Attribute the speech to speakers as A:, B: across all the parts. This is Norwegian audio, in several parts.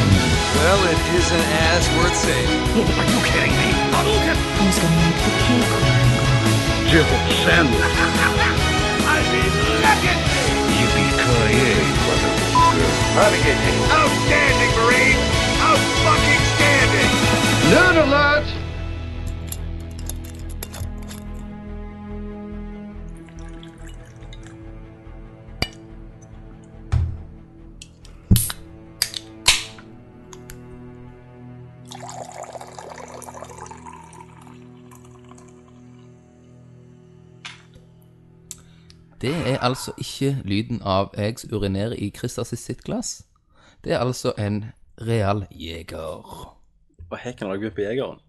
A: Well, it isn't as worth saving.
B: Are you kidding me? Hadouken!
C: Who's gonna make the cake?
B: Jibble sand. I mean, legendary! Yippee-ki-yay, motherfucker. Renegade. Outstanding, Marine! Out-fucking standing! Nerd alert!
D: Det er altså ikke lyden av jeg som urinerer i Christers sitt glass. Det er altså en real jeger.
E: Og hekken har lagt opp i jegeren.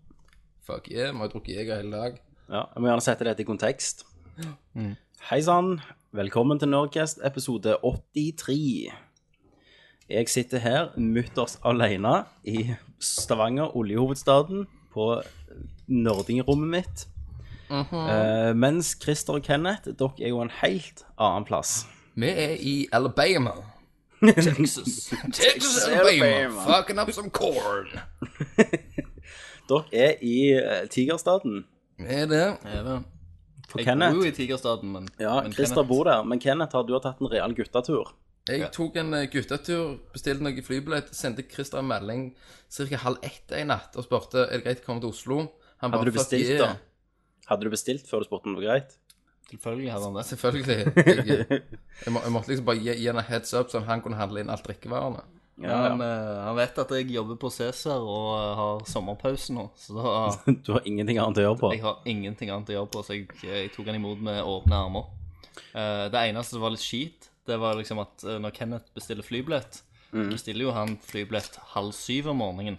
D: Fuck yeah, vi har drukket jeger hele dag.
E: Ja, jeg må gjerne sette dette i kontekst.
F: Mm.
E: Hei sann, velkommen til Nerdcast episode 83. Jeg sitter her mutters alene i Stavanger, oljehovedstaden, på nerdingrommet mitt.
F: Mhm.
E: Eh, mens Christer og Kenneth, dere er jo en helt annen plass.
D: Vi er i Alabama. Texas. Texas, Alabama. Fucking up some corn.
E: Dere er i eh, Tigerstaden.
D: Vi er det. Er det.
E: For
F: Jeg bor
E: Kenneth
F: jo i Tigerstaden, men
E: Ja,
F: men
E: Christer
F: Kenneth-
E: bor der, men Kenneth har du har tatt en real guttetur.
D: Jeg tok en eh, guttetur, bestilte noen flybillett, sendte Christer en melding ca. halv ett en natt og spurte er det greit å komme til Oslo. Han
E: Hadde du
D: «Fuck
E: bestilt,
D: yeah».
E: da? Hadde du bestilt før du spurte om det var greit?
F: Selvfølgelig hadde han det.
D: Selvfølgelig. Jeg, jeg, må, jeg måtte liksom bare gi, gi henne heads up, sånn at han kunne handle inn alt drikkevarene.
F: Han, eh, han vet at jeg jobber på Cæsar og eh, har sommerpause nå, så da
E: Du har ingenting annet å gjøre på.
F: Jeg har ingenting annet å gjøre på, så jeg, eh, jeg tok han imot med åpne armer. Eh, det eneste som var litt skit, det var liksom at eh, når Kenneth bestiller flybillett,
E: Mm.
F: så bestiller jo han flybillett halv syv om morgenen.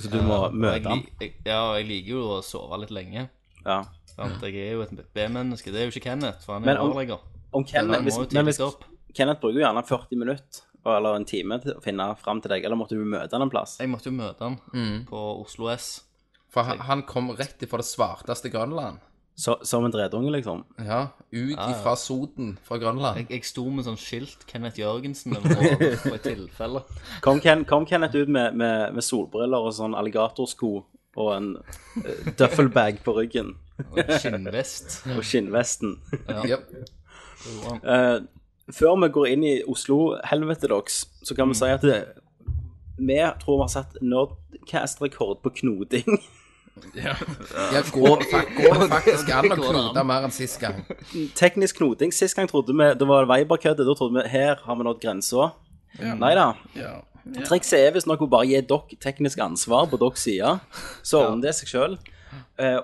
E: Så du må
F: Jeg,
E: møte ham.
F: li- jeg, ja, og jeg liker jo å sove litt lenge.
E: Ja.
F: Sant? Jeg er jo et B-menneske. Det er jo ikke Kenneth, for han
E: Men
F: er
E: om-
F: overlegger.
E: Om
F: Men
E: Kenneth,
F: han
E: hvis,
F: må jo
E: men hvis
F: tidlig opp.
E: Kenneth bruker jo gjerne 40 minutter og- eller en time til å finne fram til deg, eller måtte du møte han en plass?
F: Jeg måtte jo møte han på Oslo S.
D: For han, han kom rett ifra det svarteste Grønland.
E: Så, som en dredunge, liksom?
D: Ja, ut ifra Soden fra Grønland.
F: Jeg, jeg sto med sånn skilt Kenneth Jørgensen over hodet for et tilfelle.
E: Kom, Ken, kom Kenneth ut med, med, med solbriller og sånn alligatorsko og en eh, duffelbag på ryggen
F: Og en Skinnvest.
E: og skinnvesten.
D: Jep.
E: Eh, før vi går inn i Oslo-helvetet deres, så kan vi si at det, vi tror vi har satt Nerdcast-rekord på knoting.
D: Ja, ja går, det fak- går det faktisk an å knote mer enn sist gang?
E: Teknisk knoting. Sist gang trodde vi det var Viber-køddet. Da trodde vi her har vi nådd grensa. Nei da.
D: Ja.
E: Trikset er visstnok å bare gi dere teknisk ansvar på deres side, så ordner det seg sjøl.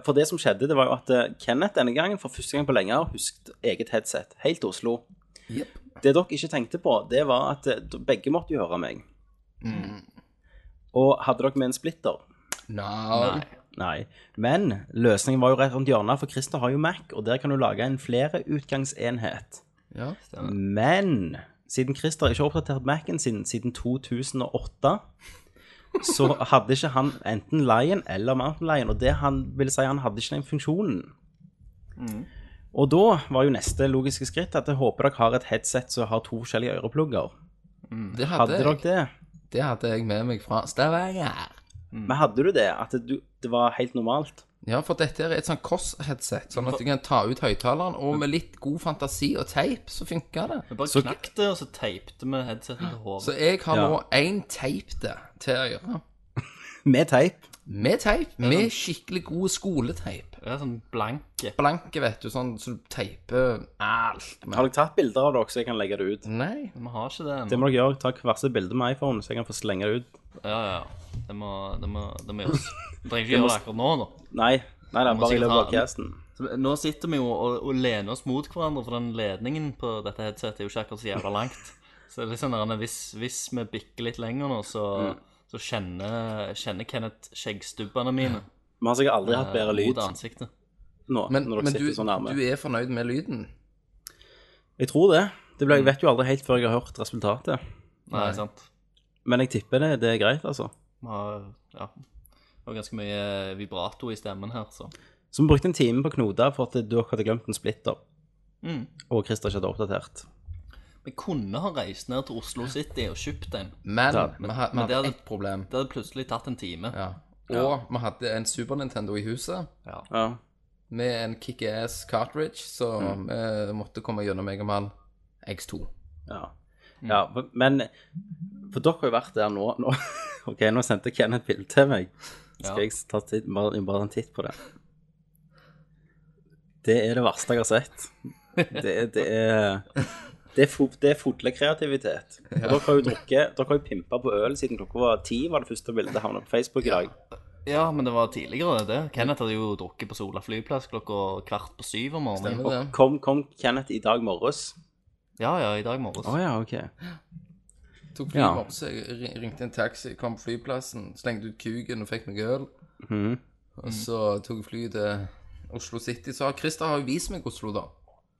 E: For det som skjedde, det var jo at eh, Kenneth denne gangen for første gang på lenge har husket eget headset. Helt til Oslo.
D: Jep.
E: Det dere ikke tenkte på, det var at eh, begge måtte jo høre meg. Og hadde dere med en splitter?
D: Nei.
E: Nei. Men løsningen var jo rett rundt hjørnet, for Christer har jo Mac, og der kan du lage en flere utgangsenhet.
D: Ja.
E: Men siden Christer ikke har oppdatert Mac-en sin siden 2008, så hadde ikke han enten Lion eller Mountain Lion, og det han vil si han hadde ikke den funksjonen.
F: Mm.
E: Og da var jo neste logiske skritt at jeg håper dere har et headset som har to forskjellige øreplugger.
D: Det hadde,
E: Hadde dere
D: jeg,
E: det?
D: det hadde jeg med meg fra Stavanger.
F: Mm.
E: Men hadde du det? At du, det var helt normalt?
D: Ja, for dette er et sånn Koss-headset, sånn at du kan ta ut høyttaleren, og med litt god fantasi og teip, så funker det.
F: Vi bare knakk det, og så teipte vi headsetet til hodet.
D: Så jeg har
E: Ja.
D: nå én teip det til å gjøre.
E: Med teip?
D: Med teip. Med skikkelig god skoleteip.
F: Det er sånn blanke.
D: Blanke, vet du, sånn så du teiper alt.
E: Har
D: Med.
E: dere tatt bilder av dere, så jeg kan legge det ut?
D: Nei.
F: Vi har ikke det
E: Det
F: ennå.
E: må dere gjøre. Ta hvert sitt bilde med iPhone, så jeg kan få slenge det ut.
F: Ja, ja, ja. Det må, det må, det må gjøres. Vi trenger ikke gjøre det akkurat nå, da.
E: Nei, nei, nei
F: må
E: bare i
F: sikkert
E: løpet av
F: ha den.
E: casten.
F: Så nå sitter vi jo og, og lener oss mot hverandre, for den ledningen på dette headsetet er jo ikke akkurat så jævla langt. Så det er litt sånn der, hvis, hvis vi bikker litt lenger nå, så, så kjenner, kjenner Kenneth skjeggstubbene mine.
E: Vi har sikkert aldri hatt bedre
F: eh,
E: lyd
F: mot ansiktet.
E: nå,
D: Men,
E: når dere
D: men du,
E: sitter sånn så nærme.
D: du er fornøyd med lyden?
E: Jeg tror det. det
D: Mm.
E: ble, jeg vet jo aldri helt før jeg har hørt resultatet.
F: Nei, sant.
E: Men jeg tipper det, det er greit, altså.
F: Vi har ja, det var ganske mye eh, vibrato i stemmen her, så
E: Så vi brukte en time på Knoda for at dere hadde glemt en splitter.
F: Mm.
E: Og Christer ikke hadde oppdatert.
F: Vi kunne ha reist ned til Oslo City og kjøpt en.
D: Men
E: Da,
D: vi ha- vi
F: men det
D: hadde
F: hadde-
D: ett problem.
F: Det hadde plutselig tatt en time.
D: Ja. Og vi hadde en Super Nintendo i huset
E: Ja.
D: med en kickass cartridge, så
E: Mm.
D: vi måtte komme gjennom Megaman X2.
E: Ja. ja. Men For dere har jo vært der nå. nå. OK, nå sendte Ken et bilde til meg. Skal jeg ta titt, bare, bare en titt på det? Det er det verste jeg har sett. Det, er- det er det er, fo, det er fodlekreativitet. Og Dere har jo drukket, dere har jo pimpa på øl siden klokka var ti, var det første bildet havna på Facebook i dag.
F: Ja, men det var tidligere, det. Kenneth hadde jo drukket på Sola flyplass klokka kvart på syv om morgenen.
D: Stemmer det?
E: Kom, kom Kenneth i dag morges.
F: Ja, ja, i dag morges.
E: Å ja, OK.
D: Tok fly i
E: Ja.
D: morse, ri- ringte en taxi, kom på flyplassen, slengte ut kuken og fikk meg øl. Og så tok jeg fly til Oslo City. Så har Christer har jo vist meg Oslo, da.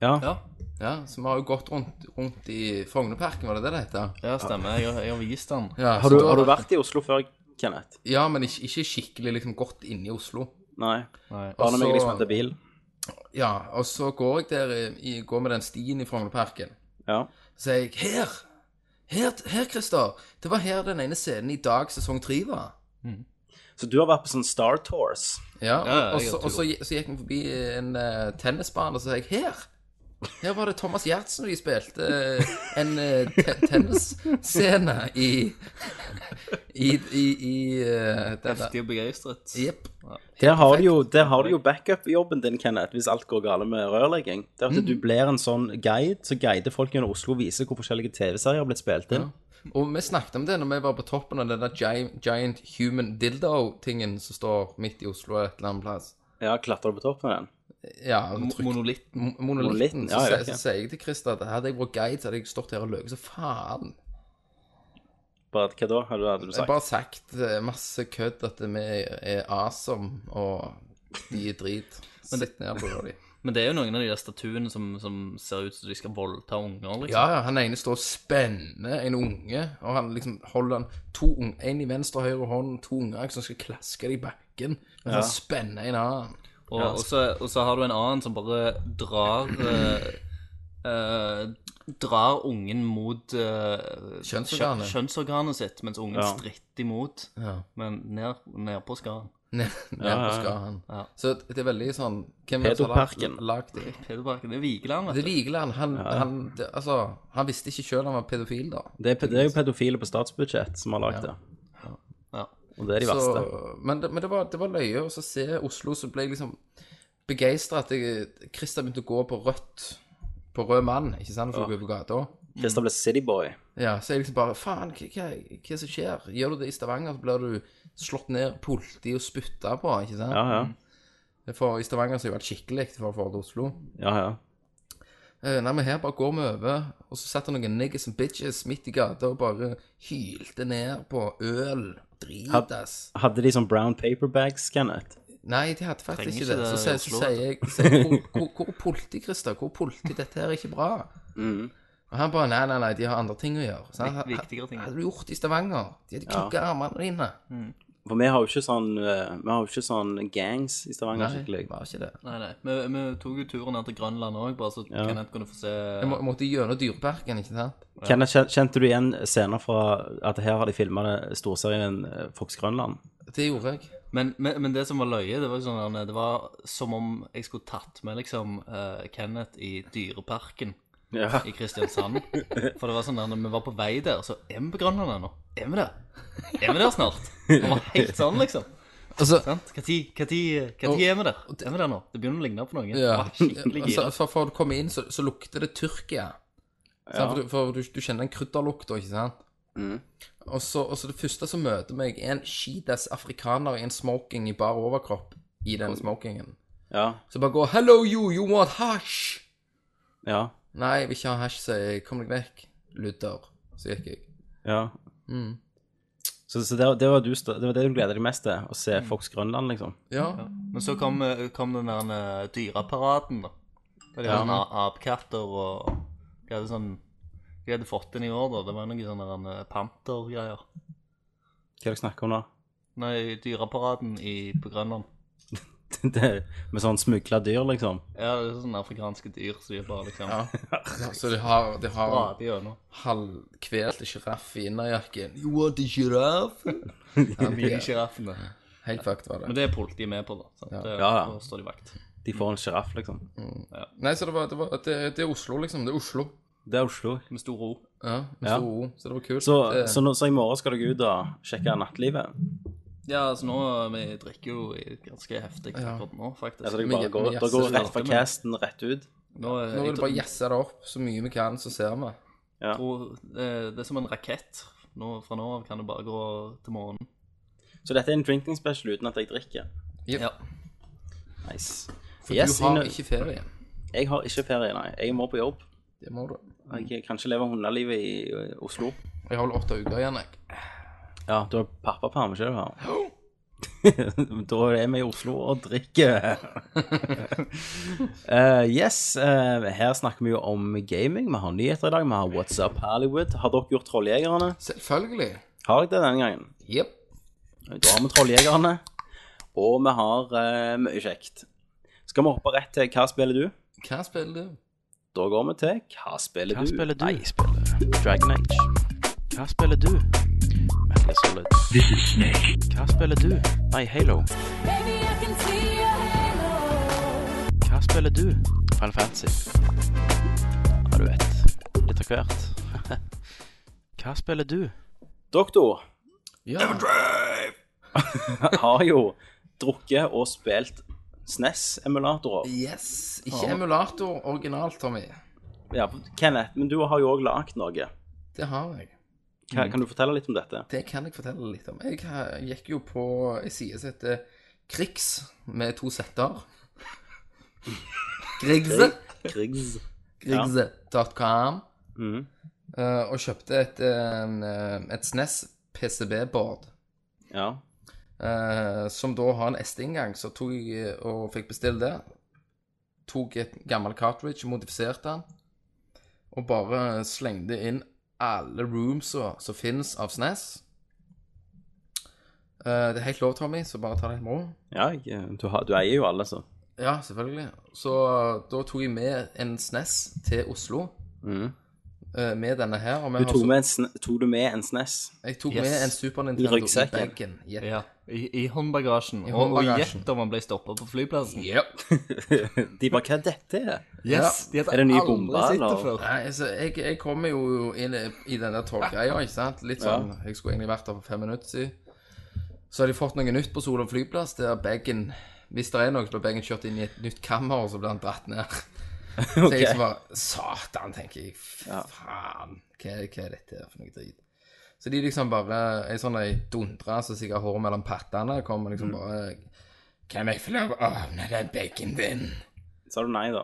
E: Ja.
F: Ja,
D: Ja, Så vi har jo gått rundt, rundt i Frognerparken, var det det det heter?
F: ja stemmer. Jeg, har- jeg har vist den.
D: Ja,
E: Har, du, har du vært i Oslo før, Kenneth?
D: Ja, men ikke, ikke skikkelig liksom godt inne i Oslo.
E: Nei.
F: Nei.
E: Bare når
D: Og så-
E: jeg liksom henter bil?
D: Ja, og så går jeg der i, i, går med den stien i Frognerparken.
E: Ja.
D: Så sier jeg Her! Her, her Christer! Det var her den ene scenen i dag sesong tre var.
E: Så du har vært på sånn Star Tours?
D: Ja, og,
F: Ja, ja,
D: og,
F: jeg
D: så,
F: tror.
D: og så, gi- så gikk vi forbi en eh, tennisbane, og så sa jeg her. Her var det Thomas Gjertsen og de spilte eh, en eh, te tennisscene i I, i, i eh, den der.
F: Heftig og begeistret.
D: Jepp.
E: Der har, du jo, der har du jo backup-jobben din, Kenneth, hvis alt går galt med rørlegging. Det er at
D: Mm.
E: du blir en sånn guide som guider folk gjennom Oslo og viser hvor forskjellige TV-serier har blitt spilt inn.
D: Og vi snakket om det når vi var på toppen av den der giant, giant human dildo-tingen som står midt i Oslo et eller annet plass.
E: Ja, klatrer du på toppen av den?
D: Ja, og
F: Mo-
D: trykk-
F: Monolitten.
D: Mo-
E: Monolitten,
D: monolitten. Så
E: ja,
D: sier
E: jeg vet
D: så
E: ikke.
D: sier jeg til Christer at hadde jeg vært guide, så hadde jeg stått her og løyet. Så faen.
E: Bare at, hva da, hadde du, hadde du
D: Jeg har
E: sagt?
D: bare sagt eh, masse kødd at vi er awesome, og de er drit. Sitt ned på de.
F: Men det er jo noen av de der statuene som, som ser ut som de skal voldta unger, liksom.
D: Ja, ja, han ene står og spenner en unge, og han liksom holder han to unge, en i venstre og høyre hånd, to unger som skal klaske det i bakken, mens han spenner en annen.
F: Og, og, så, og så har du en annen som bare drar eh, eh, Drar ungen mot eh,
D: Kjønnsorganet.
F: kjø- kjønnsorganet sitt, mens ungen
E: Ja.
F: stritter imot.
D: Ja.
F: Men ned, ned på skaren.
D: Ned, ned
E: ja,
D: på
E: ja.
D: skaen.
F: Ja.
D: Så det er veldig sånn Hvem er det som har
E: Pedoparken.
D: lag- lagd det?
F: Pederparken. Det er Vigeland,
D: Det
F: vet
D: er
F: du.
D: Vigeland. Han, han, det, altså, han visste ikke sjøl han var pedofil, da.
E: Det er, pe- det er jo pedofile på statsbudsjett som har lagd det.
F: Ja.
E: Og det er de
D: så,
E: verste.
D: men det, men det, var, det var løye å så se Oslo, så ble jeg liksom begeistra at jeg, Christer begynte å gå på rødt På rød mann, ikke sant, for å gå på gata.
E: Christer ble Cityboy.
D: Ja, så jeg liksom bare Faen, hva, hva, hva som skjer? Gjør du det i Stavanger, så blir du slått ned, politi og spytta på, ikke sant?
E: Ja, ja.
D: For i Stavanger så har det vært skikkelig for forhold til Oslo.
E: Ja, ja.
D: Eh, nei, men her bare går vi over, og så satt det noen niggas and bitches midt i gata og bare hylte ned på øl.
E: Had-
D: Dritass.
E: Hadde de sånn brown paper bags, Kenneth?
D: Nei, de hadde faktisk
F: Trenger
D: ikke
F: ikke
D: det. Så,
F: det i
D: sier- så
F: Oslo,
D: sier jeg sier, hvor, hvor, hvor er politi, Christer? Hvor er politi? Dette her er ikke bra. Og han bare Nei, nei, nei, de har andre ting å gjøre. Så han,
F: Mm. Vik- viktigere ting.
D: Hadde du gjort det i Stavanger? De hadde knukket armene dine.
E: For vi har jo ikke sånn, eh, vi har jo ikke sånn gangs i Stavanger
D: Nei,
E: skikkelig.
D: var ikke det.
F: Nei, nei. Vi, vi tok jo turen ned til Grønland òg, bare så Kenneth kunne få se
D: Jeg må, måtte gjennom Dyreparken, ikke sant?
E: Kenneth, kjen- kjente du igjen scener fra at her har de filma storserien eh, Fox Grønland?
D: Det gjorde jeg.
F: men, men, men det som var løye, det var, jo sånn, der, det var som om jeg skulle tatt med liksom eh, Kenneth i Dyreparken.
E: Ja.
F: i Kristiansand. For det var sånn der, når vi var på vei der, så er vi på Grønland ennå. Er vi der? Er vi der snart? Det var helt sånn, liksom.
D: Altså,
F: Sant? Hva tid, hva tid, hva tid er vi der? Er vi der nå? Det begynner å ligne på noen.
D: ja.
F: Det var Skikkelig
D: altså,
F: gira.
D: for, for å komme inn, så, så lukter det Tyrkia. Sant? For, du, for du, du kjenner den krydderlukta, ikke sant? Mm. Og, så, og så det første som møter meg, er en skidass afrikaner i en smoking i bar overkropp i den smokingen.
E: Ja.
D: Så bare går 'Hello you, you want hash?'
E: Ja.
D: Nei, jeg vil ikke ha hash, sier jeg. Kom deg vekk. Ludder. Så gikk jeg. Mm.
E: ja. Så, så det, var- det, var du, sta- det var det du gleder deg mest til? Å se Fox Grønland, liksom?
D: Ja.
F: Men så kom, kom den der eh, dyreparaden, da. Og De hadde sånne a- apekatter og De hadde sånn De hadde fått inn i år, da. Det var noen sånne eh, pantergreier.
E: Hva er det dere snakker om nå?
F: Nei, dyreparaden i, på Grønland.
E: det, med sånn smugla dyr, liksom.
F: Ja, det er sånne afrikanske dyr som de bare liksom ja.
D: Så de har, de har
F: gjennom.
D: halvkvelte sjiraff i innerjakken. You want a giraffe?
F: Minisjiraffene.
D: Helt fucked var
F: Men
D: det.
F: det er politiet med på, da. Sant? Det,
E: Ja, ja.
F: Da står de vakt.
E: De får en sjiraff, liksom.
D: Nei, så det var, det, var det, det er Oslo, liksom. Det er Oslo.
E: Det er Oslo.
F: Med stor ro.
D: Ja, med
E: Ja.
D: stor O. Så det var kult. Eh,
E: Så,
D: det,
E: så, nå, så i morgen skal dere ut og sjekke nattlivet?
F: Ja, altså nå Vi drikker jo i- ganske heftig akkurat nå, faktisk.
E: Ja, så dere
D: Men
E: bare
D: jeg-
E: går,
D: men jeg
E: dere går
D: ser
E: rett fra
F: det, men-
E: casten, rett ut?
F: nå, er-
D: nå
F: jeg
D: vil vi bare jesse det opp så mye vi kan, så ser vi.
F: tror, eh, det er som en rakett. Nå, fra nå av kan det bare gå til morgenen.
E: Så dette er en drinking special uten at jeg drikker.
D: Jep.
F: Ja.
E: Nice.
D: For
E: Yes,
D: du har
E: Ine-
D: ikke ferie.
E: Jeg har ikke ferie, nei. Jeg må på jobb.
D: Det må du.
E: Jeg kan ikke leve hundelivet i eh, Oslo.
D: Jeg har vel åtte uker igjen, jeg.
E: Ja, du har pappaperm, ikke du? her? da er vi i Oslo og drikker. Eh, yes, eh, her snakker vi jo om gaming. Vi har nyheter i dag. Vi har What's Up Hollywood. Har dere gjort Trolljegerne?
D: Selvfølgelig.
E: Har dere det denne gangen?
D: Jepp.
E: Da har vi Trolljegerne, og vi har eh, mye kjekt. Skal vi hoppe rett til Hva spiller du?
D: Hva spiller du?
E: Da går vi til Hva spiller
C: Hva
E: du?
C: spiller du?
E: Nei, jeg spiller Dragon Age.
C: Hva spiller du? Metal Gear Solid. Hva spiller du? Nei, Halo.
G: Baby, I can see your halo.
C: Hva spiller du? Final Fantasy. Ja, du vet. Litt av hvert. Hva spiller du?
E: Doktor
D: Ja.
E: har jo drukket og spilt E SNES-emulatorer.
D: Yes. Ikke emulator originalt, Tommy.
E: Ja, Kenneth, men du har jo òg lagd noe.
D: Det har jeg.
C: Mm.
E: Hva, kan du fortelle litt om dette?
D: Det kan jeg fortelle litt om. Jeg ha- gikk jo på ei side som heter Krigs, med to setter. Krigse.
E: Krigs.
D: Krigse.com.
E: Mhm.
D: eh, Og kjøpte et, eh, et SNES PCB-board.
E: Ja.
D: eh, som da har en SD-inngang, så tok jeg eh, og fikk bestille det. Tok et gammel cartridge, modifiserte den, og bare slengte inn alle roomsa som finnes av SNES. Eh, det er helt lov, Tommy, så bare ta det med ro.
E: ja jeg, eh, du, har, du eier jo alle, så.
D: Ja, selvfølgelig. Så eh, da tok jeg med en SNES til Oslo.
E: Mhm.
D: eh, med denne her. Og vi
E: Du
D: har
E: tok,
D: så-
E: med en, sn- tok du med en SNES?
D: Jeg tok
F: Yes.
D: med en Super Nintendo i
E: ryggsekken.
D: bagen. Yep.
F: Ja, I, i håndbagasjen.
D: I
F: Og- Og
D: håndbagasjen.
F: gjett om han ble stoppa på flyplassen.
E: De bare Hva er dette? er?»
F: Yes, de hadde
E: Er det ny
F: aldri
E: bombe,
F: sett det
E: eller?
F: før.
D: Nei, altså, jeg, jeg kommer jo inn i i den der tolvgreia, ikke sant? Litt sånn, jeg skulle egentlig vært der for fem minutter siden. Så har de fått noe nytt på Solon flyplass, der bagen, hvis det er noe, så blir bagen kjørt inn i et nytt kammer, og så blir han dratt ned. Så jeg liksom bare, satan, tenker jeg, faen, hva, er- hva er dette her for noe drit? Så de liksom bare, en sånn ei dundra, som sikkert har hår mellom pattene, kommer liksom bare, kan jeg få lov å åpne den bagen din?
E: Sa du nei, da?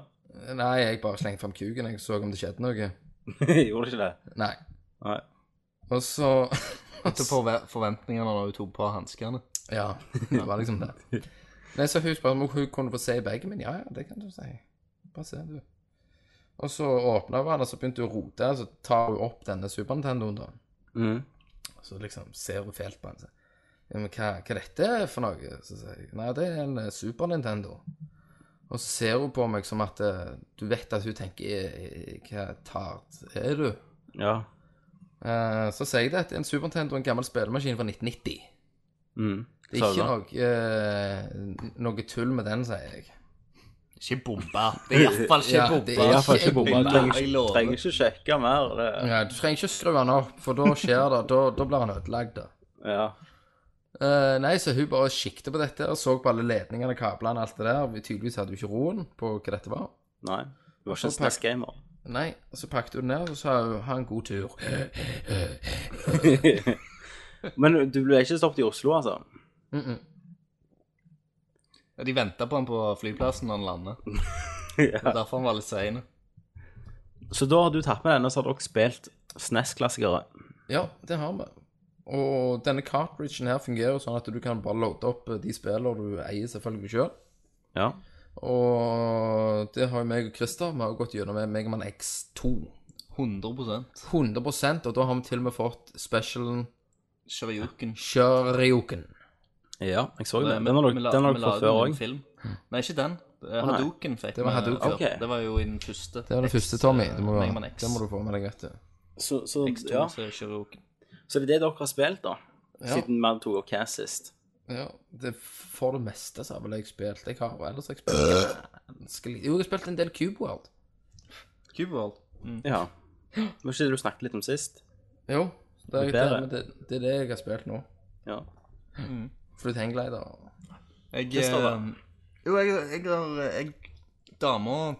D: Nei, jeg bare slengte frem kuken, jeg så om det skjedde noe.
E: Gjorde du ikke det?
D: Nei.
E: Nei.
D: Og så
F: Til forve- forventningene når hun tok på hanskene.
D: Ja, det var liksom det. Nei, så hun spurte om hun kunne få se i bagen min. Ja, ja, det kan du si. Bare se, du. Og så åpna hun den, og så begynte hun å rote, og så tar hun opp denne Super Nintendoen, da.
E: Mhm.
D: Og så liksom ser hun fælt på den. så, Ja, men hva, hva dette er for noe? Så sier jeg nei, det er en eh, Super Nintendo. Og så ser hun på meg som at eh, du vet at hun tenker eh, hva tart er du?
E: Ja.
D: Eh, så sier jeg det, det er en Super Nintendo, en gammel spillemaskin fra 1990.
E: Mhm.
D: Det
E: Sa du
D: er ikke
E: da?
D: noe, eh, noe tull med den, sier jeg.
F: Ikke bombe. Det er iallfall ikke
D: Ja,
F: bombe.
D: det
E: Det er
D: er
E: iallfall ikke
D: ikke
E: bomba.
D: bomba.
E: Du trenger,
F: Jeg
E: ikke-
F: lover.
E: trenger ikke sjekke mer. Det.
D: Ja, du trenger ikke skru den opp, for da skjer det. Da, da blir han ødelagt. da.
E: Ja.
D: Eh, nei, så hun bare sikta på dette og så på alle ledningene, kablene, alt det der. Vi tydeligvis hadde hun ikke roen på hva dette var.
E: Nei. Du var ikke en
D: Så pak-
E: SNES-gamer.
D: Nei, og så pakket hun ned og så sa hun, ha en god tur.
E: Men du ble ikke stoppet i Oslo, altså?
F: Ja, De venta på han på flyplassen når han landet. Det er derfor han var litt sein.
E: Så da har du tatt med denne, så har dere spilt SNES-klassikere.
D: Ja, det har vi. Og denne cartridgen her fungerer sånn at du kan bare loade opp eh, de spillene du eier selvfølgelig sjøl.
E: Ja.
D: Og det har jo meg og Christer. Vi har jo gått gjennom med Megaman X2.
F: 100
D: 100 og da har vi til og med fått specialen
F: Shoryuken.
D: Shoryuken.
E: ja, jeg så
F: Vi
E: det.
F: la-
E: Den har dere,
F: vi la-
E: den har
F: Eh, vi
E: dere
F: la
E: fått
F: ut en
E: før òg.
F: film. Nei, ikke den. Eh, Hadouken fikk
D: Det var
F: vi
D: Hadouken.
F: før.
E: Ok.
F: Det var jo i den første.
D: Det var det
F: X,
D: første, Tommy. Det må,
F: eh, Mega Man X.
D: det må du få med deg, vet du.
E: Så, så,
F: X2
E: ja.
F: så er Shiroken.
E: så det er det dere har spilt, da?
D: Ja.
E: Siden vi tok opp Cass sist.
D: Ja, det for det meste så har vel jeg spilt. Jeg har ellers har jeg spilt ganske li- Jo, jeg har spilt en del Cube World.
F: Cube World.
E: Ja. Var ikke det du snakket litt om sist?
D: Jo, det er,
E: Det
D: det,
E: er
D: det,
E: bedre.
D: men det, det er det jeg har spilt nå.
E: Ja.
D: Flytt hangglider. og-
F: Jeg
E: Christopher.
F: eh, Jo, jeg, jeg har jeg, Dama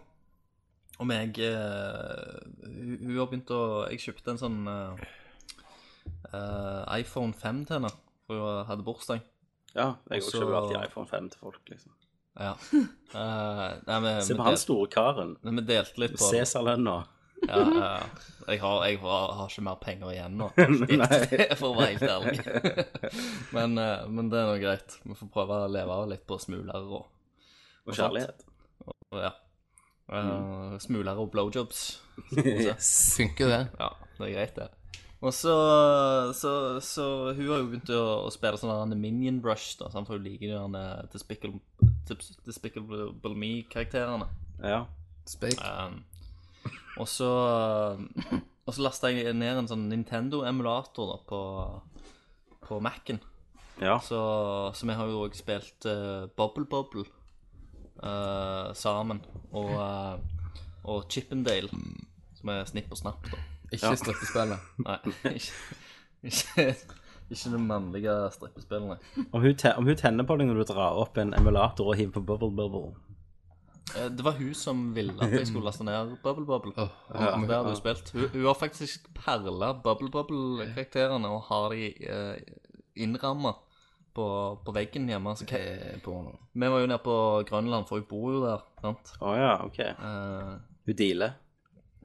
F: og meg eh, hun, hun har begynt å Jeg kjøpte en sånn eh, eh, iPhone 5 til henne, for hun hadde bursdag.
E: ja jeg
F: Også-
E: også kjøper alltid iPhone 5 til folk, liksom.
F: Ja. Eh, nei, vi,
E: Se
F: vi
E: på han
F: del-
E: store karen.
F: nei, vi delte litt på det.
E: Cæsar-lønna.
F: Ja, ja, ja. Jeg, har, jeg har, har ikke mer penger igjen nå, for å være helt ærlig. men, eh, men det er nå greit. Vi får prøve å leve litt på smuler og,
E: Og kjærlighet.
F: og ja. Eh, smuler og blowjobs.
E: Yes.
D: Funker det?
F: Ja, det er greit, det. Og så, så, så hun har jo begynt å, å spille sånn der Minion Rush, da, sant, for hun liker de der Despicable, Despicable Me-karakterene.
E: Ja.
D: Speak.
F: Um, og så Og så lasta jeg ned en sånn Nintendo-emulator da på, på Mac-en.
E: ja.
F: Så, så vi har jo òg spilt eh, Bubble Bubble eh, sammen. Og, eh, og Chippendale, som er snipp og snapp, da.
D: Ikke strippespillet.
F: Nei, ikke, ikke, ikke det mannlige strippespillene.
E: Om hun, te om hun tenner på deg når du drar opp en emulator og hiver på bubble bubble
F: Eh, Det var hun som ville at jeg skulle laste ned Bubble Bubble.
D: Åh,
F: Ja, det hadde hun spilt. Hun, hun har faktisk perla Bubble Bubble-karakterene og har de eh, innramma på, på veggen hjemme. Så, hva-
D: eh, porno.
F: vi var jo nede på Grønland, for hun bor jo der. sant?
E: Å ja, OK.
F: Eh,
E: Hun dealer.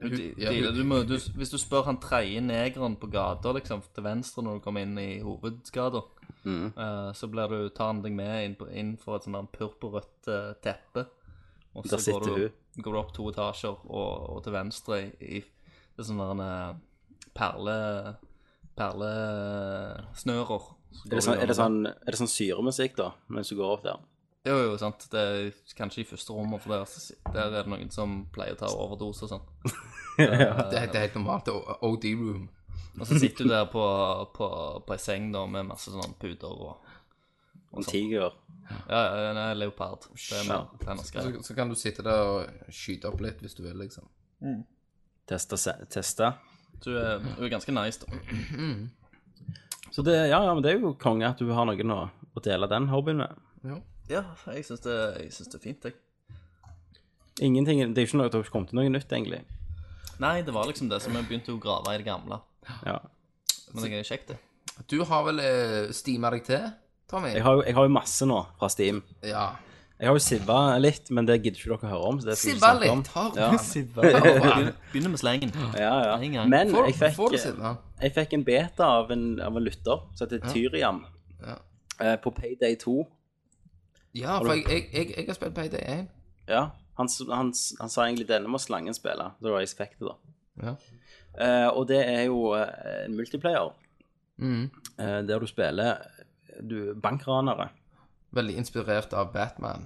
F: hun, de,
D: ja, hun-
F: du må, du, hvis du spør han tredje negeren på gata liksom, til venstre når du kommer inn i hovedgata,
E: Mm.
F: eh, så blir du, tar han deg med inn, på, inn for et sånn der purpurrødt eh, teppe. Og
E: Der
F: så
E: sitter
F: går du,
E: hun.
F: går du opp to etasjer og, og til venstre i, i det er sånne der, eh, perle perlesnører. Så går
E: Er det,
F: du
E: sånn, er, det
F: gjennom
E: sånn, er det sånn syremusikk, da, mens du går opp der?
F: det? Jo, jo, sant. Det er kanskje i første rommet, for der, der er det noen som pleier å ta overdose og sånn.
D: Det, er- det er helt normalt. det er O- OD Room.
F: Og så sitter du der på, på, på ei seng da, med masse sånne puter og
E: En tiger?
F: Ja, ja, nei, leopard. Det er mer hennes greie.
D: Så, så kan du sitte der og skyte opp litt hvis du vil, liksom.
E: Teste, se- teste.
F: Du er, du er ganske nice, da.
E: Så det, ja, ja, men det er jo konge at du har noen å, å dele den hobbyen med.
F: Ja, jeg syns det, jeg synes det er fint, jeg.
E: Ingenting, Det er jo ikke noe, det har ikke kommet til noe nytt, egentlig.
F: Nei, det var liksom det som jeg begynte å grave i det gamle.
E: Ja.
F: Men det er kjekt, det.
D: Du har vel eh, stima deg til, Tommy?
E: Jeg, har jo, jeg har jo masse nå fra Steam.
D: Ja.
E: Jeg har jo sivva litt, men det gidder ikke dere høre om. Så det skal vi ikke snakke
D: Sibba
E: om.
D: litt. Har du den?
F: Begynner begynner med slengen.
E: Ja,
F: En
E: ja.
F: gang.
E: Men
D: Får,
E: jeg fikk,
D: får du sibba?
E: jeg fikk en beta av en, av en lytter som heter Tyriam,
D: Ja.
E: eh, på Payday 2.
D: Ja, for jeg, jeg, jeg, jeg har spilt Payday 1.
E: Ja, han, s- han, s- han sa egentlig denne må slangen spille. Det var Expected, da.
D: Ja.
E: Eh, og det er jo eh, en multiplayer
D: Mhm.
E: eh, der du spiller du, bankranere.
D: Veldig inspirert av Batman.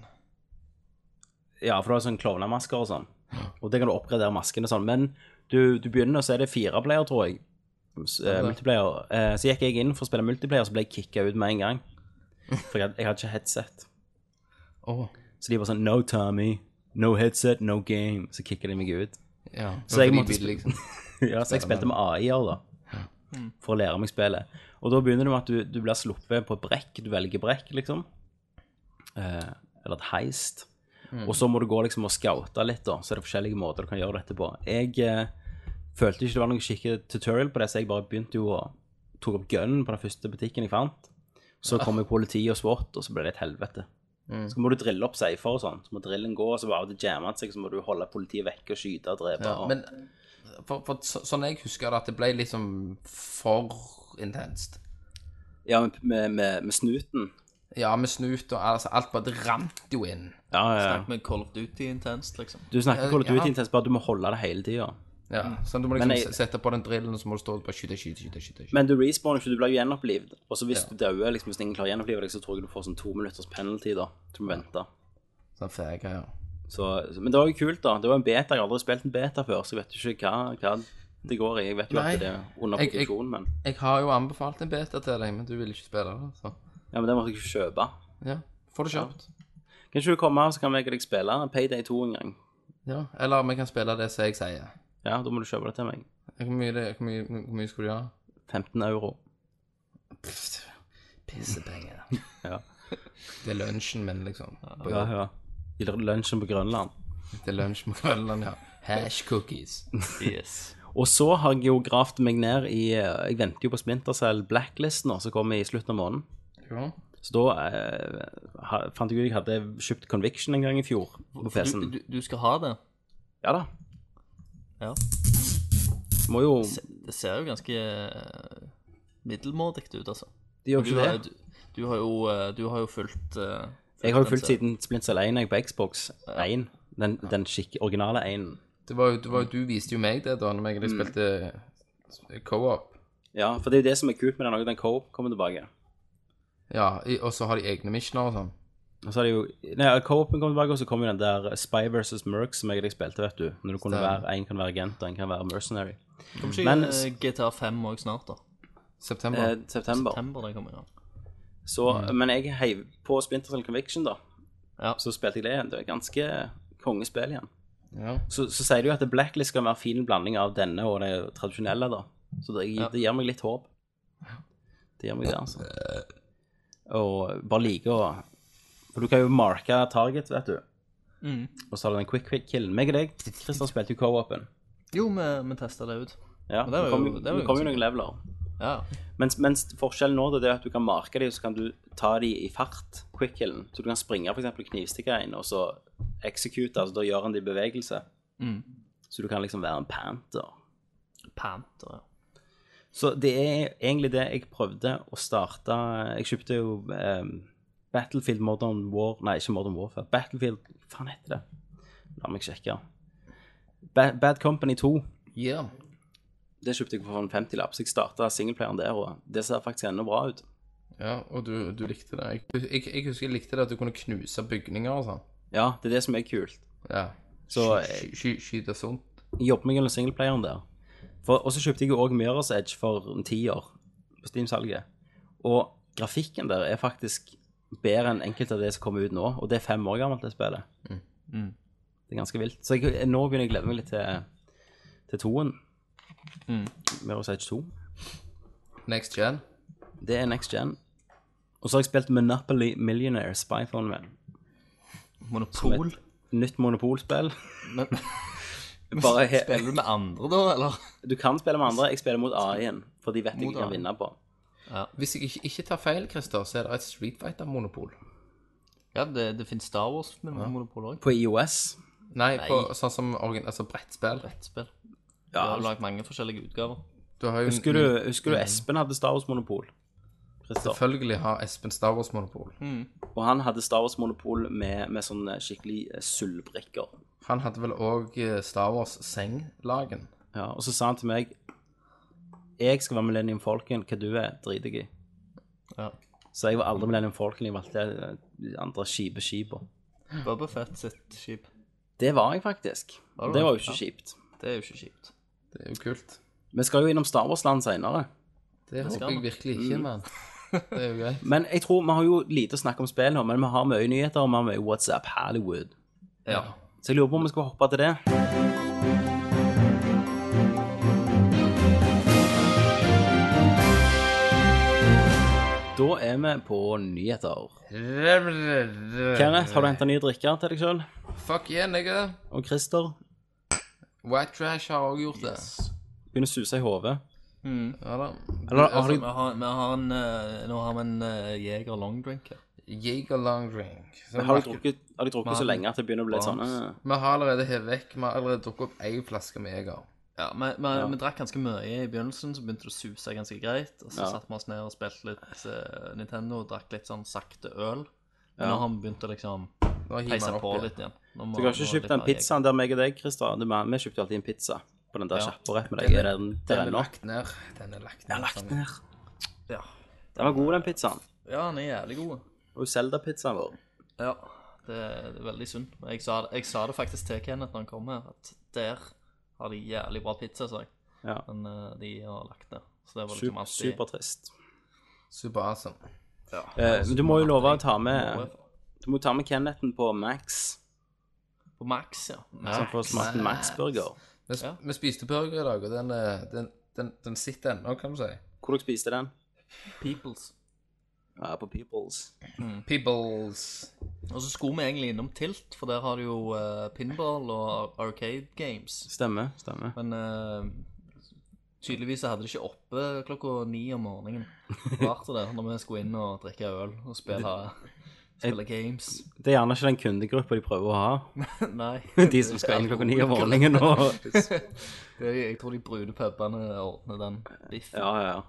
E: Ja, for du har sånn klovnemasker og sånn. Og det kan du oppgradere maskene og sånn. Men du, du begynner, så er det fire player, tror jeg. S- eh, multiplayer. Eh, så gikk jeg inn for å spille multiplayer, så ble jeg kicka ut med en gang. For jeg, jeg hadde ikke headset.
D: Åh,
E: Så de var sånn No Tommy, no headset, no game. Så kicka de meg ut.
D: ja.
E: Så jeg
D: Fordi
E: måtte
D: vi
E: sp-
D: liksom.
E: Ja, så jeg spilte med AI-er, da. For å lære meg spillet. Og da begynner det med at du, du blir sluppet på et brekk. Du velger brekk, liksom. Eh, eller et heist.
D: Mm.
E: Og så må du gå liksom og scoute litt, da. Så er det forskjellige måter du kan gjøre dette på. Jeg eh, følte ikke det var noen skikkelig tutorial på det, så jeg bare begynte jo å tok opp gunnen på den første butikken jeg fant. Så kom jo politi og SWAT, og så ble det et helvete.
D: Mm.
E: Så må du drille opp safer og sånn. Så må drillen gå, og så bare det jammer seg, så må du holde politiet vekke og skyte og drepe.
D: Ja,
E: og...
D: men for, for, så, sånn jeg husker det, at det ble liksom for intenst.
E: Ja, med, med, med, med snuten.
D: Ja, med snut og altså, alt bare det rant jo inn.
E: Ja,
F: Snakk med Call of Duty intenst, liksom.
E: Du snakker Call of
D: Ja.
E: Duty intenst, bare du må holde det hele tida.
D: Ja, sånn, Du må
E: Mm.
D: liksom
E: Men jeg-
D: s- sette på den drillen, og så må du stå og bare skyte, skyte, skyte. skyte, skyte.
E: Men du respawner ikke, du blir jo gjenopplivd. Og så hvis du dauer, liksom, hvis ingen klarer å gjenopplive deg, så tror jeg du får sånn to minutters penalty, da. Du må vente.
D: Sånn fæga, ja.
E: Så, men det var jo kult, da. Det var en beta. Jeg har aldri spilt en beta før, så jeg vet jo ikke hva, hva det går i. Jeg vet jo
D: Nei.
E: at det er under
D: Jeg- jeg-
E: produksjon, men
D: Jeg har jo anbefalt en beta til deg, men du vil ikke spille det, så
E: Ja, men det måtte jeg jo kjøpe.
D: ja. Få det kjapt.
E: Kan ikke du komme her, så kan vi og deg spille Payday 2 en gang?
D: Ja. Eller vi kan spille det som jeg sier.
E: Ja, da må du kjøpe det til meg.
D: Hvor mye, det, hvor mye, hvor mye skulle du ha?
E: 15 euro.
D: Pff, Pissepenger.
E: Ja.
D: Det er lunsjen min, liksom. På
E: Ja,
D: jobb.
E: ja. I lunsjen på Grønland.
D: Det er lunsj med Grønland, ja. Hash cookies.
F: Yes.
E: Og så har jeg jo gravd meg ned i eh, Jeg venter jo på Splintercell Blacklist nå, som kommer i slutten av måneden.
D: Ja.
E: Så da eh, ha, fant jeg ut jeg hadde kjøpt Conviction en gang i fjor på
F: Du,
E: PC-en.
F: du, du skal ha det.
E: Ja da.
F: Ja.
E: Må jo
F: Se- Det ser jo ganske eh, middelmådig ut, altså.
E: De gjør
F: Du
E: ikke
F: har,
E: det.
F: du, du har jo, eh, du har jo fulgt eh,
E: Jeg har jo
F: den
E: fulgt
F: serien.
E: siden Splintercell 1 jeg på Xbox 1. Den, den skikk, originale 1.
D: Det var jo, det var, jo- du viste jo meg det da når jeg og deg
E: Mm.
D: spilte co-op.
E: Ja, for det er jo det som er kult med den også, den co-op kommer tilbake.
D: Ja, i- og så har de egne missioner og sånn.
E: Og så er det jo Nei, co-open kommer tilbake, og så kommer jo den der eh, Spy versus Merc som jeg og deg spilte, vet du. Når du kunne
D: Stemmer.
E: være En kan være agent, og en kan være mercenary.
F: Kommer ikke
E: Men-
F: eh, GTA 5 òg snart, da?
D: September.
E: Eh, september.
F: September den kommer, ja.
E: Så, Men jeg heiv på Splinter Cell Conviction, da.
F: Mm. Ja.
E: Så spilte jeg det igjen. Det er ganske kongespill igjen.
D: Ja.
E: Så, så sier du jo at Blacklist skal være en fin blanding av denne og det tradisjonelle, da. Så det,
F: Ja.
E: det gir meg litt håp. Det gir meg det, altså. Og bare like å For du kan jo marke target, vet du.
F: Mm.
E: Og så har du den quick quick killen. Meg og deg, Christer, spilte jo co-open.
F: Jo, vi, vi testa det ut.
E: Ja,
F: det var
E: det
F: jo-
E: kom jo,
F: det var jo
E: det kom jo
F: ganske
E: noen leveler.
F: Ja.
E: Mens, mens forskjellen nå det er at du kan marke dem, så kan du ta dem i fart, quick killen. Så du kan springe f.eks. knivstikke inn, og så execute, altså da gjør han det i bevegelse.
F: Mm.
E: Så du kan liksom være en panter.
F: Panther, ja.
E: Så det er egentlig det jeg prøvde å starte Jeg kjøpte jo eh, Battlefield Modern War Nei, ikke Modern Warfare. Battlefield Hva faen heter det? La meg sjekke. Ba Bad Company 2.
D: Yeah.
E: Det kjøpte jeg for en 50-lapp, så jeg starta singleplayeren der, og det ser faktisk ennå bra ut.
D: ja, og du, du likte det. Jeg, jeg, jeg husker jeg likte det at du kunne knuse bygninger og sånn.
E: Ja, det er det som er kult.
D: Ja.
E: Så- eh,
D: Sky- sky- Skyte sånt.
E: jobbe meg gjennom singleplayeren der. For, og så kjøpte jeg jo òg Mirror's Edge for en tiår på Steam-salget. Og grafikken der er faktisk bedre enn enkelte av det som kommer ut nå. Og det er fem år gammelt, det spillet.
F: Mm.
E: Det er ganske vilt. Så jeg, nå begynner jeg å glede meg litt til, til toen.
F: Mm.
E: Mirror's Edge 2.
D: Next gen.
E: Det er next gen. Og så har jeg spilt Monopoly Millionaire Spyphone Man.
F: Monopol.
E: Nytt monopolspill.
F: Men
E: Bare he
F: spiller du med andre, da, eller?
E: du kan spille med andre. Jeg spiller mot AI-en, for de vet jeg
F: Mot
E: ikke kan
F: AI.
E: vinne på.
D: Hvis jeg ikke, ikke tar feil, Christer, så er det et Street Fighter-monopol.
F: Ja, det, det finnes Star Wars med monopol òg.
E: På IOS
D: Nei, På, sånn som organ, altså brettspill.
F: Brettspill. Du
E: Ja,
F: har jo lagd mange forskjellige utgaver.
D: Du har jo
E: Husker du, husker du Espen hadde Star Wars-monopol? Christer?
D: Selvfølgelig har Espen Star Wars-monopol.
E: Og han hadde Star Wars-monopol med, med sånne skikkelig eh, sølvbrikker.
D: Han hadde vel òg Star Wars-senglagen.
E: Ja, og så sa han til meg Jeg skal være Millennium Falcon, hva du er, driter jeg i.
F: Ja.
E: Så jeg var aldri Millennium Falcon, jeg valgte eh, de andre kjipe skipa.
F: Bubberfett sitt skip.
E: Det var jeg faktisk.
F: du
E: Og det
F: det?
E: var jo ikke kjipt.
F: Det er jo ikke kjipt.
D: Det er jo kult.
E: Vi skal jo innom Star Wars-land seinere.
D: Det håper jeg
F: man.
D: virkelig ikke,
E: Mm.
D: men det er jo greit.
E: Men jeg tror vi har jo lite å snakke om spill nå, men vi har mye nyheter, og vi har mye WhatsApp Hollywood.
F: Ja.
E: Så jeg lurer på om vi skal hoppe til det. Da er vi på nyheter.
D: Eh,
E: Kenneth, har du henta nye drikker til deg sjøl?
D: Fuck yeah, nigga.
E: Og Christer
D: White Trash har òg gjort det.
E: begynner å suse i hodet. Mm.
D: Ja da.
E: Eller har
F: Altså,
E: du
F: vi har, vi har en, eh, nå har vi en eh, Jeger long drink her.
D: Jager long drink. Så
E: har du
D: vi-
E: drukket, har du drukket så lenge at det begynner å bli litt sånn eh,
D: vi har allerede hevet vekk. Vi har allerede drukket opp én flaske med Jeger.
F: Ja, vi, vi, vi drakk ganske mye i begynnelsen, så begynte det å suse ganske greit. Og så
E: Ja.
F: satte vi oss ned og spilte litt eh, Nintendo og drakk litt sånn sakte øl. Men Nå har vi begynt å liksom
D: Nå hiver vi
F: peise
D: den opp
F: på
D: igjen.
F: litt igjen. Nå må-
E: Du har ikke
F: nå er det
E: kjøpt
F: litt
E: den
F: mer Jeger.
E: pizzaen der meg og deg, Christer. Du, Vi vi kjøpte alltid en pizza på den der
F: Ja.
E: kjappa rett med deg. Er den
D: Den er
E: der ennå?
D: lagt ned. Den er lagt ned. altså.
F: Ja.
E: Den var god, den pizzaen.
F: ja, den er jævlig god.
E: Og Zelda-pizzaen vår.
F: Ja. det er veldig synd. Men Jeg sa, det- jeg sa det faktisk til Kenneth når han kom her, at der har de jævlig bra pizza, sa jeg.
E: Ja.
F: Men eh, de har lagt ned. Så det var liksom
E: Super,
F: alltid
E: supertrist.
D: Super awesome.
F: Ja.
E: Eh, men du må jo love å ta med
F: Noe
E: Du må ta med Kennethen på Max.
F: På Max, ja.
E: Så han får smake en Max-burger.
D: Vi, sp
F: Ja.
D: vi spiste burger i dag, og den, eh, den, den, den sitter ennå, kan du si.
E: Hvor dere spiste den?
F: Peoples. Mm.
E: Ja, på Peoples.
D: Peebles.
F: Og så skulle vi egentlig innom Tilt, for der har du jo eh, pinball og arcade games.
E: Stemmer. stemmer.
F: Men eh, tydeligvis så hadde de ikke oppe klokka ni om morgenen. Rart det, når vi skulle inn og drikke øl og spille, spille games.
E: Det er gjerne ikke den kundegruppa de prøver å ha.
F: Nei.
E: De som skal inn klokka ni om morgenen og
F: Det er- Jeg tror de brune pubene ordner den biffen.
E: Ja, ja.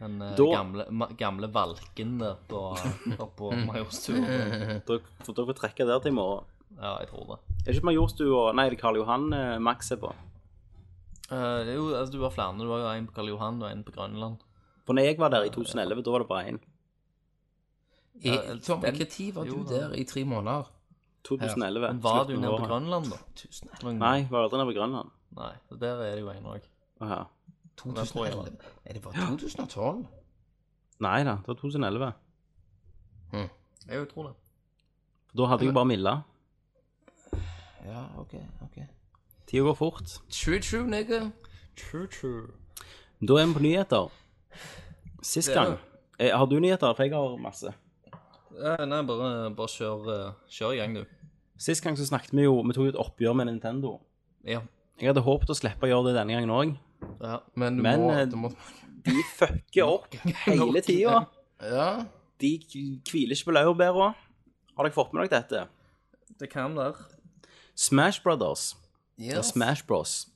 F: Den eh,
E: Da-
F: gamle, ma- gamle valken der på, oppå Majorstua.
E: Dere får dere får trekke der til i morgen.
F: Ja, jeg tror det.
E: Er det ikke Majorstua Nei, det er Karl Johan eh, Max er på.
F: Eh, jo, altså, du har flere. Du har jo en på Karl Johan og en på Grønland.
E: For når jeg var der i 2011, da var det bare én.
D: I,
F: Ja, altså,
D: Tom,
F: den-
D: hva tid var du
F: jo, da.
D: der i tre måneder?
E: 2011.
F: Men var du
E: slutten av
F: nede på
E: året.
F: Grønland, da? Tusen
E: Nei, jeg var aldri nede på Grønland.
F: Nei, der er det jo en òg.
E: Å, ja.
D: 2011? Nei, det var 2012.
E: Nei da, det var 2011.
F: Jeg tror det.
E: For da hadde jeg jo bare Milla.
D: Ja, ok, ok.
E: Tida går fort.
D: True, true, nigga.
F: True, true.
E: Da er vi på nyheter. Sist
F: Det er
E: gang. Eh, Har du nyheter? For jeg har masse.
F: Eh, nei, bare, bare kjør, eh, kjør i gang, du.
E: Sist gang så snakket vi jo Vi tok jo et oppgjør med Nintendo.
F: Ja.
E: Jeg hadde håpet å slippe å gjøre det denne gangen òg.
F: ja.
D: Men du
E: Men,
D: må,
E: eh,
D: du må
E: De fucker opp hele tida.
D: Ja.
E: De k- hviler ikke på laurbæra. Har dere fått med dere dette?
F: Det kan der.
E: Smash Brothers og
D: Yes.
E: Smash Bros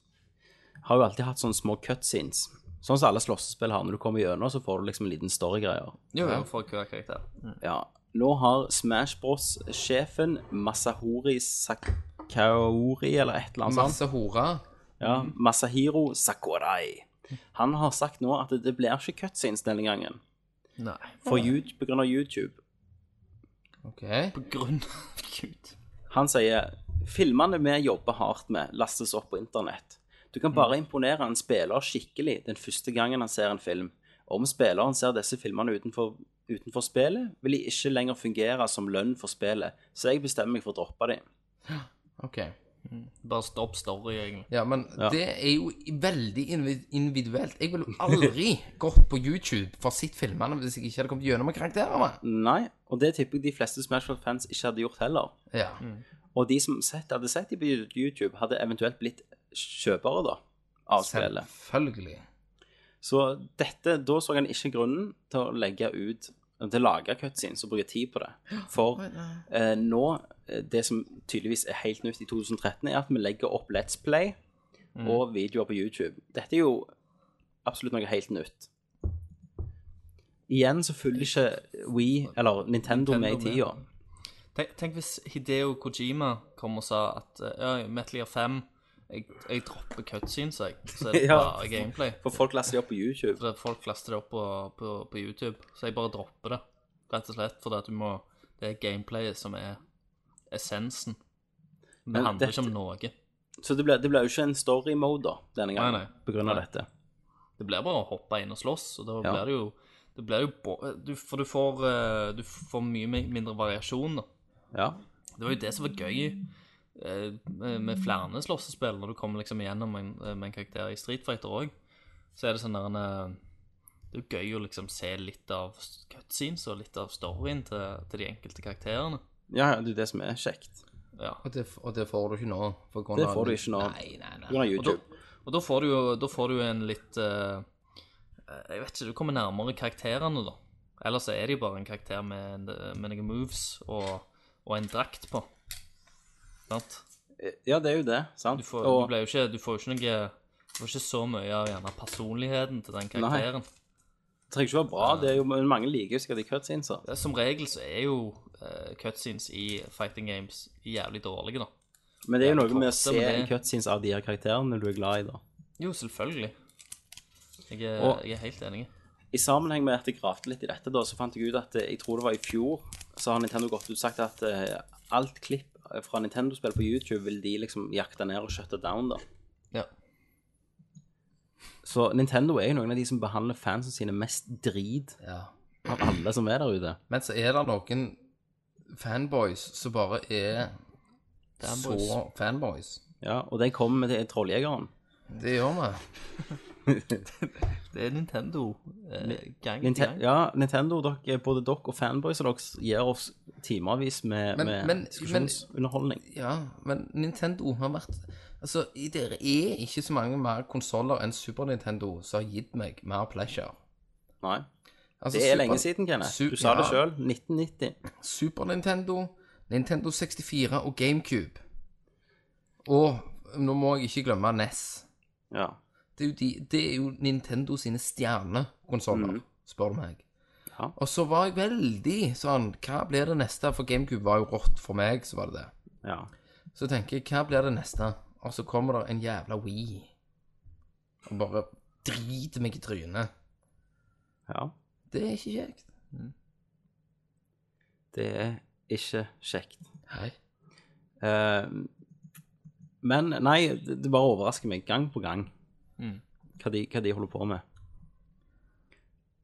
E: har jo alltid hatt sånne små cutscenes. Sånn som alle slåssespill har. Når du kommer gjennom, så får du liksom en liten storygreier.
F: Jo, ja. for hver karakter.
E: Ja. Nå har Smash Bros-sjefen Masahori Sakaori, eller et eller annet sånt.
D: Masse horer.
E: Ja, Masahiro Sakurai. Han har sagt nå at det blir ikke cutscenes denne gangen.
F: Nei.
E: For YouTube, på grunn av YouTube.
D: Ok.
F: På grunn av Gud.
E: Han sier filmene vi jobber hardt med, lastes opp på internett. Du kan bare imponere en spiller skikkelig den første gangen han ser en film. Om spilleren ser disse filmene utenfor, utenfor spillet, vil de ikke lenger fungere som lønn for spillet, så jeg bestemmer meg for å droppe dem.
D: ok.
F: Bare stopp story, egentlig.
D: Ja, men
E: Ja.
D: det er jo veldig invi- individuelt. Jeg ville jo aldri gått på YouTube for å sett filmene hvis jeg ikke hadde kommet gjennom med karakterene.
E: Nei, og det tipper jeg de fleste Smash Bros-fans ikke hadde gjort heller.
D: Ja.
F: Mm.
E: Og de som sett, hadde sett de på YouTube, hadde eventuelt blitt kjøpere da, av spillet.
D: Selvfølgelig.
E: Så dette, da så han ikke grunnen til å legge ut, til å lage cutscenes og bruke tid på det. For eh, nå, eh, det som tydeligvis er helt nytt i 2013, er at vi legger opp Let's Play og videoer på YouTube. Dette er jo absolutt noe helt nytt. Igjen så følger ikke Wii, eller Nintendo, med i tida.
F: Tenk, tenk hvis Hideo Kojima kom og sa at eh, ja, Metal Gear 5 jeg, jeg dropper cutscenes, jeg. Så er det
E: Ja.
F: bare gameplay.
E: For folk laster de opp på YouTube.
F: For at folk laster det opp på, på, på YouTube, så jeg bare dropper det. Rett og slett fordi at du må Det er gameplayet som er essensen.
E: Men
F: Men det handler
E: dette-
F: ikke om noe.
E: Så det ble, det ble jo ikke en story mode da, denne gangen,
F: Nei, nei.
E: på grunn av
F: Nei.
E: dette.
F: Det blir bare å hoppe inn og slåss, og da
E: Ja.
F: blir det jo det blir jo bo- du, For du får, eh, du får mye mi- mindre variasjon, da.
E: Ja.
F: Det var jo det som var gøy eh, med med flere slåssespill, når du kommer liksom igjennom en, med en karakter i Street Fighter òg. Så er det sånn der en eh, Det er jo gøy å liksom se litt av cutscenes og litt av storyen til, til de enkelte karakterene.
E: Ja, ja, det er det som er kjekt.
F: Ja.
D: Og det, og det får du ikke nå. på grunn
E: Det
D: av-
E: får du ikke nå.
D: Nei, nei,
E: På grunn
D: nei.
E: av
F: Og da,
E: YouTube.
F: og da får du jo da får du jo en litt eh, Jeg vet ikke, du kommer nærmere karakterene, da. Ellers så er de bare en karakter med, med noen moves og, og en drakt på. Sant?
E: Ja, det er jo det, sant?
F: Du får,
E: og,
F: du ble jo ikke, du får jo ikke noe Du får ikke så mye av gjerne personligheten til den karakteren.
E: det trenger ikke være bra, det er jo, men mange liker jo sikkert de cutsceneser.
F: Som regel så er jo eh, cutscenes i fighting games jævlig dårlige, da.
E: Men det er jo
F: Ja,
E: noe med å
F: korte,
E: se
F: men det-
E: cutscenes av de her karakterene du er glad i, da.
F: Jo, selvfølgelig. Jeg er,
E: Og-
F: jeg er helt enig.
E: I sammenheng med at jeg gravde litt i dette, da, så fant jeg ut at eh, jeg tror det var i fjor, så har Nintendo gått ut og sagt at eh, alt klipp fra Nintendo-spill på YouTube vil de liksom jakte ned og shutte down, da.
F: Ja.
E: Så Nintendo er jo noen av de som behandler fansen sine mest drit
D: Ja.
E: av alle som er der ute.
D: Men så er det noen fanboys som bare er
F: Fanboys.
D: så fanboys.
E: Ja, og den kommer til Trolljegeren.
D: Det gjør vi.
F: Det er Nintendo. Eh, gang
E: Ninte
F: gang.
E: ja, Nintendo, dere, både dere og fanboys og dere gir oss timevis med,
D: Men-
E: med
D: men-
E: diskusjonsunderholdning.
D: Ja, men Nintendo har vært Altså, i- det er ikke så mange mer konsoller enn Super Nintendo som har gitt meg mer pleasure.
E: Nei.
D: Altså,
E: Det er
D: Super-
E: lenge siden, Kenneth.
D: Su-
E: Du sa det
D: ja.
E: sjøl. 1990.
D: Super Nintendo, Nintendo 64 og GameCube. Og nå må jeg ikke glemme E NES.
E: Ja.
D: Det er jo, de, det er jo Nintendo sine stjernekonsoller, spør du meg.
E: Mm. Ja.
D: Og så var jeg veldig sånn Hva blir det neste? For GameCube var jo rått for meg, så var det det.
E: ja.
D: Så tenker jeg, hva blir det neste? Og så kommer det en jævla Wii. Og bare driter meg i trynet.
E: ja.
D: Det er ikke kjekt.
E: Det er ikke kjekt.
D: Hei.
E: Eh, men nei, det det bare overrasker meg gang på gang
F: Mm.
E: hva, de, hva de holder på med.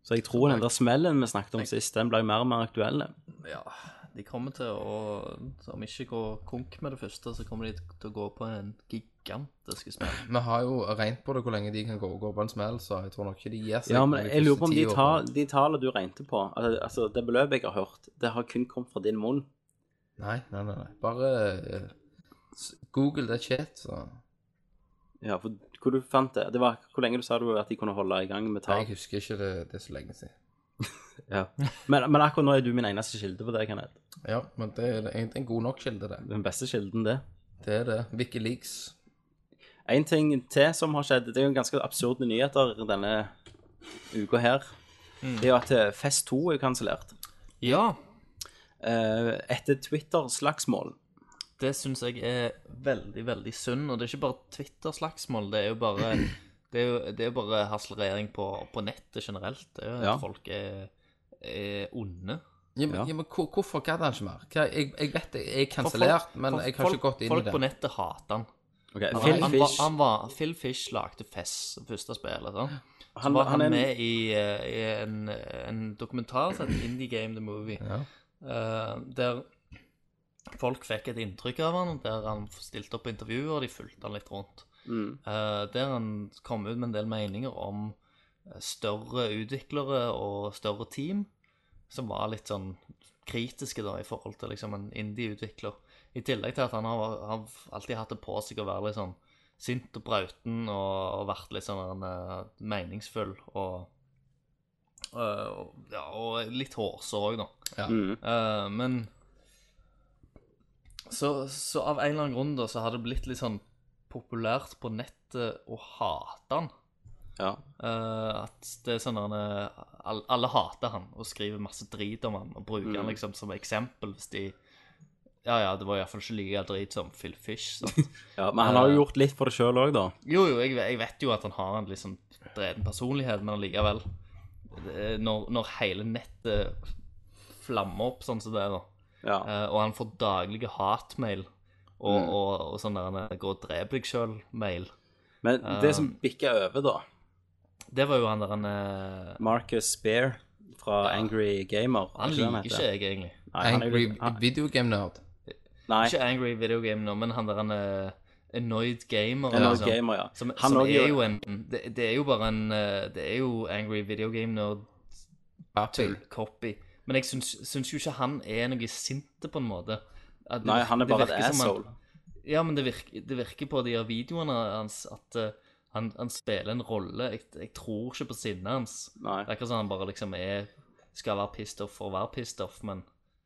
E: Så jeg tror den der smellen vi snakket om sist, den ble mer og mer aktuell.
F: Ja, de kommer til å Om ikke går konk med det første, så kommer de til å gå på en gigantisk smell.
D: Vi har jo regnet på det hvor lenge de kan gå, gå på en smell, så jeg tror nok ikke de gir seg.
E: Ja, men
D: de
E: jeg lurer på om
D: første
E: de,
D: ti
E: ta,
D: årene.
E: de tallene du regnet på, al- altså det beløpet jeg har hørt, det har kun kommet fra din munn.
D: Nei, nei, nei. nei. Bare eh, s- google det shit, så
E: Ja, for hvor du fant det? Det var hvor lenge du sa du at de kunne holde i gang med
D: Nei,
E: tall.
D: jeg husker ikke det, det er så lenge siden.
E: Ja. Men, men akkurat nå er du min eneste kilde på det, Kenneth.
D: Ja, men det er egentlig en god nok kilde, det.
E: Den beste kilden, det.
D: Det er det. Wikileaks.
E: En ting til som har skjedd, det er jo ganske absurde nyheter denne uka her. Det er jo at eh, Fest 2 er jo kansellert.
F: Ja,
E: Eh, etter Twitter-slagsmål.
F: det syns jeg er veldig, veldig synd. Og det er ikke bare Twitter-slagsmål, det er jo bare Det er jo, det er jo bare harselering på, på nettet generelt. Det er jo at
E: Ja.
F: folk er, er onde.
D: Ja, men,
E: Ja.
D: ja, men hvor- hvorfor gadd han ikke mer? Hva, jeg, jeg vet det er
F: For folk-
D: kansellert, men
F: for
D: jeg har ikke
F: folk-
D: gått inn i
F: Folk på
D: det.
F: nettet hater han.
E: Ok,
F: Han,
E: Phil
F: han, var,
E: Fish, han,
F: han var, Phil Fish lagde Fess, første spillet. Sånn. Så
E: han,
F: var han,
E: er en-
F: med i, eh, i en, en dokumentar som heter Indie Game The Movie,
D: Ja.
F: eh, der folk fikk et inntrykk av han, der han stilte opp på intervjuer, og de fulgte han litt rundt.
E: Mm.
F: Eh, der han kom ut med en del meninger om eh, større utviklere og større team, som var litt sånn kritiske da, i forhold til liksom en indie-utvikler. I tillegg til at han har, har alltid hatt det på seg å være litt sånn sint og brauten og, og vært litt sånn han, eh, meningsfull og, eh, og, ja, og litt hårsår òg, da.
E: Mm.
F: Eh, men så, så av en eller annen grunn da, så har det blitt litt sånn populært på nettet å hate han.
E: Ja.
F: Eh, at det er sånn han er- all, Alle hater han og skriver masse drit om han og bruker han liksom som eksempel hvis de Ja ja, det var iallfall ikke like drit som Phil Fish. Sant?
E: ja. Men han har jo gjort litt for det sjøl òg, da.
F: Jo, jo, jeg, jeg vet jo at han har en litt sånn dreden personlighet, men allikevel det- når, når hele nettet flammer opp sånn som det er, da
E: Ja.
F: Eh, og han får daglige hatmail og,
E: Mm.
F: og, og sånn der han, gå og drep deg sjøl-mail.
E: Men det som bikker over, da
F: Det var jo han der han eh,
E: Marcus Spear fra Angry Gamer.
F: Han
E: det
F: liker ikke
E: heter?
F: jeg, egentlig.
E: Nei, han er jo
D: Angry
E: litt- han-
D: video game nerd.
E: Nei,
F: Ikke Angry Video Game nå, men han der han eh, Annoyed Gamer.
E: han er
F: eller
E: jo
F: sånn.
E: gamer, ja.
F: Som,
E: Han
F: som
E: også
F: er
E: gjør-
F: jo en det, det er jo bare en eh, Det er jo Angry Video Game Nerd-copy. Men jeg syns, syns jo ikke han er noe sinte, på en måte. At det
E: Nei,
F: virker-
E: han er
F: det
E: bare et
F: virker som han-
E: asshole.
F: Ja, men det virker, det virker på de her videoene hans at eh, han, han spiller en rolle. Jeg, jeg tror ikke på sinnet hans.
E: Nei.
F: Det er ikke sånn han bare liksom er skal være pissed off for å være pissed off, men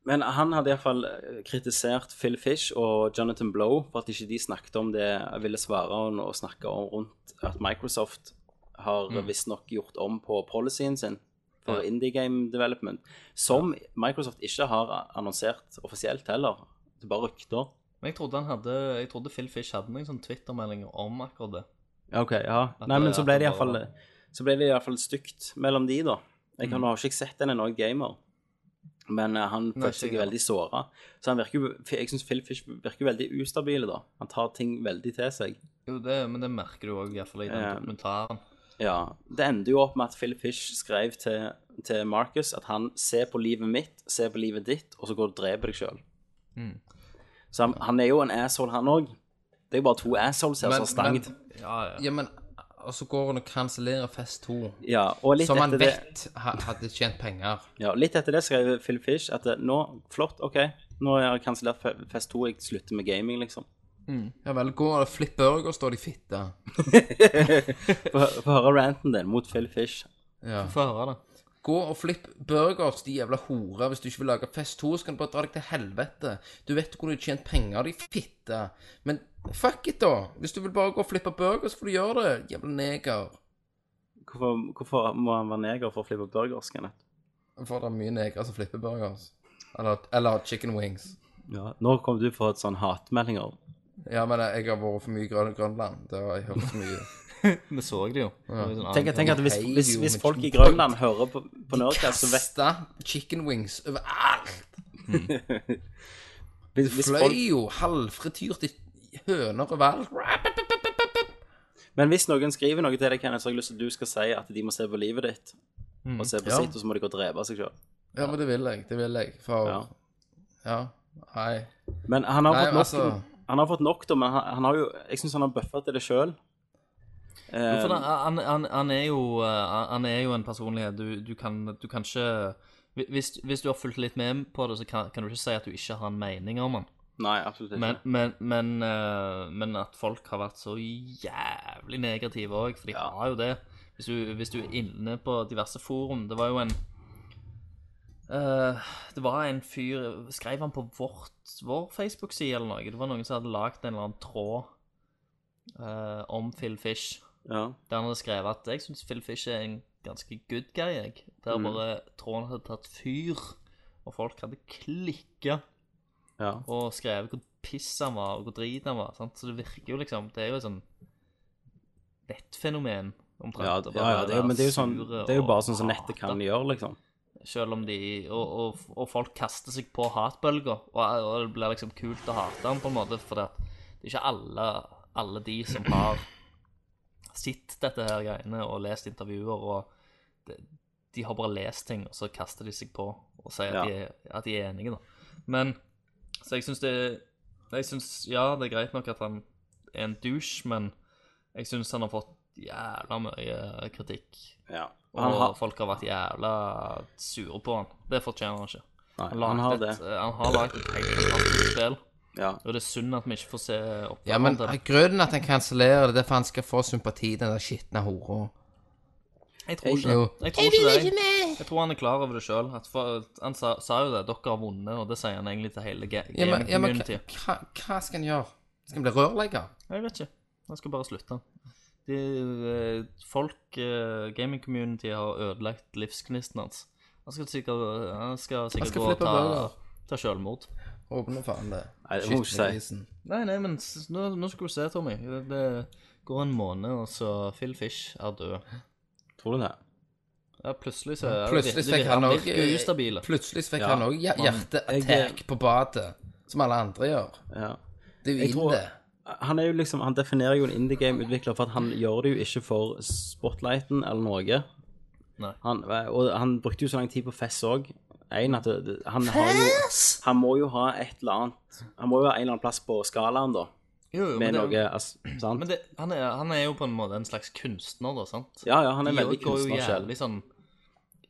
E: Men han hadde iallfall eh, kritisert Phil Fish og Jonathan Blow for at ikke de snakket om det jeg ville svare om, og snakke om rundt at Microsoft har visstnok gjort om på policyen sin for
F: Mm. Ja.
E: indie game development, som Microsoft ikke har annonsert offisielt heller. Det er bare rykter.
F: Men jeg trodde han hadde Jeg trodde Phil Fish hadde noen sånn Twitter-meldinger om akkurat det.
E: Ja, OK, ja.
F: At
E: Nei,
F: det-
E: men så ble
F: at
E: det
F: det
E: iallfall
F: bare-
E: Så ble det iallfall stygt mellom de, da. Jeg har nå ikke sett en Annoyed Gamer. Men eh, han følte seg
F: sikkert.
E: veldig såra. Så han virker, jo- jeg syns Phil Fish virker veldig ustabil, da. Han tar ting veldig til seg.
F: Jo, det, men det merker du òg, iallfall i den
E: Ja.
F: dokumentaren.
E: Ja, Det ender jo opp med at Phil Fish skrev til, til Marcus at han ser på livet mitt, ser på livet ditt, og så går du og dreper deg sjøl. Så han, han er jo en asshole, han òg. Det er jo bare to assholes her som har stangt.
F: Ja, ja.
D: Ja, men og så går han og kansellerer Fest 2,
E: Ja, og litt
D: som han
E: etter det
D: vet ha, hadde tjent penger.
E: Ja, litt etter det skrev Phil Fish at eh, nå, flott, ok, nå har jeg kansellert Fe- Fest 2, jeg slutter med gaming, liksom.
D: Ja vel, går og Flip Burger står de fitte.
E: Få hø- få høre ranten din mot Phil Fish.
D: Ja.
F: Få høre det.
D: Gå og flipp burgers, de jævla horer. Hvis du ikke vil lage Fest 2, så kan du bare dra deg til helvete. Du vet du kunne tjent penger, de fitte. Men fuck it, da. Hvis du vil bare gå og flippe burgers, får du gjøre det, jævla neger.
E: Hvorfor, hvorfor må han være neger for å flippe burgers, Kenneth?
D: For det er mye negere som flipper burgers. Eller, eller chicken wings.
E: Ja, nå kommer du få et sånn hatmeldinger.
D: Ja, men jeg har vært for mye i Grøn Grønland. Det har jeg hørt for mye.
F: Vi så det jo. Det var jo sånn
E: Tenk, tenk at hvis,
D: Hei,
E: hvis,
D: jo,
E: hvis
D: men-
E: folk i Grønland hører på, på Nerdcast, så vet
D: Kasta chicken wings overalt.
E: hvis, hvis folk,
D: Fløy jo halvfrityrt i høner og hval.
E: Men hvis noen skriver noe til deg, Kenneth, så har jeg lyst til at du skal si at de må se på livet ditt. Og se på
D: Ja.
E: sitt, og så må de gå og drepe seg sjøl.
D: Ja, men det vil jeg. Det vil jeg. For
E: Ja.
D: Ja. Nei.
E: Men han har
D: Nei,
E: fått nok,
D: altså-
E: han har fått nok da, men han, han har jo Jeg syns han har bøffa til det sjøl.
F: Ja,
E: Eh,
F: for da, han, han, han, er jo, eh, han- han er jo en personlighet. Du, du, kan, du kan ikke hvi- hvis, hvis du har fulgt litt med på det, så kan, kan du ikke si at du ikke har en mening om han.
E: Nei, absolutt ikke.
F: Men, men, men, eh, men at folk har vært så jævlig negative òg, for de har jo det. Hvis du, hvis du er inne på diverse forum Det var jo en eh, Det var en fyr Skrev han på vårt, vår Facebook-side eller noe? Det var noen som hadde lagd en eller annen tråd eh, om Phil Fish.
E: ja.
F: Der han hadde skrevet at jeg syns Phil Fish er en ganske good guy, jeg.
E: Mm.
F: Der bare tråden hadde tatt fyr, og folk hadde klikka
E: Ja.
F: og skrevet hvor piss han var, og hvor drit han var. Sant? Så det virker jo liksom Det er jo et sånn nettfenomen, omtrent.
E: Ja,
F: å
E: det,
F: bare
E: ja, ja, det er, jo-
F: være
E: men det er jo sånn
F: sure
E: Det er jo
F: og
E: bare sånn som
F: hate.
E: nettet kan gjøre, liksom.
F: Selv om de Og, og, og folk kaster seg på hatbølger, og, og det blir liksom kult å hate han på en måte, for det er ikke alle, alle de som har sett dette her greiene og lest intervjuer, og de, de har bare lest ting, og så kaster de seg på og sier at,
E: Ja.
F: de, er- at de er enige, da. Men Så jeg syns det Jeg syns Ja, det er greit nok at han er en douche, men jeg syns han har fått jævla mye kritikk
E: Ja.
F: og
E: Han har,
F: folk har vært jævla sure på han. Det fortjener han ikke.
E: nei,
F: Han,
E: han har
F: lagde
E: det.
F: et, eh, han har lagd et helt fantastisk spill,
E: Ja.
F: og det er synd at vi ikke får se oppfølgeren
D: Ja, men
F: til det.
D: grunnen at han kansellerer det, det er for han skal få sympati, den der skitne hora.
F: Jeg tror ikke det.
D: Jo.
F: Jeg tror, ikke det. Jeg, jeg tror han er klar over det sjøl. Han sa, sa jo det. Dere har vunnet, og det sier han egentlig til hele ga-
D: Ja, men, ja, men hva,
F: gaming-community.
D: hva hva skal han gjøre? Skal han bli rørlegger?
F: Jeg vet ikke. Han skal bare slutte. De, eh, folk eh, Gaming-community har ødelagt livsgnisten hans. Han skal sikkert, han skal sikkert
D: skal
F: gå og
D: flippe
F: ta,
D: burger.
F: ta sjølmord.
D: Åpne faen det.
E: Nei, det må jeg ikke si.
D: grisen.
F: Nei, nei, men s- nå, nå skal du se, Tommy. Det, det går en måned, og så Phil Fish er død.
E: Tror du det?
F: Ja, plutselig så er
D: Plutselig
F: det,
D: fikk han
F: han
D: òg
F: virker jo ustabil.
D: Plutselig fikk
E: Ja,
D: han òg hjerteattakk på badet, som alle andre gjør.
E: Ja.
D: Det er jo
E: Jeg tror-
D: inn, det.
E: Han er jo liksom Han definerer jo en indie game-utvikler for at han gjør det jo ikke for spotlighten eller noe.
F: Nei.
E: Han, og han brukte jo så lang tid på Fess òg. Han, har jo, han må jo ha et eller annet Han må jo ha en eller annen plass på skalaen, da.
F: Jo, jo,
E: Med
F: men,
E: noe
F: det,
E: altså, Sant?
F: men det, han, er, han er jo på en måte en slags kunstner, da, sant?
E: ja, ja, han er
F: De
E: veldig
F: går jo
E: kunstner selv.
F: jævlig sånn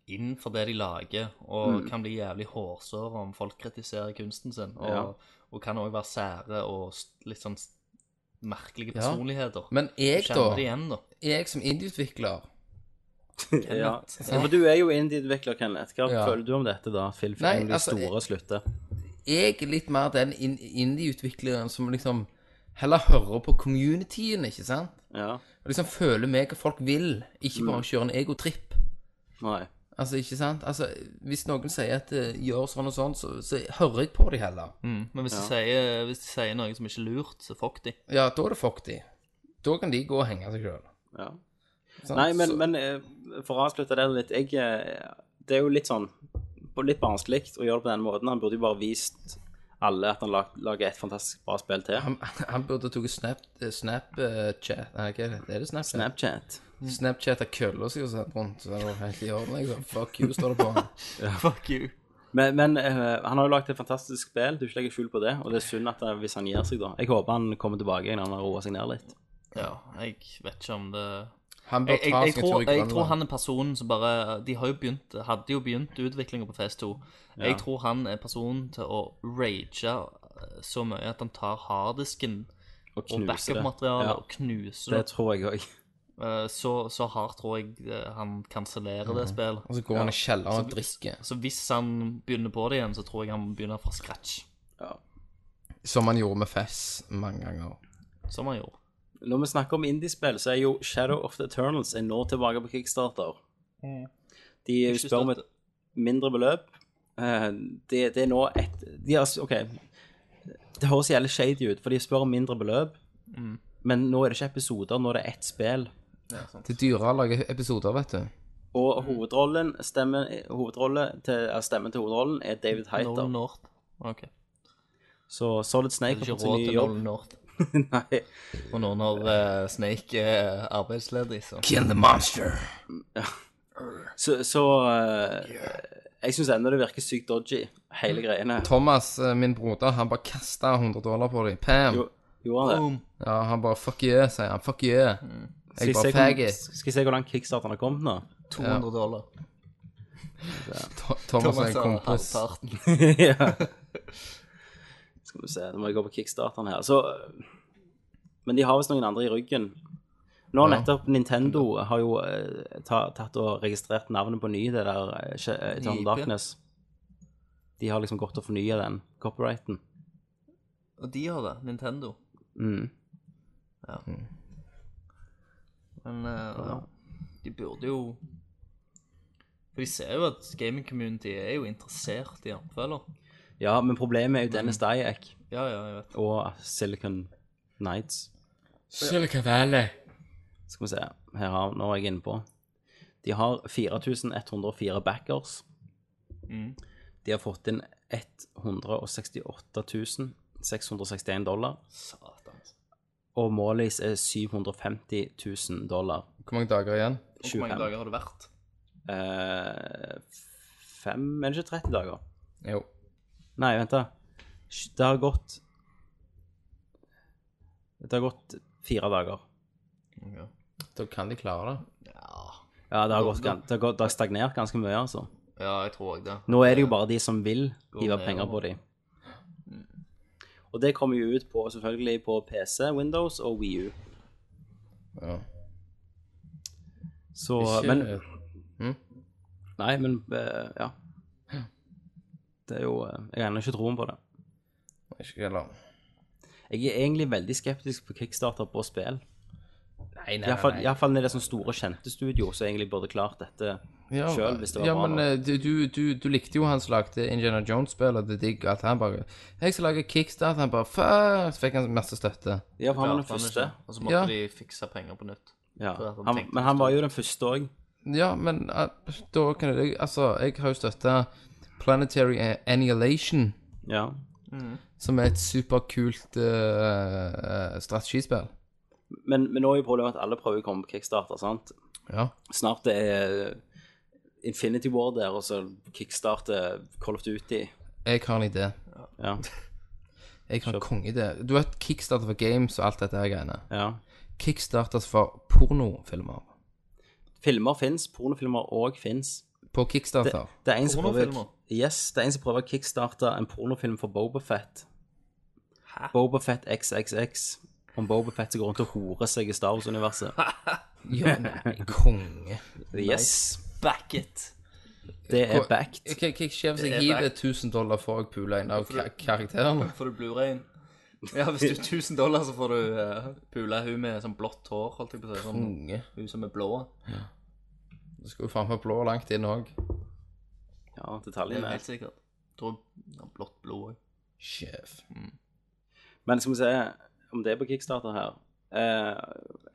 F: inn for det de lager, og
E: Mm.
F: kan bli jævlig hårsåre om folk kritiserer kunsten sin. Og,
E: Ja.
F: og kan òg være sære og s- litt sånn s- merkelige
D: Ja.
F: personligheter.
D: Men jeg, da.
F: Kjenner det igjen, da.
D: Jeg som indieutvikler
E: Ja.
F: Kenneth.
E: Ja, for du er jo indie-utvikler, Kenneth. Hva
D: Ja.
E: føler du om dette, da? Phil
D: Nei,
E: Fish, de
D: altså,
E: store slutter.
D: Jeg er litt mer den in- indie-utvikleren som liksom heller hører på communityen, ikke sant?
E: Ja.
D: Og liksom føler meg hva folk vil, ikke bare kjøre en egotripp.
E: Nei.
D: Altså, ikke sant? Altså, hvis noen sier at eh, gjør sånn og sånn, så, så hører jeg på de heller.
F: Mm, Men hvis, de sier, hvis de sier noe som ikke er lurt, så fuck de.
D: Ja, da er det fuck de. Da kan de gå og henge seg sjøl.
E: Ja. Nei, men, men eh, for å avslutte det litt jeg, eh, Det er jo litt sånn på- litt barnslig å gjøre det på den måten. Han burde jo bare vist alle at han lag, lager et fantastisk bra spill til.
D: Han, han burde tatt snap, eh, Snapchat Nei, hva er det? Er det Snapchat?
E: Snapchat.
D: Snapchat er kølla si og sånn rundt. Så det var helt i orden. Liksom. Fuck you, står det på han.
F: Fuck you.
E: Men, men eh, han har jo laget et fantastisk spill, du skal legge skjul på det. Og det er synd at eh, hvis han gir seg, da. Jeg håper han kommer tilbake når han har roa seg ned litt.
F: Ja, jeg vet ikke om det
D: Han bør
F: jeg, jeg,
D: ta
F: jeg,
D: seg en
F: tror,
D: tur i
F: jeg tror
D: Grønland.
F: han er personen som bare De har jo begynt, hadde jo begynt utviklinga på PS2. Jeg tror han er personen til å rage eh, så mye at han tar harddisken
E: Og
F: og
E: knuse det.
F: backup-materialet
E: Ja,
F: og knuser
E: det
F: det.
E: tror jeg òg.
F: Eh, Så, så hardt tror jeg eh, han kansellerer det spillet.
D: Og så går han i kjelleren og drikker,
F: Så hvis han begynner på det igjen, så tror jeg han begynner fra scratch.
D: som han gjorde med Fess mange ganger.
F: Som han gjorde.
E: Når vi snakker om indiespill, så er jo Shadow of the Eternals er nå tilbake på Kickstarter.
F: Mm.
E: De
F: Ikke
E: spør om et
F: støtte.
E: mindre beløp. Eh, Det, det er nå et de har, s- OK. Det høres jævlig shady ut, for de spør om mindre beløp.
F: Mm.
E: Men nå er det ikke episoder, nå er det ett spill.
D: Til dyre å lage episoder, vet du.
E: Og
F: Mm.
E: hovedrollen, stemmen, hovedrolle til, ja, stemmen til hovedrollen er David Heiter.
F: Nolan North. Ok.
E: Så Solid Snake
F: Ikke
E: har fått
F: råd
E: en ny
F: til
E: jobb.
F: Nolan North.
E: Nei.
F: Og nå når eh, Snake er arbeidsledig, så
D: Kill the monster.
E: Så, så eh, Jeg syns ennå det virker sykt dodgy, hele
F: Mm.
E: greiene.
D: Thomas, eh, min broder, han bare kasta 100 dollar på dem. Pam!
E: Jo, gjorde han det?
F: Boom.
D: Ja, han bare fuck yeah, sier han. Fuck yeah.
E: Skal
D: Jeg
E: jeg, se
D: bare
E: hvor,
D: faggot.
E: skal jeg se hvor langt kickstarteren har kommet nå?
F: 200 dollar.
D: To- Thomas er en kompis.
F: halvparten.
E: ja. Skal vi se, da må jeg gå på kickstarteren her. Så, eh, men de har visst noen andre i ryggen. Nå har
D: Ja.
E: nettopp Nintendo har jo eh, ta, tatt og registrert navnet på ny, det der eh, Sh- eh, Eternal
F: IP.
E: Darkness. De har liksom gått og fornya den copyrighten.
F: Og de har det. Nintendo.
E: Mm.
F: Men eh, ja. de burde jo For de ser jo at gaming community er jo interessert i oppfølger.
E: Ja, men problemet er jo Dennis
F: Mm.
E: Dyack
F: Ja, ja, jeg vet.
E: og Silicon Nights.
D: Silicon Valley.
E: Skal vi se, her har, nå er jeg inne på. De har 4104 backers.
F: Mm.
E: De har fått inn 168.661 dollar,
F: Satan. altså.
E: og målet deres er 750 000 dollar.
D: Hvor mange dager igjen?
F: Og hvor
E: 25.
F: mange dager har det vært?
E: Eh, fem, er det ikke 30 dager?
D: Jo.
E: Nei, vent da. Sj- Det har gått... Det har gått fire dager.
D: Da kan de klare det.
F: Ja,
E: Ja, det har, gått, gan- det har, gått, det har stagnert ganske mye, altså.
F: ja jeg tror òg det.
E: Nå er det jo bare de som vil hive
F: ned,
E: penger
F: og- Mm.
E: på dem. Og det kommer jo ut på, selvfølgelig på PC, Windows og Wii U.
D: Ja.
E: Så,
D: Ikke,
E: men,
D: eh,
E: nei, men eh, ja. Det er jo eh, Jeg har ennå ikke troen på det.
D: ikke heller.
E: Jeg er egentlig veldig skeptisk på kickstarter på spill.
D: Nei, nei, nei. nei.
E: Iallfall når det er sånne store, kjente studio som egentlig burde klart dette.
D: Ja,
E: selv, hvis det var
D: ja,
E: bra,
D: men
E: da.
D: eh, du, du, du, du likte jo han som lagde Indiana Jones-spill, og det er digg at han bare 'Jeg skal lage kickstart.' Han bare 'fuck', så fikk han masse støtte.
E: Ja, for han var den
F: Klarte han
E: første.
F: ikke. Og så måtte
D: Ja.
F: de fikse penger på nytt.
E: Ja.
F: For at han
E: Han,
F: tenkte
E: men han var jo den første òg.
D: Ja, men eh, da kan jeg Altså, jeg har jo støtta Planetary Annihilation,
E: Ja.
D: som er et superkult eh, eh, strategispill.
E: Men, men nå er jo problemet at alle prøver å komme på kickstarter, sant?
D: Ja.
E: snart det er Infinity War der, og så kickstarter Call of Duty.
D: Jeg har en idé.
E: Ja,
D: Jeg har en kongeidé. Du vet kickstarter for games og alt dette her greiene.
E: ja.
D: Kickstarters for pornofilmer.
E: Filmer fins, pornofilmer òg fins.
D: På
E: Det,
D: kickstarter.
E: det er en som prøver
F: Pornofilmer?
E: Yes, det er en som prøver å kickstarte en pornofilm for Bobafett.
F: Hæ?
E: Bobafett XXX. Om Bobafett som går rundt og horer seg i Star Wars-universet.
D: Ja, nei, konge.
E: Yes.
F: Back it!
E: Det er
D: Hvor-
E: backed.
D: Hva hva skjer hvis
F: Det
D: jeg
F: er
D: hiver
F: back.
D: 1000 dollar for å pule en av ka- karakterene?
F: Får du blurein? Ja, hvis du 1000 dollar, så får du uh, pula hun med sånn blått hår, holdt jeg på å si. Sånn,
D: Konge.
F: hun som er blå.
D: Du skal jo faen meg blå langt inn òg.
E: Ja,
F: Det er
E: detaljene.
F: helt sikkert. Tror jeg har blått blod òg.
D: Sjef.
E: Men skal vi se om det er på kickstarter her. Eh,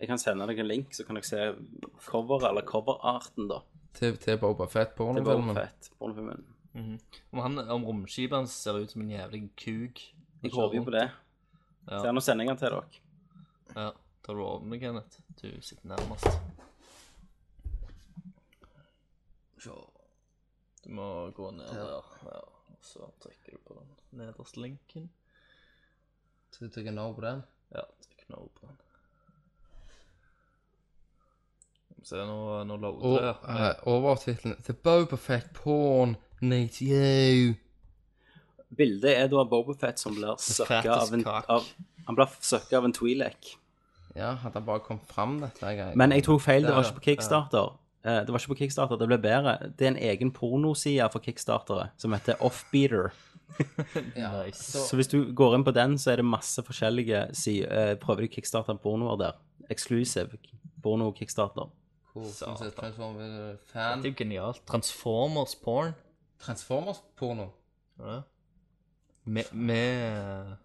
E: jeg kan sende deg en link, så kan dere se coveret, eller coverarten, da.
D: Til, til Boba Fett
E: Det var
D: pornofilmen.
E: fett, pornofilmen.
F: Mhm. Om, han, om romskipet hans ser ut som en jævlig kuk.
E: Jeg håper jo på det.
F: Ja.
E: Så nå sender jeg den til dere.
F: Ja, tar du over med, Kenneth? Du sitter nærmest. Så. Du må gå ned der, ja. og så trykker du på den nederste linken.
D: Så du trykker no på den?
F: Ja, trykk nå på den. Skal vi Se, nå,
D: Og
F: nå loader det.
D: eh, overtittelen The Boba Fett Porn Nate You.
E: Bildet er da Bobofet som blir søkka
F: fattest
E: av en
F: kak.
E: av, Han blir søkka av en Twi'lek.
D: Ja, hadde han bare kommet fram, dette er greit.
E: Men jeg tok feil, det var
F: Ja,
E: ikke på Kickstarter. Eh, Det var ikke på Kickstarter, det ble bedre. Det er en egen pornoside for kickstartere som heter Offbeater.
D: ja,
F: nice.
E: Så hvis du går inn på den, så er det masse forskjellige sider. Eh, Prøver du kickstarter-pornoer der? Exclusive porno-kickstarter.
D: Hvor, som
F: Satan.
D: sier Transformers
F: Dette er
D: fan
F: jo genialt. Transformers porn.
D: Transformers porno.
F: er det det? Med, med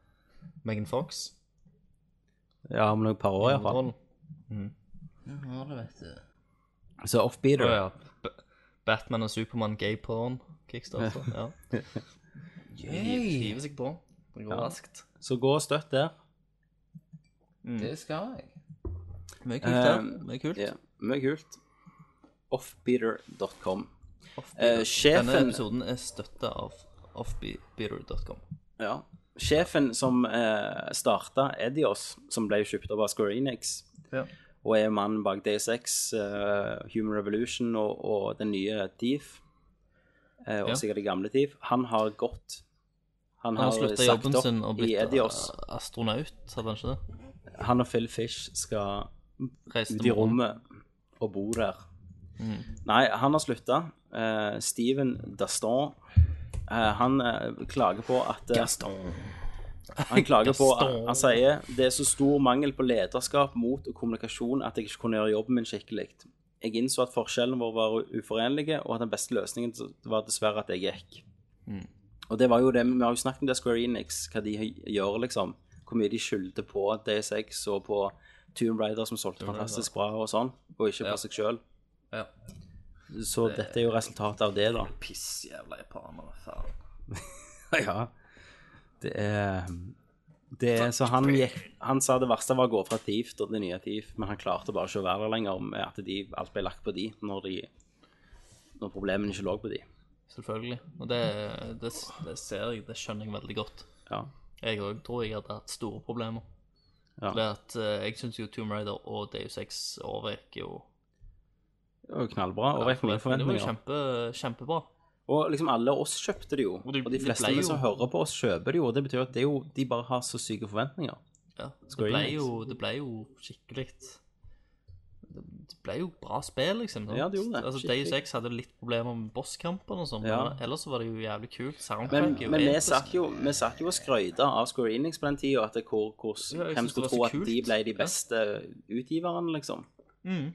F: Megan Fox.
E: Ja, om noen par år iallfall.
F: Hovedrollen.
D: Ja, det vet du.
E: Så
F: Å
E: Offbeater.
F: ja. B Batman og Supermann gay porn. Kickstarter. Ja. Hiver
D: Yay,
F: hiver seg på. Det går raskt.
E: Så gå og støtt der. Mm.
D: det skal jeg.
F: Mye kult,
E: Eh,
F: det. Mye kult.
E: Ja, mye kult. Offbeater.com.
F: Offbeater.
E: eh, sjefen-
F: Denne episoden er støtta av offbeater.com.
E: Ja. Sjefen som eh, starta Edios, som ble kjøpt opp av Square Enix,
F: Ja.
E: og er mannen bak DSX, eh, Human Revolution og, og den nye Thief, eh, og
F: Ja.
E: sikkert det gamle Thief, han har gått Han
F: Han
E: har,
F: har slutta
E: sagt
F: jobben
E: opp
F: sin og
E: i
F: blitt
E: Edios.
F: eh, astronaut, hadde han ikke det?
E: Han og Phil Fish skal
F: Reiste
E: ut i rommet og bo der.
F: Mm.
E: Nei, han har slutta. Eh, Steven Daston eh, Han eh, klager på at eh, Han klager på
F: Gaston.
E: Han sier det er så stor mangel på lederskap, mot og kommunikasjon at jeg ikke kunne gjøre jobben min skikkelig. Jeg innså at forskjellene våre var u- uforenlige, og at den beste løsningen d- var dessverre at jeg gikk. Og det var jo det, vi har jo snakket om det Square Enix, hva de hø- gjør, liksom. Hvor mye de skyldte på DSX og på Tomb Raider, som solgte fantastisk bra og sånn, og ikke på seg sjøl.
F: Ja.
E: Så dette er jo resultatet av det, da.
F: Piss, jævla japanere, faen.
E: Ja. Det er, det er Så han gikk Han sa det verste var å gå fra Thief til det nye Thief, men han klarte bare ikke å være der lenger med at de, alt ble lagt på de når, de, når problemene ikke lå på de.
F: Selvfølgelig. Og det, det, det ser jeg, det skjønner jeg veldig godt.
E: Ja.
F: Jeg òg tror jeg hadde hatt store problemer.
E: Ja.
F: Fordi at eh, Jeg syns jo Tomb Raider og Deus Ex overgikk jo
E: Det var jo knallbra. Og vekk mine
F: Det var jo
E: forventninger.
F: kjempe, kjempebra.
E: Og liksom alle oss kjøpte det jo.
F: de-
E: Og de
F: de
E: fleste
F: ble
E: av
F: jo-
E: de som hører på oss, kjøper det jo. Og det betyr at det er jo, de bare har så syke forventninger.
F: Ja. Det,
E: Square
F: ble
E: Enix.
F: jo, det ble jo skikkelig Det det ble jo bra spill, liksom. sant?
E: Ja, det gjorde det.
F: Altså,
E: Skikkelig.
F: Deus Ex hadde litt problemer med bosskampene og sånn,
E: Ja.
F: men ellers så var det jo jævlig kult. Soundtrack
E: Men,
F: er jo
E: men vi
F: episk.
E: satt jo, vi satt jo og skrøyta av Square Enix på den tida, at det, hvor, hvor,
F: Ja, jeg
E: hvem
F: synes det var
E: skulle tro
F: så
E: at de
F: kult.
E: ble de
F: Ja.
E: beste utgiverne, liksom.
F: Mm.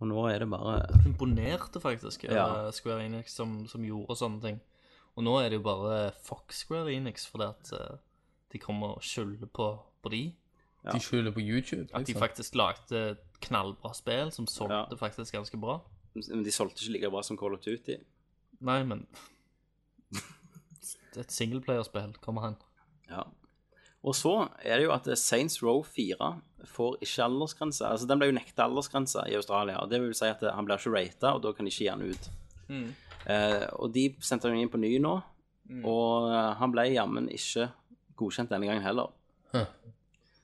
E: Og nå er det bare
F: imponerte faktisk over
E: Ja.
F: Square Enix som, som gjorde sånne ting. Og nå er det jo bare fuck Square Enix fordi at eh, de kommer og skylder på, på de.
E: Ja.
D: De skylder på YouTube.
F: At de
D: liksom.
F: faktisk lagde knallbra spill som solgte
E: Ja.
F: faktisk ganske bra.
E: Men de solgte ikke like bra som Call of Duty.
F: Nei, men Det er Et singleplayerspill kommer hen.
E: Ja. Og så er det jo at Saints Row 4 får ikke aldersgrense. Altså, den ble jo nekta aldersgrense i Australia. og Det vil si at han blir ikke rata, og da kan de ikke gi han ut. Eh, og de sendte han jo inn på ny nå, og eh, han ble jammen ikke godkjent denne gangen heller.
D: Hæ.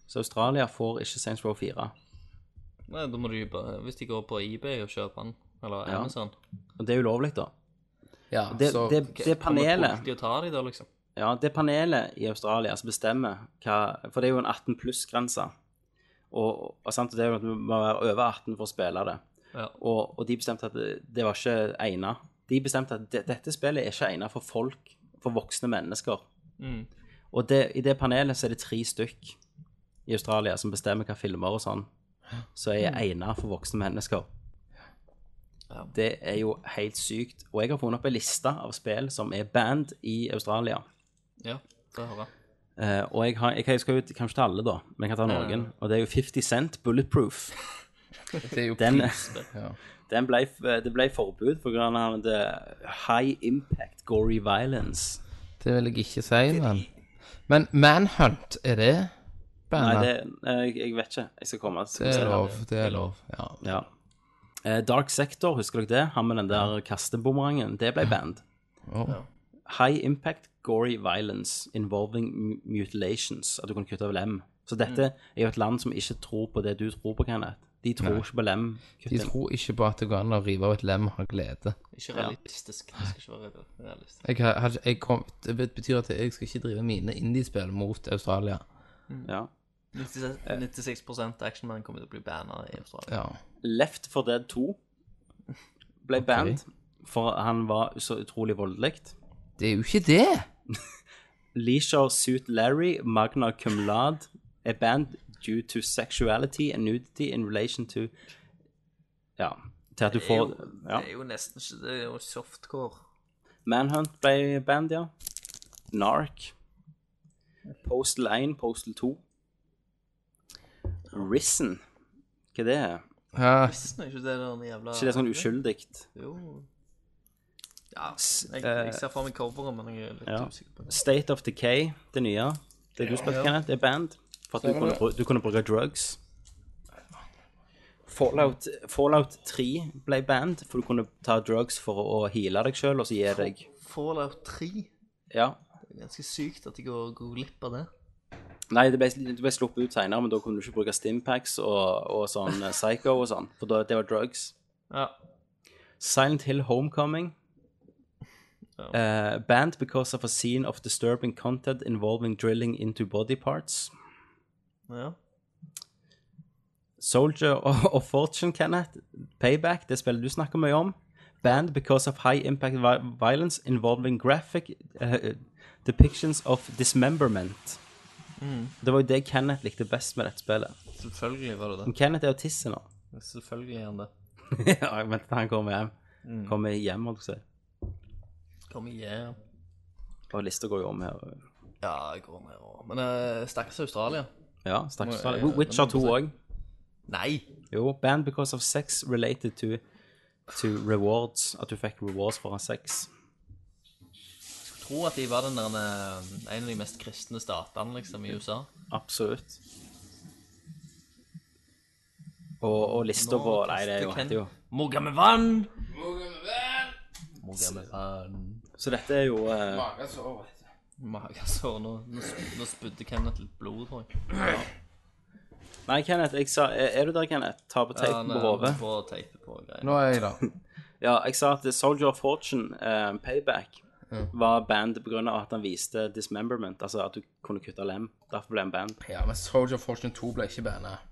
E: Så Australia får ikke Saints Row 4.
F: Nei, da må du jo bare Hvis de går på eBay og kjøper den, eller
E: Ja.
F: Amazon
E: Og det er ulovlig, da.
D: Ja,
E: Det,
D: så
E: det, det
F: Kommer
E: panelet
F: politiet og tar de da, liksom?
E: Ja, det panelet i Australia som bestemmer hva For det er jo en 18 pluss-grense. Og, og, sant, og det er jo at du må være over 18 for å spille det.
F: Ja.
E: Og, og de bestemte at det, det var ikke egnet. De bestemte at det, dette spillet er ikke egnet for folk, for voksne mennesker.
F: Mm.
E: Og det, i det panelet så er det tre stykk i Australia som bestemmer hva filmer og sånn som er egnet for voksne mennesker.
F: Mm. Ja.
E: Det er jo helt sykt. Og jeg har funnet opp en liste av spill som er banned i Australia.
F: Ja, det hører jeg.
E: Eh, og jeg, har, jeg, jeg skal jo kanskje til alle, da, men jeg kan ta noen. Og det er jo 50 Cent Bulletproof.
D: Det er jo
E: Den-
D: pris. Ja.
E: Den ble, eh, det ble forbud på grunn av det high impact gory violence.
D: Det vil jeg ikke si, men Men Manhunt, er det
E: Nei,
D: bandet?
E: det, eh, jeg, jeg vet ikke. Jeg skal komme. Skal
D: det
E: vi se
D: er
E: her.
D: lov. Det er lov. Ja.
E: Ja. Eh, Dark Sector, husker dere det? Han med den der kasteboomerangen. Det ble band.
D: Åh.
E: High impact gory violence involving mu- mutilations. At du kunne kutte av lem. Så dette
D: Mm.
E: er jo et land som ikke tror på det du tror på, Kenneth. De tror ikke på
D: De
E: lemkutting.
D: tror ikke på at det går an å rive av et lem av glede.
F: Ikke realistisk. Det skal ikke være realistisk.
D: Jeg, har- har- jeg kom, det betyr at jeg skal ikke drive mine indiespill mot Australia.
E: Ja.
F: 96, 96 actionman kommer til å bli banna i Australia.
D: Ja.
E: Left 4 Dead 2 ble band, for han var så utrolig voldelig.
D: Det er jo ikke det!
E: Leisure Suit Larry, Magna Cum Laude, er band due to sexuality and nudity in relation to Ja, til at du
F: Det er jo,
E: får ja.
F: det er jo nesten ikke Det er jo softcore.
E: Manhunt ble band, ja. Narc. Postal 1, Postal 2. Risen. Hva er det?
D: Ja,
F: Nesten er ikke det den jævla
E: Ikke det er sånn uskyldig?
F: Jo. Ja, jeg,
E: eh,
F: jeg ser for meg coveret, men jeg er litt
E: Ja.
F: usikker på det.
E: State of Decay, det nye. Det du spilte, Kenneth, det er band. For at du kunne, bru- du kunne bruke drugs. Fallout, Fallout 3 ble band, for du kunne ta drugs for å heale deg sjøl og så gi deg
F: Fallout 3. Det
E: Ja.
F: er ganske sykt at de går, går glipp av det.
E: Nei, det ble, det ble sluppet ut seinere, men da kunne du ikke bruke Stimpacks og, og sånn eh, Psycho og sånn, for da, det var drugs.
F: Ja.
E: Silent Hill Homecoming. Eh, banned because of a scene of disturbing content involving drilling into body parts.
F: ja.
E: Soldier of, of Fortune, Kenneth. Payback, det spillet du snakker mye om. Banned because of high impact vi violence involving graphic eh, depictions of dismemberment.
F: Mm.
E: Det var jo det Kenneth likte best med dette spillet.
F: Selvfølgelig var det
E: Men
F: det.
E: Kenneth er autist nå.
F: Selvfølgelig er han det.
E: ja, jeg venter til han kommer hjem.
F: Mm.
E: Kommer hjem, holdt jeg på å si.
F: Kom igjen.
E: Og lista går jo om her.
F: Ja, jeg går ned og Men uh, stakkars Australia.
E: Ja, stakkars.
F: Må jeg-
E: Witcher
F: den
E: 2
F: må jeg
E: òg.
F: Nei!
E: Jo, banned because of sex related to, to rewards. At du fikk rewards for å ha sex.
F: Jeg tror at de var den der, eh, en av de mest kristne statene liksom, i USA.
E: Absolutt. Og, og lista på Nei, det er jo, det er jo
F: Mogamevan! Mogamevan!
E: Så dette er jo eh,
F: Magesår. Nå, nå, sp- nå spydde Kenneth litt blod, tror jeg.
E: Nei, Kenneth, jeg sa Er er du der, Kenneth? Ta på
F: Ja,
E: teipen
F: han
E: på
F: er-
E: hodet.
F: han får teipe på og greier.
D: nå er jeg der.
E: Ja, jeg sa at Soldier of Fortune, eh, Payback, var band pga. at han viste dismemberment, altså at du kunne kutte lem. Derfor ble han band.
D: Ja, men Soldier of Fortune 2 ble ikke bandet.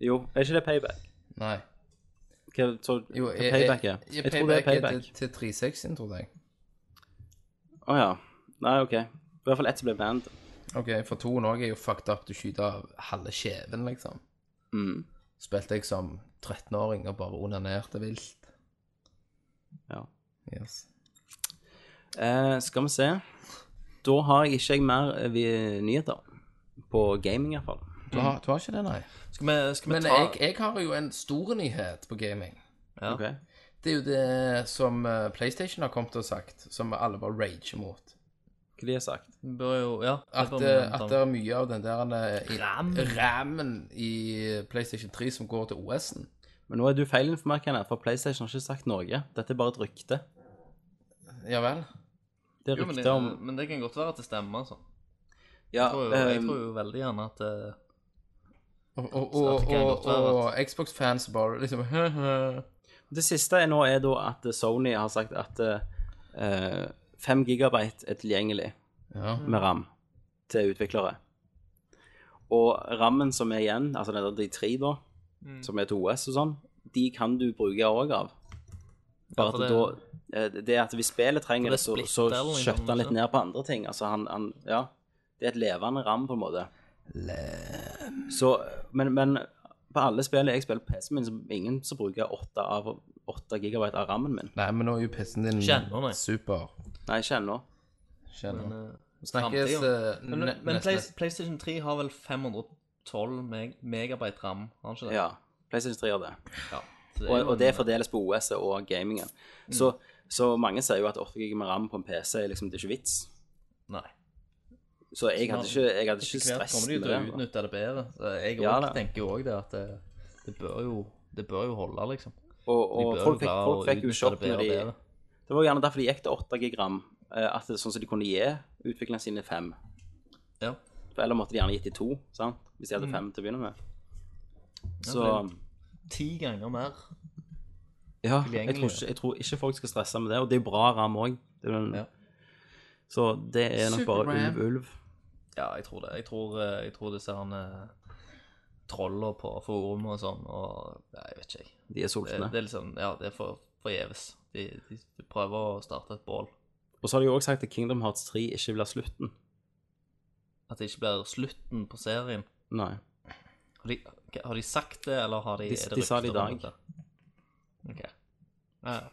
E: Jo, er ikke det Payback?
D: Nei.
E: Hva, så,
D: Jo,
E: hva Payback er? Jeg, tror det er
D: er
E: Payback.
D: til, til 360, tror jeg.
E: Å ja. Nei, OK. I hvert fall ett som ble band.
D: Ok, for toen òg er jo fucked up. Du skyter av halve kjeven, liksom.
E: Mm.
D: Spilte jeg som 13-åring og bare onanerte vilt.
E: Ja.
D: Yes.
E: Eh, skal vi se. Da har jeg ikke jeg mer eh, vi- nyheter. På gaming, iallfall.
D: Du, har, du har ikke det, nei?
F: Skal vi, skal vi
D: Men
F: ta
D: jeg, jeg har jo en stor nyhet på gaming.
F: Ja.
E: Ok.
D: Det er jo det som eh, PlayStation har kommet og sagt, som alle bare rager mot.
E: Hva de har sagt?
F: Vi Bør jo Ja. det
D: At,
F: bør vi
D: eh,
F: ta.
D: at det er mye av den der eh, i-
F: Ram.
D: rammen i PlayStation 3 som går til OS-en.
E: Men nå er du feilinformert, Kenneth, for PlayStation har ikke sagt noe. Dette er bare et rykte.
D: Ja vel?
E: Det er
F: Jo, men,
E: rykte om
F: det, men det kan godt være at det stemmer, altså.
E: Ja,
F: Jeg tror jo, jeg
E: ehm,
F: tror jo veldig gjerne at eh,
D: Og, og,
F: Så
D: og,
F: det kan godt
D: og,
F: være
D: og Xbox-fans bare liksom
E: Det siste er nå er da at Sony har sagt at eh, 5 gigabyte er tilgjengelig
D: Ja.
E: med RAM til utviklere. Og rammen som er igjen, altså den der de tre da,
F: Mm.
E: som er til OS og sånn, de kan du bruke òg av. Bare
F: for
E: at da eh, Det er at hvis spillet trenger
F: For
E: det,
F: det
E: så,
F: splitter
E: så
F: eller noe
E: skjøtter han
F: sånt.
E: litt ned på andre ting. Altså han, han Ja. Det er et levende ram, på en måte. Så Men, men på alle spillene jeg spiller på PC-en min, så er det ingen som bruker 8, av, 8 gigabyte av rammen min.
D: Nei, men nå er jo pissen din
F: Kjenner, nei.
D: super.
E: Nei, ikke ennå.
D: Kjenner.
F: eh,
D: Snakkes
F: fremtiden.
D: eh,
F: Men,
D: ne-
F: men
D: neste-
F: Play, PlayStation 3 har vel 512 meg megabyte ram, har den ikke det?
E: Ja. PlayStation 3 gjør det.
F: Ja. Så det er
E: Og,
F: jo
E: og det fordeles på OS og gamingen.
F: Mm.
E: Så, så mange sier jo at 8 GB med RAM på en PC er liksom, det er ikke vits.
F: Nei.
E: Så jeg hadde ikke, jeg hadde ikke
F: Etter hvert
E: stress
F: kommer de jo
E: med
F: til å
E: det.
F: utnytte det bedre. Så jeg
E: Ja,
F: også
E: da.
F: tenker jo òg det at det, det bør jo det bør jo holde, liksom.
E: Og,
F: De
E: og
F: bør
E: folk
F: jo
E: fikk,
F: klare
E: folk
F: å
E: fikk jo
F: utnytte
E: sjokk når
F: det
E: de
F: bedre og bedre.
E: Det var jo gjerne derfor de gikk til 8 GB, at det er sånn som de kunne gi utviklerne sine 5.
F: Ja.
E: For ellers måtte de gjerne gitt de 2, sant? hvis de
F: Mm.
E: hadde 5 til å begynne med. Så
F: Ti ganger mer.
E: ja, jeg
F: tilgjengelig,
E: tror, ikke, jeg tror ikke folk skal stresse med det. Og det er jo bra ram òg.
F: Ja.
E: Så det er nok bare
D: Super-ram.
E: ulv, ulv.
F: Ja, jeg tror det. Jeg tror, eh, jeg tror disse her eh, trollene på forumet og sånn, og Nei, jeg vet ikke, jeg.
E: De er
F: Det,
E: sultne.
F: det er liksom Ja, det er for forgjeves. De, de, de prøver å starte et bål.
E: Og så har de jo òg sagt at Kingdom Hearts 3 ikke blir slutten.
F: At det ikke blir slutten på serien.
E: Nei.
F: Har de, har de sagt det, eller har de,
E: De-
F: er det
E: de sa det i
F: rykter om
E: dag.
F: dette? Ok. Ja, ja.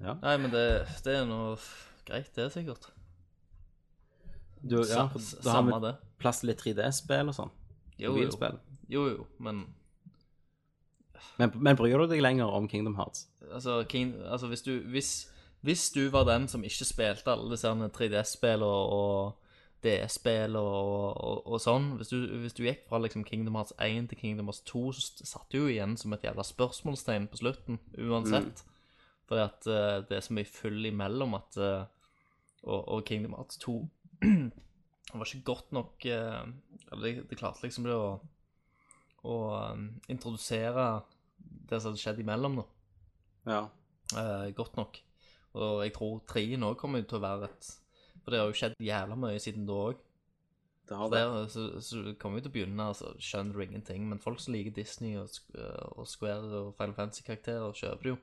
E: Ja.
F: Nei, men det, det er noe greit, det, sikkert.
E: Du, ja,
F: Sa-
E: for
F: s-
E: da har
F: samme
E: vi
F: det.
E: plass til litt 3D-spill og sånn.
F: Jo, jo,
E: Mobilspill.
F: jo, jo, men
E: Men, men bryr du deg lenger om Kingdom Hearts?
F: altså, King, altså hvis, du, hvis, hvis du var den som ikke spilte alle disse herne 3DS-spillene og DS-spillene og, og, og sånn, hvis du, hvis du gikk fra liksom Kingdom Hearts 1 til Kingdom Hearts 2, så st- satt du jo igjen som et jævla spørsmålstegn på slutten, uansett. Fordi at eh, det er så mye fyll imellom at eh, og, og Kingdom Hearts 2 var ikke godt nok eh, eller det, det klarte liksom det å, å eh, introdusere det som hadde skjedd imellom, da
E: Ja.
F: eh, godt nok. Og jeg tror treen òg kommer jo til å være et For det har jo skjedd jævla mye siden da òg.
E: Det
F: Så,
E: har det.
F: der- så, så du kommer jo til å begynne altså, skjønner du ingenting. Men folk som liker Disney og, Sk- eh, og Square og Final Fantasy-karakterer, kjøper det jo.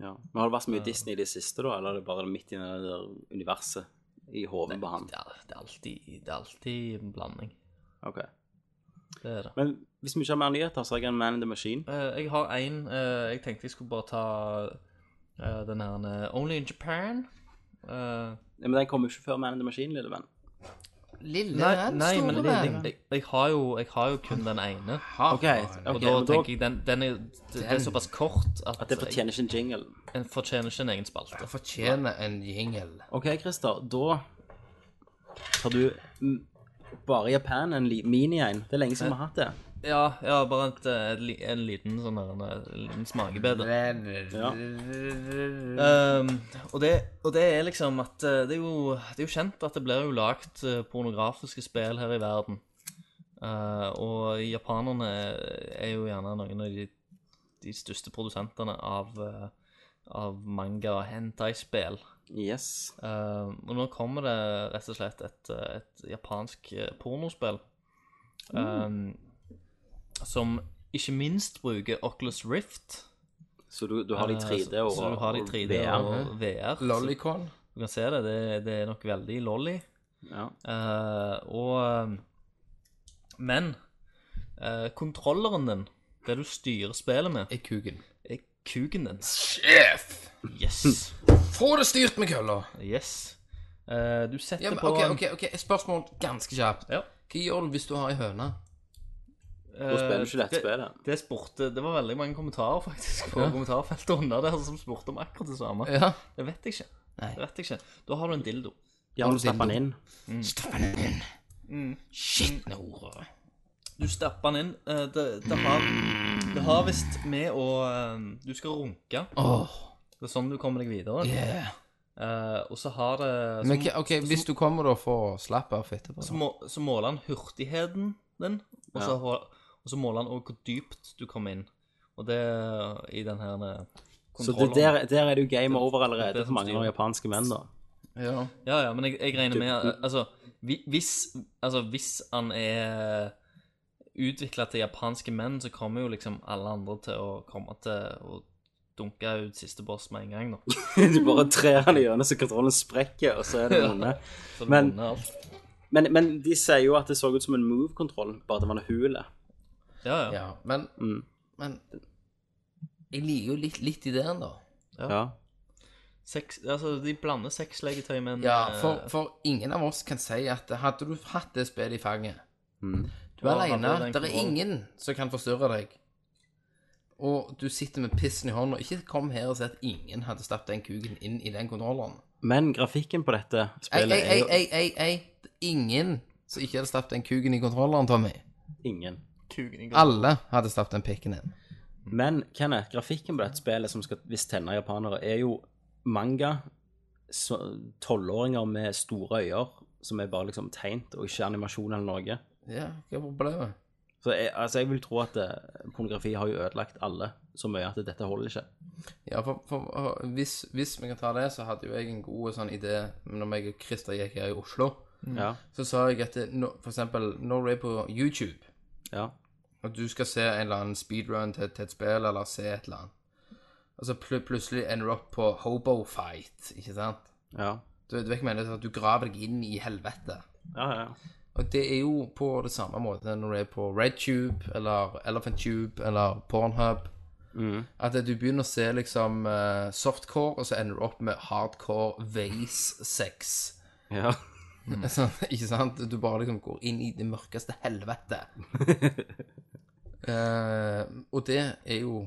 E: Ja. Men har det vært så mye Disney i det siste, da? Eller er det bare midt i det der universet i hodet på han?
F: Det er, det, er alltid, det er alltid en blanding.
E: Ok.
F: Det er det.
E: Men hvis vi ikke har mer nyheter, så har jeg en Man in the Machine.
F: Eh, jeg har én Jeg tenkte jeg skulle bare ta eh, den her eh, Only in Japan. Eh,
E: Ja, Men den kommer jo ikke før Man in the Machine, lille venn.
D: Lille
F: nei,
D: venn,
F: nei, men
D: store
F: jeg,
D: venn.
F: jeg, jeg, har jo, jeg har jo kun den ene.
E: Ok,
F: Og
E: ok,
F: da
E: men
F: tenker jeg den, den er, det er såpass kort at,
E: At det fortjener ikke en jingle.
F: jeg- en fortjener ikke en egen spalte.
D: Jeg fortjener en jingle.
E: Ok, Christer, da tar du mm, bare Japan en li- mini en. Det er lenge siden vi har hatt det.
F: Ja, ja bare et, eh, li- en liten sånn der, en, eh, liten smakebedre.
E: Ja.
F: Ehm, og, det, og det er liksom at eh, det er, jo, det er jo kjent at det blir jo lagt eh, pornografiske spill her i verden. Eh, og japanerne er jo gjerne noen av de, de største produsentene av, eh, av manga- og hentai-spill.
E: Yes.
F: Eh, og nå kommer det rett og slett et, eh, et japansk eh, pornospill
D: Mm.
F: eh, som ikke minst bruker Oculus Rift.
E: Så du, du har de
F: Eh,
E: 3D
F: så-
E: og,
F: så du har de
E: og
F: 3D
E: VR.
F: og VR. så
D: Lollicon.
F: Du kan se det, det, det er nok veldig lolly.
E: Ja.
F: Eh, og Men eh, kontrolleren din, det du styrer spillet med,
D: Er kuken.
F: er kuken din.
D: Sjef!
F: Yes.
D: Få det styrt med kølla!
F: yes. Eh, du setter
D: Ja, men,
F: på
D: ok,
F: en-
D: ok, ok, spørsmål ganske kjapt.
F: Ja.
D: Hva gjør du hvis du har ei høne?
E: Nå spiller du ikke
F: Eh,
E: dette spillet.
F: Det spurte, det var veldig mange kommentarer faktisk på kommentarfeltet under der som spurte om akkurat det samme.
D: Ja.
F: Det vet jeg ikke.
D: Nei.
F: Det vet jeg ikke. Da har du en dildo.
E: Ja, men du stapper den inn.
F: Mm.
D: Stapp Mm. den inn. Shit, nå ordet.
F: Du stapper den inn. eh, Det, det har, det har visst med å eh, Du skal runke.
D: Åh,
F: Det er sånn du kommer deg videre.
D: yeah.
F: Eh, Og så har det så,
D: Men hva- ok, hvis du kommer da for slapp av fitte på
F: så, må, så måler han hurtigheten din, og så,
E: Ja.
F: har- og så måler han òg hvor dypt du kommer inn. Og det i den her eh,
E: Så det,
F: kontrolleren.
E: der, der er det jo game over
F: Det er det
E: allerede
F: som
E: for mange
F: styrer.
E: japanske menn, da.
D: Ja.
F: Ja, ja, men jeg, jeg regner
E: Du-
F: med at- Altså, hvi- hvis, altså, hvis han er utvikla til japanske menn, så kommer jo liksom alle andre til å komme til å dunke ut siste boss med en gang, da.
E: Du bare trer den i hjørnet så kontrollen sprekker, og så er det vonde.
F: Så det
E: Men-
F: runder alt.
E: Men, men de sier jo at det så ut som en move-kontroll, bare at det var en hule.
F: Ja, ja.
D: ja. Men,
E: Mm.
D: men Jeg liker jo litt, litt ideen, da.
E: Ja.
F: Sex, altså, de blander sexlegetøy med en
D: Ja, for,
F: eh,
D: for ingen av oss kan si at hadde du hatt det spillet i fanget
E: Mm.
D: Du er
F: Ja, hadde
D: alene.
F: den
D: Det er
F: kontrollen.
D: ingen som kan forstyrre deg. og du sitter med pissen i hånda. Ikke kom her og si at ingen hadde stappet den kuken inn i den kontrolleren.
E: Men grafikken på dette
D: Ei,
E: spillet
D: ei, ei,
E: er
D: ei, ei, ei. Ingen som ikke hadde stappet den kuken i kontrolleren, Tommy.
E: jo ingen.
H: Kuken i går.
D: Alle hadde stappet den pikken inn.
E: Men Kenneth, grafikken på dette spillet som skal visst tenne japanere, er jo manga. så- Tolvåringer med store øyer som er bare liksom tegnt, og ikke animasjon eller noe.
D: Ja, hva er problemet?
E: Så jeg, altså jeg vil tro at eh, pornografi har jo ødelagt alle så mye at dette holder ikke.
D: Ja, for, for uh, hvis, hvis vi kan ta det, så hadde jo jeg en god sånn idé når jeg og Christer gikk her i Oslo.
E: Ja,
D: Så sa jeg at det, nå- for eksempel når du er på YouTube,
E: ja.
D: og du skal se en eller annen speedrun til, til et spill, eller se et eller annet, og så pl plutselig ender du opp på Hobo Fight, ikke sant?
E: Ja,
D: Du, du vet ikke mener, sånn at du graver deg inn i helvete.
E: ja. ja.
D: Og det er jo på det samme måten når du er på RedTube, eller ElephantTube, eller Pornhub. At du begynner å se liksom eh, softcore, og så ender du opp med hardcore vase-sex.
E: ja.
D: Sånn, ikke sant? Du bare liksom går inn i det mørkeste helvete. Eh, og det er jo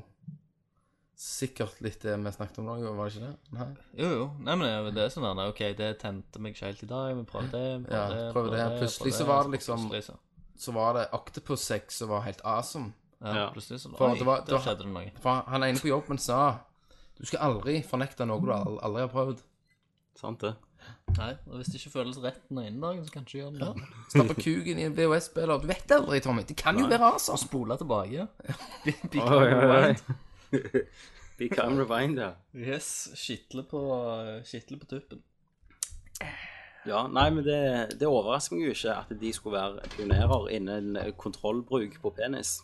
D: sikkert litt det vi snakket om nå, var det ikke det? Nei?
F: Jo, jo. Nei, men det er jo det som er det. OK, det tente meg ikke helt i dag. Vi prøver det, vi
D: Ja,
F: prøver det.
D: prøver
F: vi
D: det.
F: vi
D: Plutselig så var det liksom-
F: Plutselig så,
D: Så var det octopus-sex som var helt awesome.
F: ja,
E: Ja.
F: plutselig så
D: For
F: Oi,
D: det var- det
F: der
D: var-
F: skjedde det noe.
D: For han ene på jobben sa Du skal aldri fornekte noe du al- aldri har prøvd.
E: Sant det.
F: Nei, og hvis det ikke føles rett den ene dagen, så kan du ikke gjøre det den andre.
D: Stappe kuken i en VHS-spiller. Du vet aldri, Tommy. Det kan jo være
F: Og
D: awesome.
F: spole tilbake.
E: Oi, oi, oi. Become rewind, ja.
F: Yes. Skitle på, skitle på tuppen.
E: Ja, nei, men det, det overrasker meg jo ikke at de skulle være pionerer innen kontrollbruk på penis.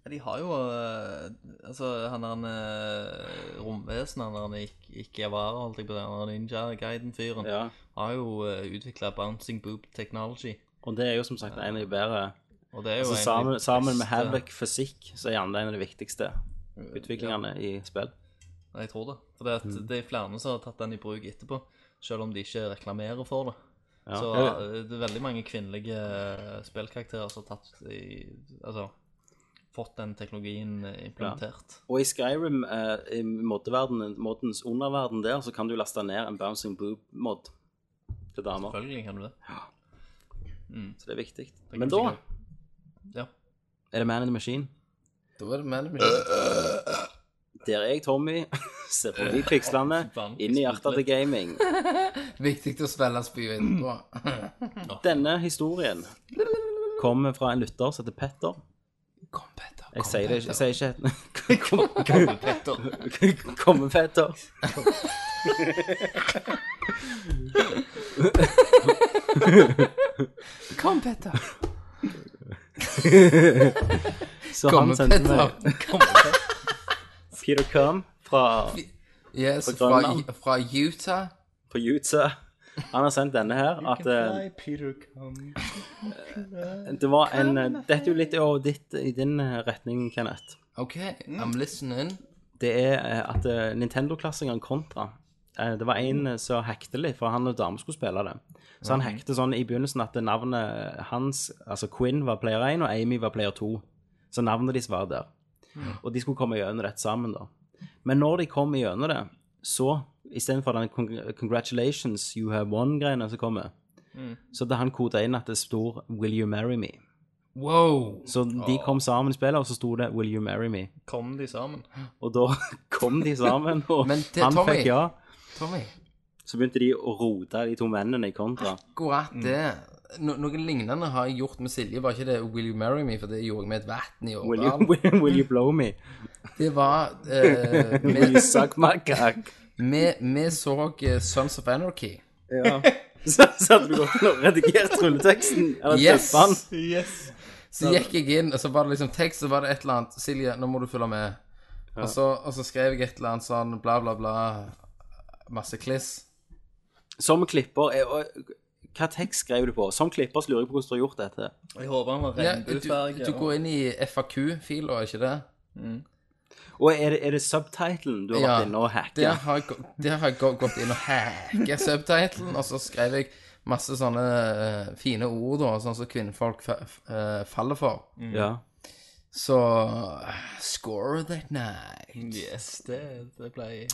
F: Ja, De har jo eh, Altså, han der eh, romvesenet, han der ikke, ikke Yavara, holdt jeg på å si, han der Ninja Guiden-fyren,
E: Ja.
F: har jo uh, utvikla Bouncing Boob Technology.
E: Og det er jo som sagt en av de bedre.
F: Og det er jo
E: Altså,
F: en eh, av de
E: sammen, sammen med
F: beste-
E: Havoc fysikk, så er gjerne en av de viktigste utviklingene i spill.
F: Ja, Jeg tror det. For det, at
E: Mm.
F: det er flere som har tatt den i bruk etterpå, selv om de ikke reklamerer for det.
E: Ja.
F: Så
E: Ja.
F: eh, det er veldig mange kvinnelige eh, spillkarakterer som har tatt i, altså, fått den teknologien eh, implementert.
E: Og i Skyrim, eh, i moddeverdenen- moddens underverden der, så kan du laste ned en Bouncing Boob-mod til damer.
F: Selvfølgelig kan du det. Mm.
E: Så det er viktig.
F: kan
E: Men
F: du
E: da
F: Ja.
E: er det Man in the Machine.
D: Da er det med det.
E: Der jeg, Tommy, ser på de pikslene inn i hjertet til gaming.
D: Viktig å spille spya etterpå.
E: Mm. Denne historien kommer fra en lytter som heter Petter.
D: Kom, Petter. Kom,
E: Jeg sier det ikke,
D: Petter.
E: jeg sier ikke Petter. Komme, Petter.
D: Kom, Petter.
E: Så
D: Kom,
E: han sendte
D: Petter.
E: meg Peter Cum fra
D: Yes,
E: På
D: fra,
E: Grønland.
D: fra Utah.
E: på Jutsa. Han har sendt denne her at eh, Det var en eh, Dette er jo litt over ditt, i din eh, retning, Kenneth.
D: OK, I'm listening.
E: Det er eh, at eh, Nintendo-klassingeren Contra eh, Det var en eh, som hackte litt, for han og dame skulle spille det. Så han hackte sånn i begynnelsen at navnet hans, altså Quinn, var player 1, og Amy var player 2. Så navnet deres var der. Og de skulle komme gjennom dette sammen, da. Men når de kom gjennom det, så istedenfor den con- 'congratulations, you have won'-greia som kommer, så hadde han koda inn at det stod 'Will you marry me'?
D: Wow.
E: Så de kom sammen i spillet, og så sto det 'Will you marry me'?
F: Kom de sammen?
E: Og da kom de sammen, og
D: Men det-
E: han
D: Tommy-
E: fikk ja.
D: Tommy,
E: Så begynte de å rote de to mennene i kontra.
D: akkurat
E: Mm.
D: det. No, noe lignende har jeg gjort med Silje. Var ikke det 'Will you marry me'? For det gjorde jeg med et vann i
E: Will you,
D: Årdal.
E: will, will you blow me?
D: Det var eh,
E: Will you
D: vi-
E: suck my cock?
D: vi- Vi så eh, Sons of Anarchy.
E: Så så hadde du gått og redigert rulleteksten. Eller yes.
D: Yes!
E: han.
D: Så gikk jeg inn, og så var det liksom tekst, så var det et eller annet Silje, nå må du følge med. Og, så, og så skrev jeg et eller annet sånn bla, bla, bla. Masse kliss.
E: Som klipper er, og, Hva tekst skrev du på? Som klipper så lurer jeg på hvordan du har gjort dette.
F: Jeg håper han var
D: Ja, du,
F: regnbuefarge.
D: du går inn i FAQ-fila, ikke det?
E: Og er det, er det subtitlen du har
D: Ja.
E: vært inne og hacka?
D: Der har jeg, gå- der har jeg gå- gått inn og hacka subtitlen, og så skrev jeg masse
F: Mm.
D: sånne eh, fine ord, da, sånn som kvinnfolk fa f eh, faller for.
E: Ja.
D: Så Score that night.
F: Yes, det, det ble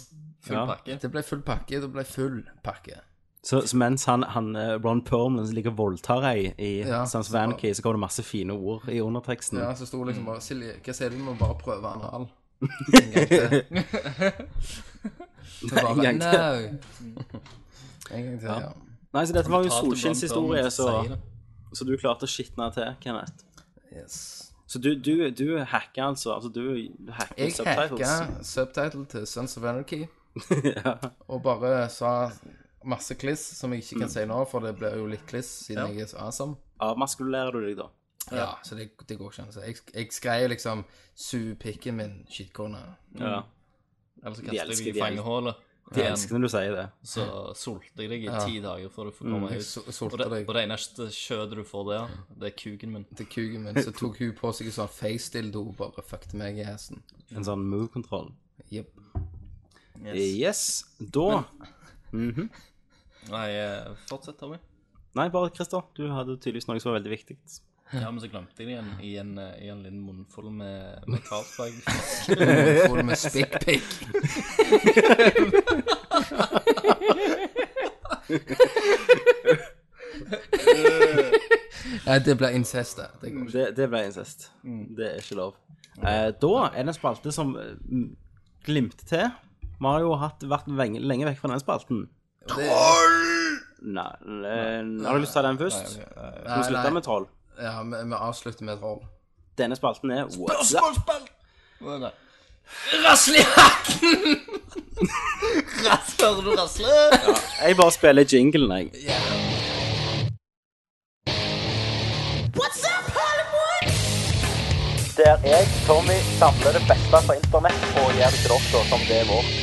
F: full
E: Ja.
F: pakke.
D: Det ble full pakke. Det ble full pakke.
E: Så, så mens han, han eh, Ron Perlman ligger og voldtar ei i
D: Ja.
E: Sans Vanke, så kommer det masse fine ord i underteksten.
D: Ja, så sto det liksom bare Silje, hva sier du? Vi må bare prøve anal. En gang til. Så bare,
E: en gang til.
D: «No». En gang til, ja.
E: Nei, så dette var jo
F: Talte Ron
E: solskinnshistorie,
F: Perlman
E: så,
F: sier det.
E: så du klarte å skitne til, Kenneth.
D: Yes.
E: Så du, du, du hacker altså, altså du hacker
D: Jeg
E: subtitles.
D: hacka subtitle til Sons of Anarchy. Og bare sa masse kliss, som jeg ikke kan si nå, for det blir jo litt kliss siden jeg er så awesome.
E: Avmaskulerer du deg da?
D: Ja, så det, det går ikke an. å si. Jeg, jeg skrev liksom 'Sug pikken min, skittkone'.
E: Ja.
F: Eller så
E: De
F: kaster
E: elsker
F: jeg deg
E: de
F: i fangehullet.
E: De
F: igjen,
E: elsker når du sier det.
F: Så solter jeg deg i ti dager før du får komme
E: Mm.
D: Jeg
F: ut.
D: so-
F: Og
D: solgte
F: det,
D: deg
F: og det eneste kjødet du får der, det er kuken min.
D: til kuken min, så tok hun på seg en sånn face-dildo og bare fucket meg i hesten.
E: En sånn move-kontroll.
D: Jepp.
E: Yes. Da
F: Nei, eh, fortsett, Tommy.
E: Nei, bare Christer. Du hadde tydeligvis noe som var veldig viktig.
F: Ja, men så glemte jeg det igjen i en, eh, i en liten munnfull med, med Carlsberg.
D: Får du med spikkpikk? Nei, det ble incest, det. det går ikke.
E: Det, det ble incest.
D: Mm.
E: Det er ikke lov. Eh, da er det en spalte som eh, m- glimter til. Vi har jo hatt, vært veng- lenge vekk fra den spalten. Nei, eh, Har du lyst til å ta den først? Skal vi slutte
D: nei.
E: med troll?
D: Ja, vi, vi avslutter med et roll.
E: Denne spalten er What's up?
F: Å, nei.
D: Rasle i hatten!
F: Hører du rasle?
E: Jeg bare spiller jinglen, jeg. Der jeg, Tommy, samler det beste fra internett og gjør det til dere som det er vårt.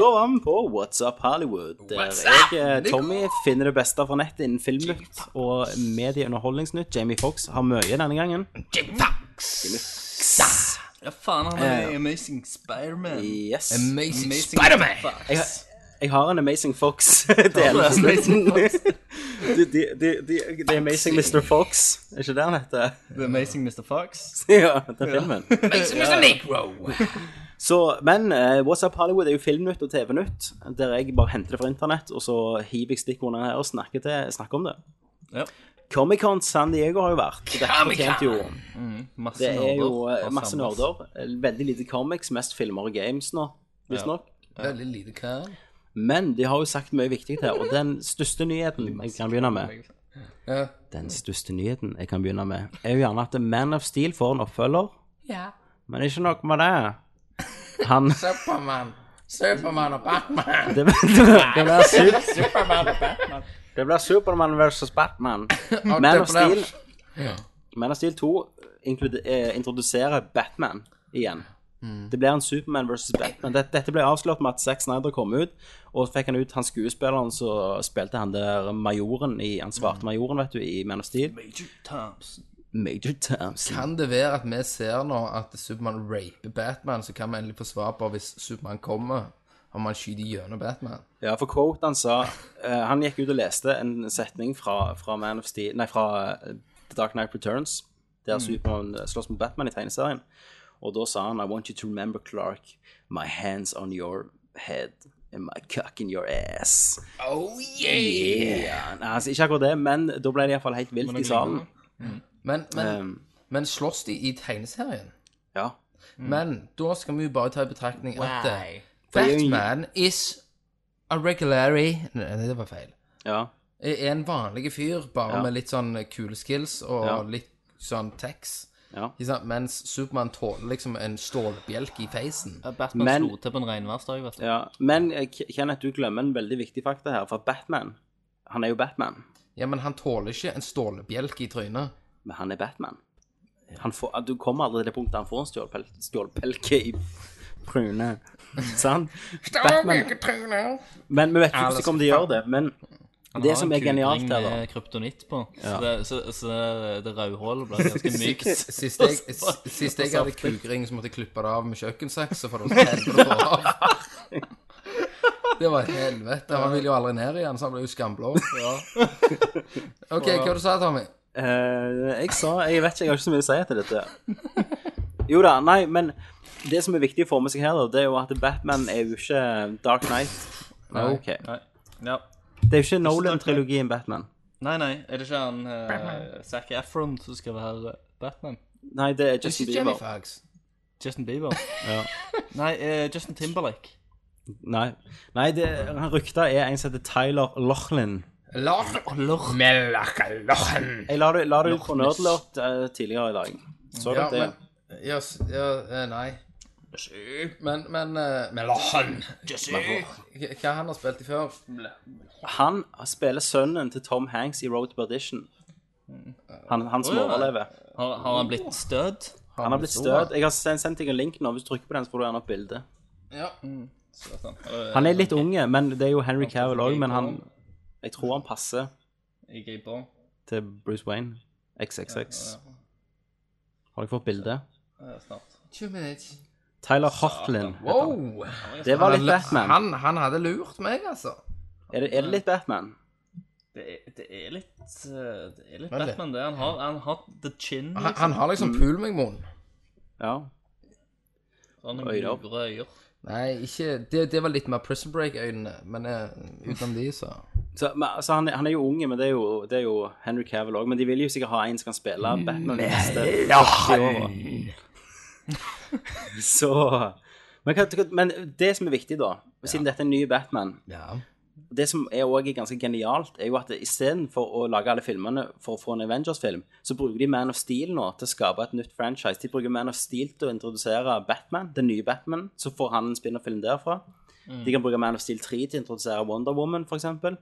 E: Da var vi på What's Up Hollywood, der jeg, eh, Tommy, finner det beste fra nettet innen filmnytt og medieunderholdningsnytt. Jamie Fox har mye denne gangen.
F: Ja, faen, han er i Amazing Spider-Man.
E: Yes.
D: Amazing,
F: Amazing
D: Spider-Man!
F: Fox.
E: Jeg, har- jeg har en Amazing Fox-del. De, de, de, de, The Amazing Mr. Fox, er ikke det han heter?
F: The Amazing Mr. Fox.
E: Ja, det er filmen.
D: Amazing Mr. Negro!
E: Så, men eh, What's Up Hollywood er jo filmnytt og TV-nytt, der jeg bare henter det fra internett, og så hiver jeg stikkordene her og snakker, til, snakker om det.
F: Ja.
E: Comic-Con San Diego har jo vært. og Dette fortjente jo
F: Masse
E: Det er jo eh,
F: og
E: masse
F: samles.
E: nerder. Eh, Veldig lite comics, mest filmer og games nå, visstnok.
D: Veldig lite kran.
E: Men de har jo sagt mye viktig her, og den største nyheten jeg kan begynne med
D: Ja.
E: Den største nyheten jeg kan begynne med, er jo gjerne at Man of Steel får en oppfølger. Men ikke nok med det. Han
D: Supermann. Supermann og Batman.
E: Det, det, det blir super-
D: Supermann og Batman.
E: det blir Supermann versus Batman. Man of Steel, Man of Steel 2 inklude- eh, introduserer Batman igjen.
F: Mm.
E: Det blir en Superman versus Batman. Dette, dette ble avslørt med at Zack Snyder kom ut, og fikk han ut han skuespilleren som spilte han der majoren i Han svarte majoren, vet du, i Man of Steel.
F: Mm. Major Thompson.
E: Major Thompson.
D: Kan det være at vi ser nå at Supermann raper Batman, så kan vi endelig få svar på hvis Supermann kommer, om han skyter gjennom Batman?
E: Ja, for quote han sa eh, Han gikk ut og leste en setning fra, fra Man of Steel Nei, fra eh, The Dark Knight Returns, der Superman Supermann slåss mot Batman i tegneserien. Og da sa han I want you to remember Clark. My hands on your head. And my cock in your ass. Oh yeah! Nei, altså, ikke akkurat det, men da ble det iallfall helt vilt i salen.
D: Men, men,
E: Um,
D: men slåss de i tegneserien?
E: ja.
D: Men da skal vi jo bare ta i betraktning at eh,
E: det er jo ingen-
D: Batman is a regulary Nei, det var feil.
E: ja.
D: Er en vanlig fyr, bare
E: Ja.
D: med litt sånn kule skills og
E: Ja.
D: litt sånn tax.
E: Ja.
D: Ikke sant? Mens Supermann tåler liksom en stålbjelke i feisen.
F: Batman
E: Men-
F: slo til på en regnværsdag, vet du.
E: ja. Men eh, K- Kenneth, du glemmer en veldig viktig fakta her, for Batman Han er jo Batman.
D: Ja, men han tåler ikke en stålbjelke i trynet.
E: Men han er Batman. Han får, du kommer aldri til det punktet han får en stjålpel, stjålpelke i trynet. Sant? Batman. Men vi vet ikke hvordan de kommer til å gjøre det. Men det som er genialt her, da
F: med kryptonitt på, så det, så, så det, det rødhålet ble ganske mykt.
D: Sist jeg, s- sist jeg hadde kukring, så måtte jeg klippe det av med kjøkkensaks. For det var så helvete å få av. Det var helvete. Han ville jo aldri ned igjen, så han ble jo skamblå. OK, hva du sa du, Tommy?
E: Eh, jeg sa Jeg vet ikke, jeg har ikke så mye å si etter dette. Jo da, nei, men det som er viktig å få med seg her, da, det er jo at Batman er jo ikke Dark Knight.
D: Nei.
E: Ok.
F: Nei. Ja.
E: Det er jo ikke Nolan-trilogien Batman.
F: nei, nei, er det ikke han uh, Zac Efron som skal være eh, Batman?
E: Nei, det er Justin
D: Ikke Jenny
E: Bieber.
D: Fags.
F: Justin Bieber? Nei, eh, Justin Timberlake.
E: Nei, nei det, han rykta er en som heter Tyler Lochlin.
D: Lach,
F: Lord.
D: melach, lachen.
E: Jeg la det, la det ut på Nerdlort eh, tidligere i dag. Så
D: Ja,
E: dere det?
D: men ja, s- ja, eh, nei. Men, men eh, Melachen. Hva hva han har spilt i før?
E: Han spiller sønnen til Tom Hanks i Road to Perdition. Han, han som
F: Å, ja.
E: overlever.
F: Har, har han blitt stød?
E: Han har blitt støt. Jeg har sendt, sendt deg en link nå. Hvis du trykker på den, så får du gjerne opp bilde.
D: Ja.
E: Han er litt unge, men det er jo Henry Cavill òg. Men han Jeg tror han passer
F: Jeg griper.
E: til Bruce Wayne. XXX. Har dere fått bilde?
D: Two minutes.
E: Tyler Hotlin.
D: Wow!
E: Det var litt
D: Han-
E: Batman.
D: Han, han hadde lurt meg, altså.
E: Er det, er det litt Batman?
F: Det er, det er litt eh, Det er litt
D: Vent litt.
F: Batman, det. Han har, han har the chin.
D: Han, han har liksom pul meg, Mon.
E: Ja.
F: Han
E: Øyre opp.
F: gure øyer.
D: Nei, ikke Det, det var litt mer Prison Break-øynene, men eh, utenom de, så
E: Så, men, altså, han, er- han er jo unge, men det er jo, det er jo Henry Cavill òg. Men de vil jo sikkert ha en som kan spille Batman de neste 40 åra. Så men, hva- men det som er viktig, da, siden dette er en ny Batman
D: Ja.
E: det som er også ganske genialt, er jo at istedenfor å lage alle filmene for å få en Avengers-film, så bruker de Man of Steel nå til å skape et nytt franchise. De bruker Man of Steel til å introdusere Batman, den nye Batman, så får han en spin-off-film derfra. De kan bruke Man of Steel 3 til å introdusere Wonder Woman, for eksempel.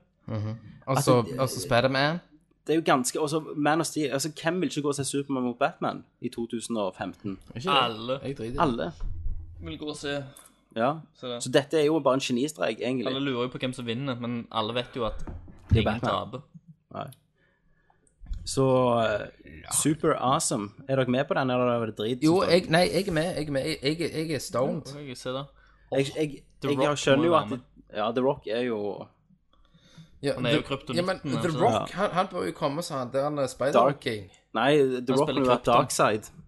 D: Altså, altså Spiderman.
E: Det er jo ganske også Man of Steel, altså Hvem vil ikke gå og se Supermann mot Batman i 2015?
F: Alle
D: Jeg driter i det.
E: Alle.
F: vil gå og se.
E: Ja.
F: Så det-
E: Så dette er jo bare en genistrek,
F: Alle
E: egentlig.
F: lurer jo på hvem som vinner, men alle vet jo at
E: er
F: ingen
E: Batman.
F: taper.
E: Så eh, super awesome. Er dere med på den, eller er det drit?
D: Jo, jeg, nei, jeg er med. Jeg er med. Jeg, jeg, jeg er stoned.
F: Skal jeg se det? Mm,
E: Jeg, jeg,
F: The
E: jeg,
F: Rock må
E: skjønner jo
F: være
E: at
F: med.
E: Ja, The Rock er jo
D: Ja,
F: Han er jo
D: The-
F: kryptonitten,
D: Ja, men The
F: altså.
D: Rock, han, han bør jo komme seg der han eh, er
E: Dark.
D: Spider-King.
E: Nei, The Rock
F: spiller
E: må jo være
F: Krypton.
E: Darkside.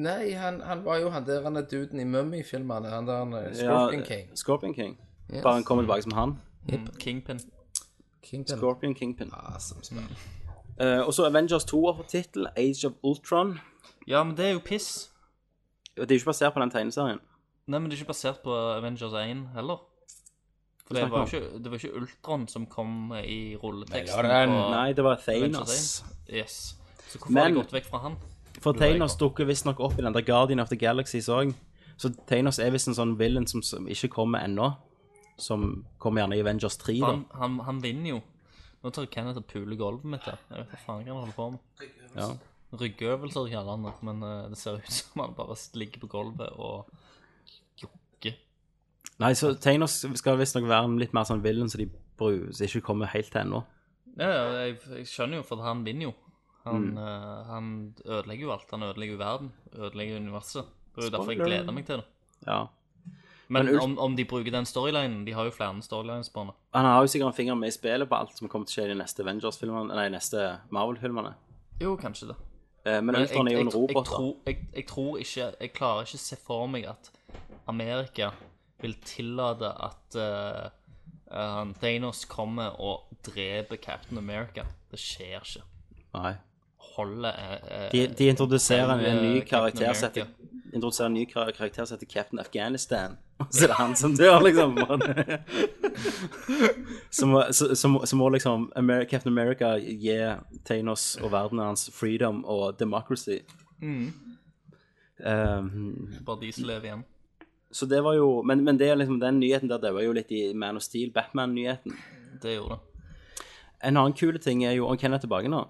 D: Nei, han, han var jo han der han er duden i Mummy-filmene. Han der han er Scorpion
E: Ja,
D: King.
E: Scorpion King.
D: Yes.
E: Bare han kommer tilbake som han.
F: Mm, Kingpin.
D: Kingpin.
E: Scorpion Kingpin.
D: Awesome spill.
F: Mm.
E: Eh, og så Avengers 2 har fått tittel, Age of Ultron.
F: Ja, men det er jo piss.
E: Og Det er jo ikke basert på den tegneserien.
F: Nei, men det er ikke basert på Avengers 1 heller. For
E: Hva
F: det var jo
E: snakker
F: ikke, det var ikke Ultron som kom i rulleteksten.
D: Nei, det er en-
F: på
E: Nei, det var Thanos.
F: Avengers 1. Yes. Så hvorfor har
E: Men-
F: de gått vekk fra han?
E: For Thanos dukker visstnok opp i den der Guardian of the Galaxies òg. Så Thanos er visst en sånn villain som, som ikke kommer ennå. Som kommer gjerne i Avengers 3, da.
F: Han, han, han vinner jo. Nå tar Kenneth og puler gulvet mitt her. Jeg vet hva faen han holder på med.
E: Ja.
F: Ryggøvelser kaller han det, men eh, det ser ut som han bare ligger på gulvet og jokker.
E: Nei, så Thanos skal visstnok være en litt mer sånn villain som de bru- som ikke kommer helt til ennå.
F: Ja, ja, jeg, jeg skjønner jo, for han vinner jo. Han,
E: Mm.
F: eh, han ødelegger jo alt. Han ødelegger jo verden. Ødelegger universet. Det er jo derfor jeg
E: Spoiler.
F: gleder meg til det.
E: Ja.
F: Men,
E: Men Ulf-
F: om, om de bruker den storylinen De har jo flere storylines på henne.
E: Han har jo sikkert en finger med i spillet på alt som kommer til å skje i de neste Avengers-filmene, nei, neste Marvel-filmene.
F: Jo, kanskje det.
E: Eh, Men Ultron er jo en
F: jeg,
E: robot, da.
F: tror, jeg, jeg tror ikke Jeg klarer ikke å se for meg at Amerika vil tillate at eh, eh, han Thanos kommer og dreper Captain America. Det skjer ikke.
E: Nei.
F: Holdet er er-
E: De, de introduserer en, en ny
F: Eh, Captain
E: karakter som
F: America.
E: heter Introduserer en ny kar- karakter som heter Captain Afghanistan. Så er det han som dør, liksom. Så må, så, så, må, så må liksom Amer- Captain America gi Thanos og verdenen hans freedom og democracy.
F: Mm.
E: Um,
F: Bare de som lever igjen.
E: så det var jo Men, men det er liksom, den nyheten der det var jo litt i Man of Steel, Batman-nyheten.
F: Det gjorde det.
E: En annen kule ting er jo Og Ken er tilbake nå.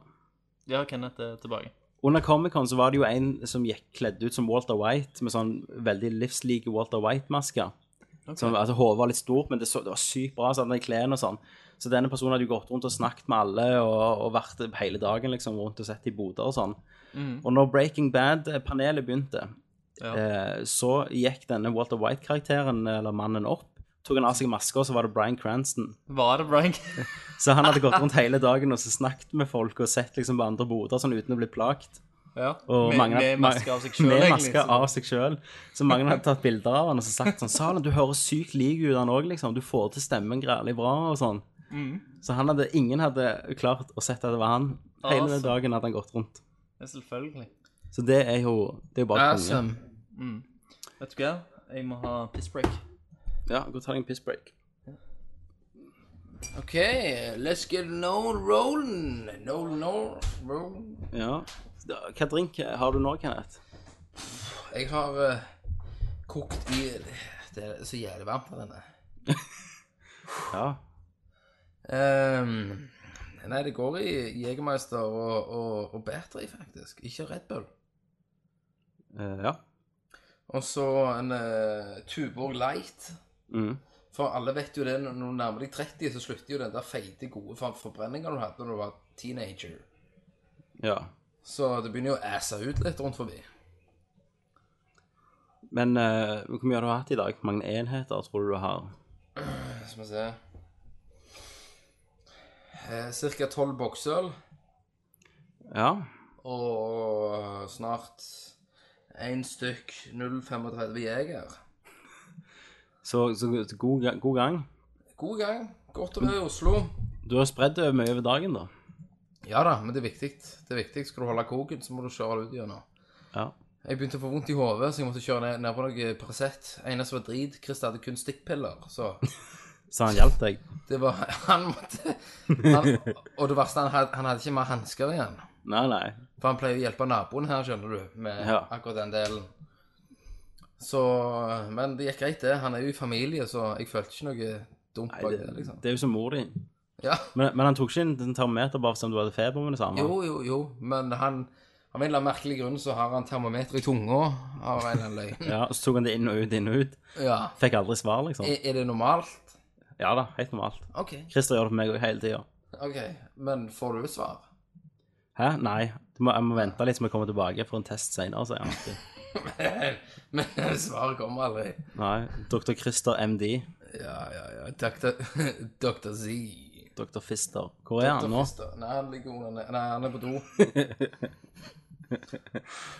F: Ja, Kenneth er tilbake.
E: Under Comic-Con så var det jo en som gikk kledd ut som Walter White, med sånn veldig livslike Walter White-maske. Som- Altså, Hodet var litt stort, men det, så, det var sykt bra. Så hadde han klærne og sånn. Så denne personen hadde jo gått rundt og snakket med alle og, og vært hele dagen liksom rundt og sett i boder og sånn. Og når Breaking Bad-panelet begynte,
F: Ja.
E: eh, så gikk denne Walter White-karakteren, eller mannen, opp, tok han av seg maska, og så var det Bryan Cranston.
F: Var det Brian?
E: Så han hadde gått rundt hele dagen og så snakket med folk og sett liksom på andre boder sånn uten å bli plagt.
F: ja.
E: Og
F: med,
E: mange-
F: med maske av seg sjøl,
E: Med
F: egentlig. liksom.
E: maske
F: så-
E: av seg selv. Så mange hadde tatt bilder av han og så sagt sånn Salen, du høres sykt lik ut, han òg, liksom. Du får til stemmen grælig bra og sånn.
F: Mm.
E: Så han hadde, ingen hadde klart å sette at det var han. Hele den
F: Awesome.
E: dagen hadde han gått rundt.
F: Ja, selvfølgelig.
E: Så det er jo, det er jo bare konge.
D: Awesome.
F: Vet du hva? Jeg må ha pissbreak.
E: Ja, gå og ta deg en piss break.
D: OK, let's get known rolling. Known, known, rolling.
E: Ja. Da, hva drink har du nå, Kenneth?
D: Jeg har eh, kokt i Det er så jævlig varmt her inne.
E: Ja.
D: Ehm, nei, det går i Jegermeister og, og, og Battery, faktisk. Ikke Red Bull.
E: eh, ja.
D: Og så en eh, Tuborg Light.
E: Mm.
D: For alle vet jo det, når når du nærmer deg 30, så slutter jo den der feite, gode for- forbrenninga du hadde da du var teenager.
E: ja.
D: Så det begynner jo å asse ut litt rundt forbi.
E: Men eh, hvor mye har du hatt i dag? Hvor mange enheter tror du du har?
D: Skal vi se eh, Ca. tolv boksøl
E: Ja.
D: og snart én stykk 0,35 jeger.
E: Så, så god, ga- god gang.
D: God gang. Godt å være i Oslo.
E: Du har spredd det mye over dagen, da.
D: Ja da, men det er viktig. Det er viktig. Skal du holde koken, så må du kjøre det ut gjennom.
E: Ja.
D: Jeg begynte å få vondt i hodet, så jeg måtte kjøre ned, ned på noe Paracet. Eneste var drit. Chris hadde kun stikkpiller, så
E: Så han hjalp deg.
D: det var Han måtte han, Og det verste, han hadde, han hadde ikke mer hansker igjen.
E: Nei, nei.
D: For han pleier å hjelpe naboen her, skjønner du, med
E: Ja.
D: akkurat den delen. Så Men det gikk greit, det. Han er jo i familie, så jeg følte ikke noe dumt
E: nei
D: bak
E: det,
D: det, liksom.
E: det er jo som mor di.
D: Ja.
E: Men, men han tok ikke en termometer bare for å se om du hadde feber med det samme?
D: Jo, jo, jo. Men han av en eller annen merkelig grunn så har han termometer i tunga av en eller annen løgn.
E: Ja, Så tok han det inn og ut, inn og ut.
D: Ja.
E: Fikk aldri svar, liksom.
D: Er, er det normalt?
E: Ja da, helt normalt.
D: OK.
E: Christer gjør det for meg òg hele tida.
D: ok, Men får du et svar?
E: Hæ? Nei. Du må, jeg må vente litt så vi kommer tilbake for en test seinere, sier han alltid.
D: Men svaret kommer aldri.
E: Nei. Dr. Christer MD.
D: Ja, ja, ja. Dr. Dr. Z.
E: Dr. Fister. Hvor er han nå?
D: Doktorfister. Nei, han ligger under ned- Nei, han er på do.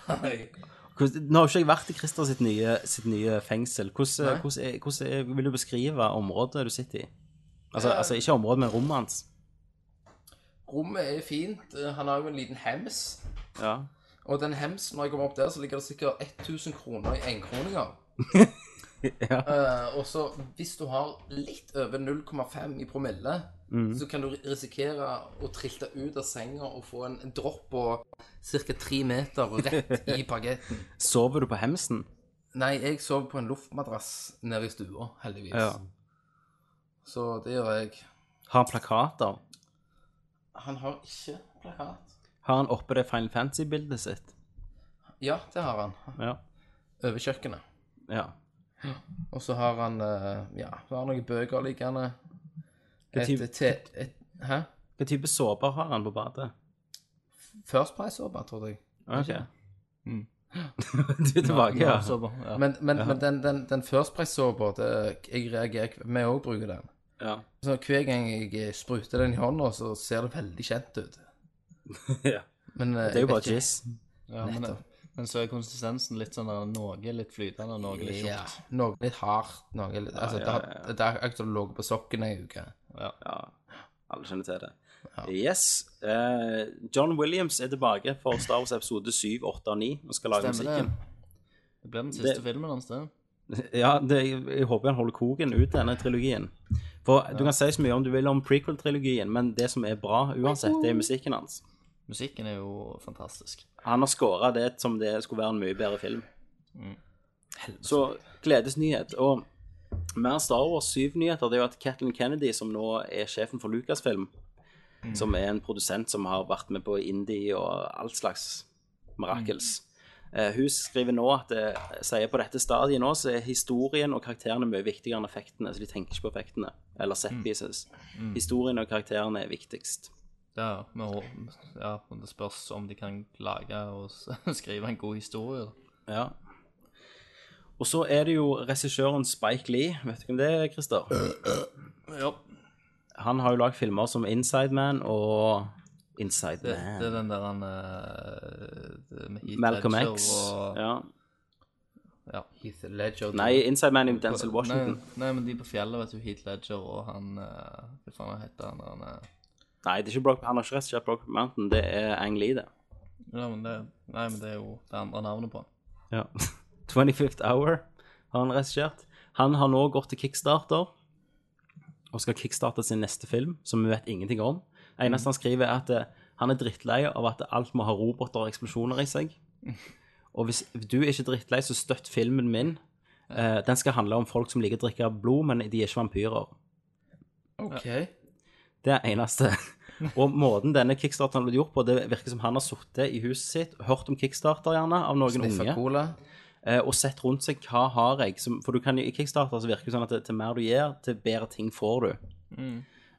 D: Nei.
E: Hvordan- Nå har jo ikke jeg vært i Christer sitt nye, sitt nye fengsel. Hvordan, hvordan, er, hvordan er, vil du beskrive området du sitter i? Altså, altså ikke området, men rommet hans.
D: Rommet er fint. Han har jo en liten hems.
E: Ja.
D: Og den hemsen, når jeg kommer opp der, så ligger det sikkert 1000 kroner i enkroninger.
E: Ja.
D: Eh, og så hvis du har litt over 0,5 i promille,
E: Mm.
D: så kan du risikere å trilte ut av senga og få en dropp på ca. tre meter rett i pagetten.
E: Sover du på hemsen?
D: Nei, jeg sover på en luftmadrass nede i stua, heldigvis. Så det gjør jeg.
E: Har han plakater?
D: Han har ikke plakat.
E: Har han oppe det Final Fantasy-bildet sitt?
D: Ja, det har han.
E: Ja.
D: Over kjøkkenet.
E: ja.
D: Og så har han eh, Ja, så har han noen bøker liggende.
E: Hva
D: Et,
E: type-
D: et, et, Hæ?
E: Hva type såper har han på badet?
D: First Price-såpe, tror jeg.
E: Ok. du er tilbake, ja.
F: Så bra, ja.
D: Men, men, men den, den, den First Price-såpa, det- jeg reagerer Vi òg bruker den.
E: ja.
D: Så hver gang jeg eh, spruter den i hånda, så ser det veldig kjent ut.
E: Ja.
D: Men eh,
E: Det er
D: jeg
E: jo bare
D: vet ikke- eh,
E: jizz.
F: Ja, men,
D: nettopp.
F: men så er konsistensen litt sånn der, noe litt flytende, noe litt
D: Ja,
F: tjukt.
D: noe litt hardt, noe litt
E: ja,
D: Altså, det
E: ja.
D: har- det har akkurat som det lå på sokken ei uke.
E: Ja. Alle kjenner til det. Yes. eh, John Williams er tilbake for Star Wars episode 7, 8 og 9 og skal lage
F: Stemmer det.
E: musikken.
F: Det blir den siste
E: Det-
F: filmen hans, det.
E: Ja, det, jeg, jeg håper han holder koken ut denne trilogien. For du kan si så mye om du vil om prequel-trilogien, men det som er bra uansett, det er musikken hans.
F: Musikken er jo fantastisk.
E: Han har skåra det som det skulle være en mye bedre film. Så gledesnyhet. Og mer Star Wars 7-nyheter det er jo at Kathleen Kennedy, som nå er sjefen for Lucasfilm, som er en produsent som har vært med på indie og all slags mirakels eh, Hun skriver nå at eh, sier på dette stadiet nå så er historien og karakterene mye viktigere enn effektene. Så de tenker ikke på effektene eller set pieces. Historien og karakterene er viktigst.
F: Ja, men hå- ja, men det spørs om de kan lage og s- skrive en god historie. da.
E: Ja. Og så er det jo regissøren Spike Lee. Vet du hvem det er, Christer?
F: Ja,
E: Han har jo lagd filmer som Inside Man og Inside
F: det,
E: Man.
F: det er den der han eh, det med Heath
E: Malcolm
F: Ledger
E: X.
F: og-
E: Ja.
F: ja.
D: Heath Ledger.
E: Nei, Inside Man er jo Denzel Washington.
F: Nei, nei, men de på fjellet, vet du. Heath Ledger og han eh, Hva faen heter han? han eh,
E: Nei, det er ikke Brock, han har ikke regissert Brock Mountain, det er Ang Lee, det.
F: ja, men det, nei, men det er jo det andre navnet på han.
E: Ja. 25th Hour har han regissert. Han har nå gått til kickstarter og skal kickstarte sin neste film, som vi vet ingenting om. Det eneste han skriver, er at eh, han er drittlei av at alt må ha roboter og eksplosjoner i seg. Og hvis du er ikke drittlei, så støtt filmen min. Eh, den skal handle om folk som liker å drikke blod, men de er ikke vampyrer.
D: OK.
E: Det er eneste. Og måten denne kickstarteren ble gjort på, det virker som han har sittet i huset sitt, hørt om kickstarter gjerne, av noen
D: Sniffa
E: unge.
D: cola.
E: Eh, og sett rundt seg hva har jeg som, For du kan jo i Kickstarter så virker det sånn at det, til mer du gjør, til bedre ting får du.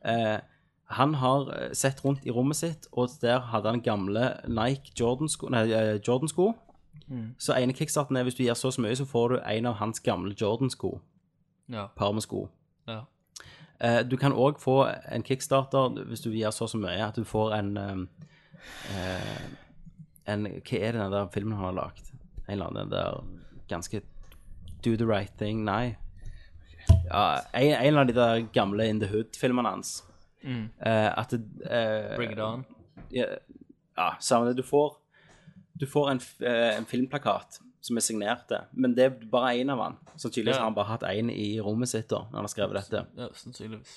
E: Eh, han har eh, sett rundt i rommet sitt, og der hadde han gamle Nike Jordan-sko. Nei, eh, Jordan-sko. Så ene kickstarten er hvis du gir så og så mye, så får du en av hans gamle Jordan-sko.
F: Ja.
E: Par med sko.
F: ja.
E: Eh, du kan òg få en kickstarter hvis du gir så og så mye, at du får en eh, eh, en, Hva er det den der filmen han har lagd? En eller annen den der ganske Do the right thing? Nei. Ja, en, en av de der gamle In the Hood-filmene hans. Eh, at det, eh,
F: Bring it on.
E: ja, ja, samme det. Du får, du får en, f- eh, en filmplakat som er signert, det. men det er bare én av han. Så tydeligvis
F: Ja.
E: har han bare hatt én i rommet sitt da, når han har skrevet dette.
F: Ja, sannsynligvis.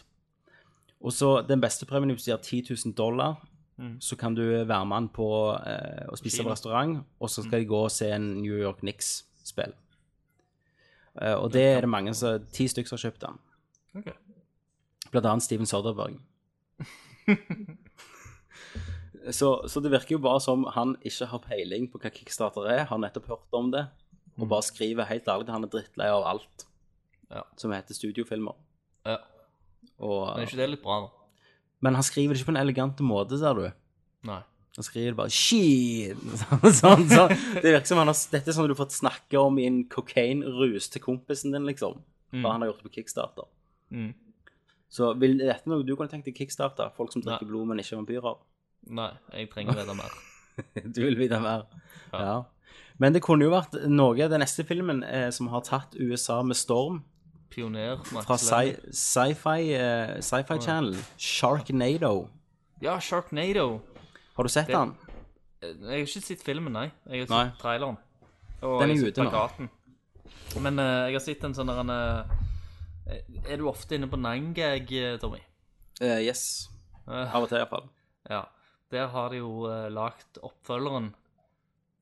E: Og så den beste premien hvis du gir 10 000 dollar,
F: Mm.
E: så kan du være med han på eh, å spise på restaurant, og så skal de gå og se en New York Knicks-spill. Eh, og det er det mange som Ti stykker som har kjøpt den.
F: Ok.
E: Blant annet Steven Soderberg. så, så det virker jo bare som han ikke har peiling på hva kickstarter er, har nettopp hørt om det, og bare skriver helt ærlig at han er drittlei av alt
F: Ja.
E: som heter studiofilmer.
F: Ja.
E: Og,
F: Men er ikke det litt bra, da?
E: men han skriver det ikke på en elegant måte, ser du.
F: Nei.
E: Han skriver bare 'shit'. Sånn, sånn, sånn. Det virker som han har, dette er sånn du har fått snakke om i en kokainrus til kompisen din, liksom. Hva han har gjort det på kickstarter.
F: Mm.
E: Så vil er dette noe du kunne tenkt deg kickstarter? Folk som drikker
F: Nei.
E: blod, men ikke vampyrer?
F: Nei, jeg trenger å vite mer.
E: Du vil vite mer. Ja. Men det kunne jo vært noe Den neste filmen eh, som har tatt USA med storm,
F: Pioner Max
E: fra
F: Levy.
E: sci- sci-fi eh, sci channel, Sharknado.
F: Ja, Sharknado.
E: Har du sett
F: Det-
E: den?
F: Jeg har ikke sett filmen, nei. Jeg har
E: Nei.
F: sett traileren. Og
E: Den er
F: jeg har
E: ute
F: sett
E: nå.
F: plakaten. Men eh, jeg har sett en sånn der en eh, Er du ofte inne på Nangag, eh, Tommy?
E: Eh, yes.
F: Eh,
E: Av og til, iallfall.
F: ja. Der har de jo uh, lagt oppfølgeren.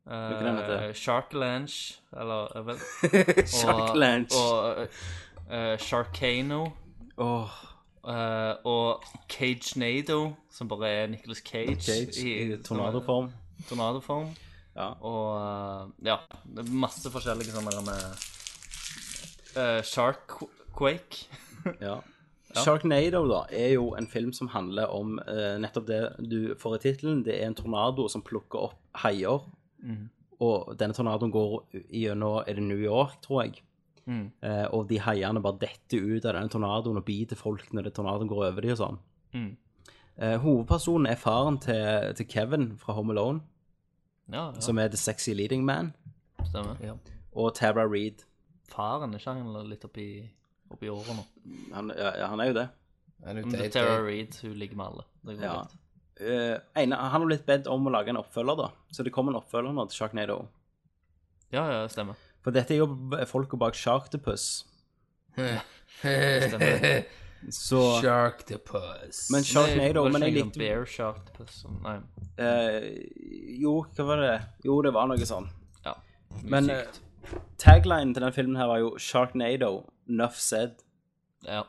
F: Uh,
E: Hvilken den heter?
F: Shark Lanch, eller jeg vet,
E: Shark Lunch.
F: Og eh, eh, Sharkano.
E: Åh,
F: eh, og Cage Nado, som bare er Nicholas Cage,
E: Cage i tornadoform.
F: tornadoform.
E: Ja.
F: Og eh, ja, det er masse forskjellige sånne der med eh, Shark Quake.
E: Ja. Sharknado da, er jo en film som handler om eh, nettopp det du får i tittelen. Det er en tornado som plukker opp haier. Mhm. Og denne tornadoen går gjennom Er det New York, tror jeg? Eh, og de haiene bare detter ut av denne tornadoen og biter folk når det tornadoen går over dem og sånn.
F: Mm.
E: Eh, hovedpersonen er faren til, til Kevin fra Home Alone,
F: Ja, ja
E: som er The Sexy Leading Man,
F: stemmer.
E: og Tara Reed.
F: Faren er ikke han litt oppi, oppi året nå?
E: Han, ja, ja, han er jo det.
D: Er du
F: Men det
D: date-
F: er Tara Reed, hun ligger med alle. Det går
E: Ja.
F: greit.
E: Eh, ene, han har blitt bedt om å lage en oppfølger, da. Så det kommer en oppfølger nå til Sharknado.
F: ja, ja, stemmer.
E: For dette er jo b- folka bak Sharktopus. Så
D: Sharktopus.
E: Men Sharknado
F: Var det
E: Men jeg
F: ikke noen
E: likte
F: Bear Shark person? Nei.
E: eh, Jo, hva var det? Jo, det var noe sånn.
F: Ja.
E: Men eh, taglinen til den filmen her var jo Sharknado, nuff said.
F: ja.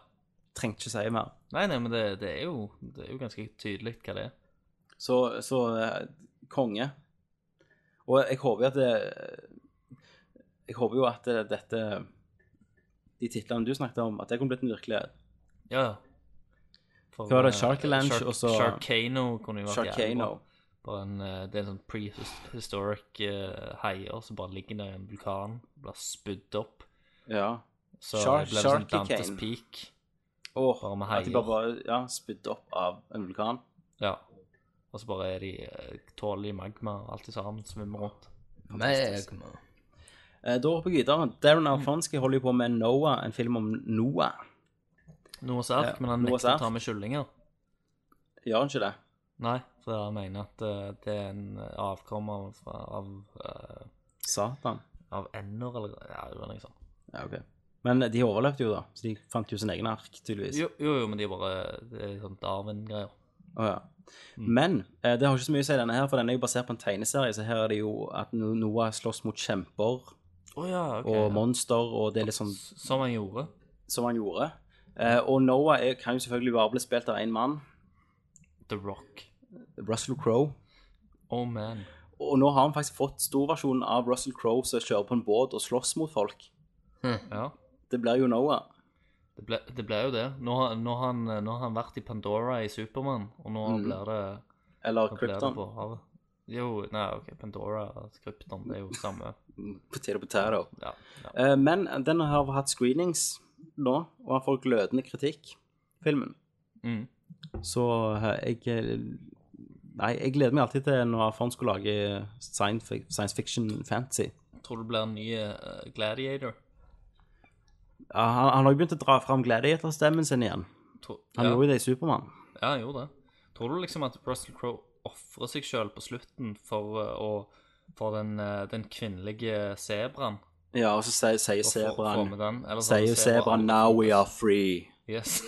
E: Trengte ikke si mer.
F: Nei, nei, men det, det, er jo, det er jo ganske tydelig hva det er.
E: Så, så eh, konge. Og jeg håper jo at det, Jeg håper jo at det, dette De titlene du snakket om, at det kunne blitt en virkelighet.
F: Ja, ja. For,
E: Hva var det?
F: eh,
E: Sharkalange,
F: Shark-
E: og så-
F: Sharkano kunne jo vært jævlig bra.
E: Sharkano.
F: Bare en, eh, det er en sånn prehistoric uh, haier som bare ligger der i en vulkan, blir spydd opp.
E: Ja.
F: Så
E: Shark-
F: det blir sånn
E: Sharky
F: Dantes
E: Kane.
F: Peak.
E: Åh,
F: Bare med
E: at de bare,
F: haier.
E: bare ja, spydde opp av en vulkan.
F: Ja. Og så bare er de eh, tåler i magma, alt i sammen, svømmer rundt.
D: Meg,
E: Eh, da hopper jeg videre. Darren Alfonski holder jo på med Noah, en film om Noah.
F: Noahs ark,
E: Ja,
F: men han
E: Noahs
F: nekter
E: ark.
F: å ta med kyllinger.
E: Gjør han ikke det?
F: Nei, for han mener at eh, det er en avkommer av, av, eh,
E: Satan.
F: av ender, eller ja, det var noe sånt.
E: Ja, ok. Men de overlevde jo, da. Så de fant jo sin egen ark, tydeligvis.
F: Jo, jo, jo, men de er bare det er sånn Darwin-greier.
E: Å, ja.
F: Mm.
E: Men eh, det har ikke så mye å si, denne her, for den er jo basert på en tegneserie. Så her er det jo at No- Noah slåss mot kjemper
F: Å ja, ok.
E: og monster, og det er litt sånn
F: Som han gjorde.
E: som han gjorde. Eh, og Noah er, kan jo selvfølgelig bare bli spilt av én mann,
F: The Rock.
E: Russell Crowe.
F: Oh man.
E: Og nå har han faktisk fått storversjonen av Russell Crowe som kjører på en båt og slåss mot folk. Hm.
F: Ja.
E: Det blir jo Noah.
F: Det ble, det ble jo det. Nå har, nå, har han, nå har han vært i Pandora i Supermann, og nå
E: Mm.
F: blir det
E: Eller
F: nå blir det
E: Krypton.
F: på havet. Jo, nei, OK, Pandora og Krypton, det er jo samme.
E: Mm, Potato potato.
F: Ja. ja.
E: Eh, men den har hatt screenings nå, og han får glødende kritikk, filmen.
F: Mm.
E: Så eh, jeg eh, Nei, jeg gleder meg alltid til når Fond skulle lage science fi- science fiction fantasy.
F: Tror du det blir en ny eh, Gladiator?
E: Ja, han, han har jo begynt å dra fram gladiatorstemmen sin igjen.
F: Tror,
E: Han
F: ja.
E: gjorde jo det i Supermann.
F: Ja, han gjorde det. Tror du liksom at Russell Crowe ofrer seg sjøl på slutten for, eh, å, for den, eh, den kvinnelige sebraen?
E: Ja, og så sier, sier
F: Og få- få
E: sebraen
F: med den, eller så
E: Sier
F: hadde
E: sebraen
F: aldri
E: 'Now we
F: funnes».
E: are free'.
F: Yes.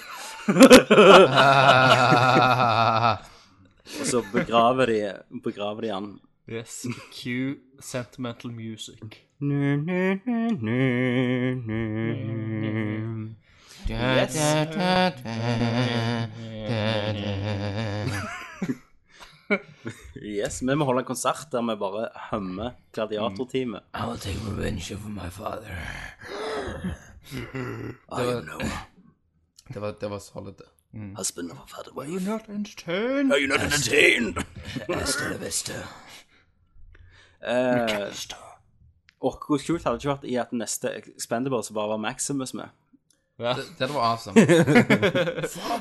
E: Og så begraver de, begraver de han.
F: yes. Cue sentimental music.
E: Yes. yes. Vi må holde en konsert der vi bare hømmer gladiatorteamet.
D: I will take revenge of my father.
E: I am no
D: Det var, det var solid, det.
E: husband of a father wife.
F: Not entertained.
E: Are you not entertained?
D: Hasta la vista.
E: Eh, og hvor kult hadde det ikke vært i at neste Expendable så bare var Maximus med.
F: Ja,
D: Det, det var awesome.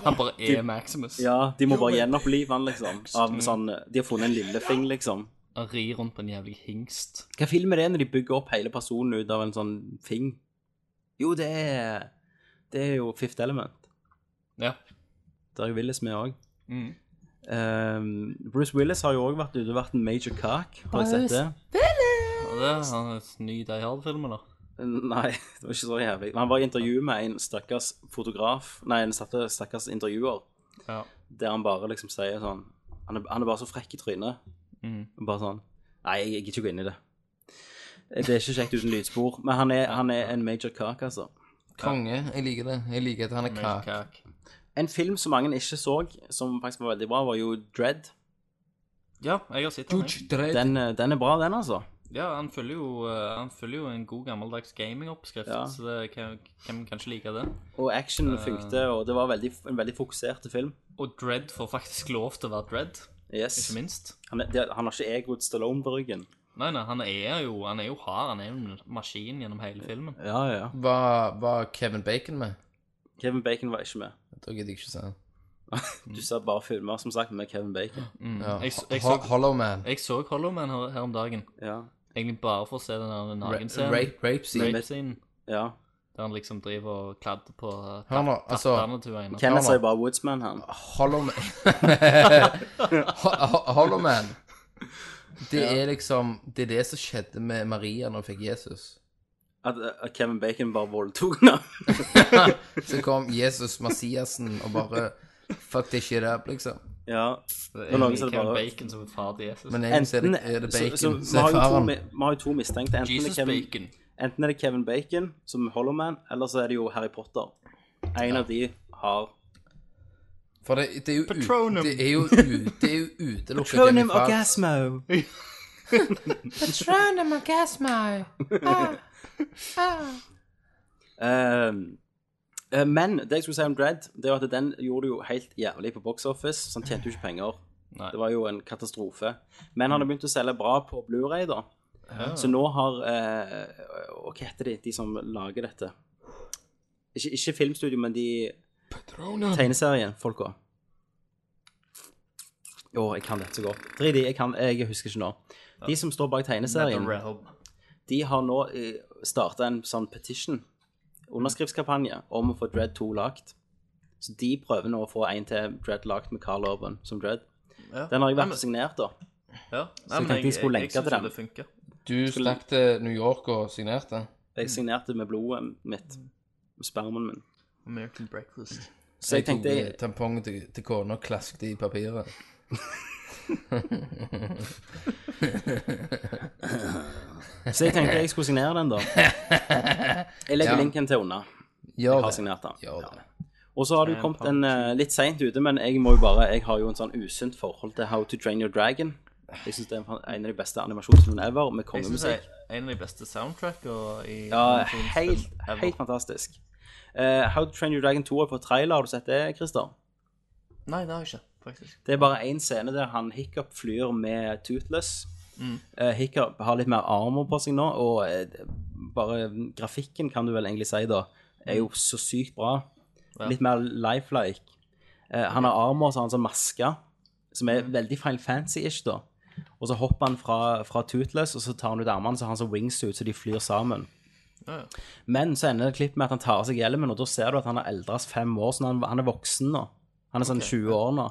F: han bare er Maximus.
E: Ja, de må bare gjenopplive han, liksom. Av sånn, de har funnet en lillefing, liksom.
F: Han rir rundt på en jævlig hingst.
E: Hva film er det når de bygger opp hele personen ut av en sånn ting? Jo, det er Det er jo Fifth Element.
F: Ja.
E: Der er jo Willis med òg.
F: Mm.
E: Bruce Willis har jo òg vært ute og vært en major cock. Har jeg sett det?
F: Og det er han et ny Die Hard-film, eller?
E: Nei, det var ikke så jævlig. Men Han var i intervju med en stakkars fotograf Nei, en stakkars- stakkars intervjuer,
F: Ja.
E: der han bare liksom sier sånn Han er, han er bare så frekk i trynet.
F: Mm.
E: Bare sånn Nei, jeg gidder ikke gå inn i det. Det er ikke kjekt uten lydspor. Men han er, han er en major cock, altså.
D: Konge. Jeg liker det. Jeg liker at han er
F: Major
D: kak.
F: Kak.
E: En film som mange ikke så, som faktisk var veldig bra, var jo Dread.
F: Ja, jeg har sett den. jeg.
D: George Dredd.
E: Den, eh, den er bra, den, altså.
F: Ja, han følger jo, eh, han følger jo en god gammeldags gamingoppskrift,
E: Ja.
F: så det, hvem, hvem kan ikke like det?
E: Og action funkte, og det var veldig, en veldig fokusert film.
F: Og Dredd får faktisk lov til å være Dredd,
E: Yes.
F: ikke minst.
E: Han, er, det- han har ikke egoet Stallone på ryggen.
F: Nei, nei, han er jo, han er jo hard, han er jo en maskin gjennom hele filmen.
E: Ja, ja.
D: Var, var Kevin Bacon med?
E: Kevin Bacon var ikke med.
D: Da gidder jeg ikke se den.
E: Du ser bare filmer, som sagt, med Kevin Bacon.
D: Ja.
F: Mm. Jeg, jeg,
D: Ho-
F: så,
D: Hollow Man.
F: jeg så Hollow Man her, her om dagen,
E: Ja.
F: egentlig bare for å se den der
D: Ra-
F: nagenscenen,
D: Rape, rape scene.
F: rape-scenen,
E: ja.
F: der han liksom driver og kladder på eh,
D: Hør nå,
F: tatt-
D: altså-
F: tatterne til henne.
E: Kenneth
D: nå.
E: er jo bare Woodsman, han.
D: Hollow Man Ho- ho- Hollow Man. Det er liksom Det er det som skjedde med Maria når hun fikk Jesus.
E: At, eh, at Kevin Bacon bare voldtok henne.
D: Så kom Jesus Masiasen og bare Fuck this shit up, liksom.
E: ja.
F: Det
E: Nå
F: er
E: lages
F: egentlig
E: det bare-
F: Kevin Bacon som er far til Jesus.
D: Men egentlig er
E: Enten,
D: det, er det
E: så, så,
D: bacon.
E: vi,
D: Så
E: har
D: er
E: jo to,
D: faren
E: mi- vi har jo to mistenkte. Enten,
F: Jesus
E: er Kevin,
F: Bacon.
E: enten er det Kevin Bacon som Hollow Man, eller så er det jo Harry Potter. En av de har
D: For det, det er jo ut-
F: Patronum.
D: Det er jo, ut, det er jo utelukket Kevin Far-
E: Orgasmo!
H: Patronum Orgasmo. Ah, ah.
E: Ehm, eh, men det jeg skulle si om Dread, det er jo at den gjorde det jo helt jævlig på box office, så han tjente jo ikke penger.
F: Nei.
E: Det var jo en katastrofe. Men han har begynt å selge bra på Blu-ray da. Så nå har eh, Og hva heter de, de som lager dette? Ikke, ikke filmstudio, men de tegneseriefolka. Å, jeg kan dette så godt. Drit i, jeg, kan- jeg husker ikke nå. De som står bak tegneserien
F: Netherrealm.
E: de har nå starta en sånn petition, underskriftskampanje, om å få Dread 2 lagt. Så de prøver nå å få en til Dread lagt med Carl Urban som Dread.
F: Ja.
E: Den har jeg
F: Nei,
E: vært
F: men-
E: signert, da.
F: Ja. Nei,
E: jeg
F: men
E: tenkte jeg skulle lenke
F: synes
E: til
F: jo
E: den.
F: Det funker.
D: Du stakk til New York og signerte?
E: Jeg signerte med blodet mitt. Med spermen min.
F: American Breakfast.
E: Så jeg tenkte
D: tok eh, tampongen til, til kona og klasket i papiret.
E: Så jeg tenkte jeg skulle signere den, da. Jeg legger
D: Ja.
E: linken til under.
D: Gjør
E: Har
D: det.
E: signert den.
D: Gjør det.
E: Og så har det jo kommet en eh, litt seint ute, men jeg må jo bare Jeg har jo en sånn usunt forhold til How to Train Your Dragon. Jeg syns det er en av de beste animasjonsfilmene ever, med
F: Jeg synes
E: kongemusikk.
F: det er en av de beste soundtrackene i
E: Ja,
F: animasjonsfilm
E: helt,
F: ever.
E: helt fantastisk. Eh, How to Train Your Dragon 2 har fått trailer, har du sett det, Christer?
F: Nei, det har jeg ikke, faktisk.
E: Det er bare én scene der han Hiccup flyr med Toothless. Eh, Hiccup har litt mer armer på seg nå, og eh, bare grafikken kan du vel egentlig si, da, er jo så sykt bra. Litt mer lifelike. Eh, han har armer, så har han sånn maske, som er veldig Final Fantasy-ish, da. Og så hopper han fra, fra Toothless, og så tar han ut armene, så har han sånn wingsuit, så de flyr sammen.
F: Ja, ja.
E: Men så ender det klipp med at han tar av seg hjelmen, og da ser du at han har eldres fem år, så han, han er voksen nå. Han er sånn 20 år nå.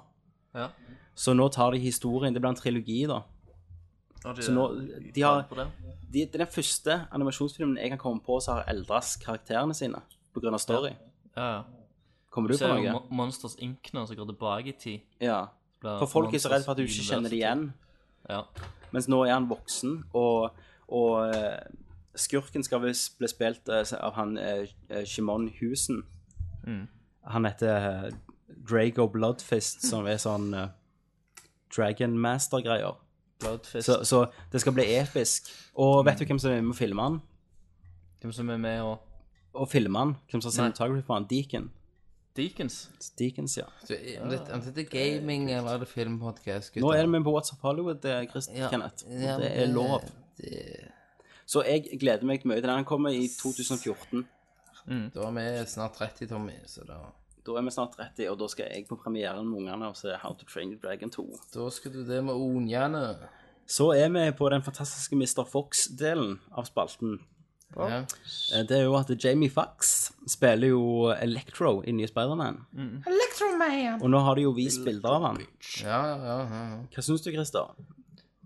F: Ja.
E: Så nå tar de historien, det blir en trilogi da.
F: Har de,
E: Så nå- de har-
F: på det?
E: De, det er den første animasjonsfilmen jeg kan komme på som har eldres karakterene sine, på grunn av story.
F: Ja, ja.
E: Kommer du
F: Så
E: på
F: er jo
E: noe?
F: Mo- Monsters Inc. nå, som går tilbake i tid.
E: Ja.
F: Blir
E: For folk er så
F: Monsters
E: redde for at du ikke kjenner det
F: University.
E: igjen,
F: Ja.
E: mens nå er han voksen, og, og eh, skurken skal visst bli spilt eh, av han eh, eh, Shimon Husen.
F: Mm.
E: Han heter eh, Drago Bloodfist, som er sånn eh, Dragon Master-greier.
F: Bloodfist.
E: Så, så det skal bli episk. Og vet du hvem som er med å filme han?
F: Hvem som er med og
E: Og filme han? Hvem som har
F: Nei.
E: cinematography for han? Deacon.
F: Deacons?
E: Deacons, ja.
D: Så, er- om dette- om dette er eh, gaming eller er det filmpodkast?
E: Nå er det med på What's Up Hollywood, eh, Chris Kenneth.
D: ja,
E: det
D: det-
E: er lov. Så jeg gleder meg mye til den. Han kommer i 2014.
D: Da er vi snart 30, Tommy, så da
E: Da er vi snart 30, og da skal jeg på premieren med ungene og se How to Train Your Dragon 2.
D: Da skal du det med ungene.
E: Så er vi på den fantastiske Mr. Fox-delen av spalten.
D: Ja.
E: Eh, Det er jo at Jamie Fox spiller jo Electro i nye Spider-Man.
H: Electroman.
E: Og nå har de jo vist bilder av han.
D: Ja, ja, ja, ja.
E: Hva syns du, Christer?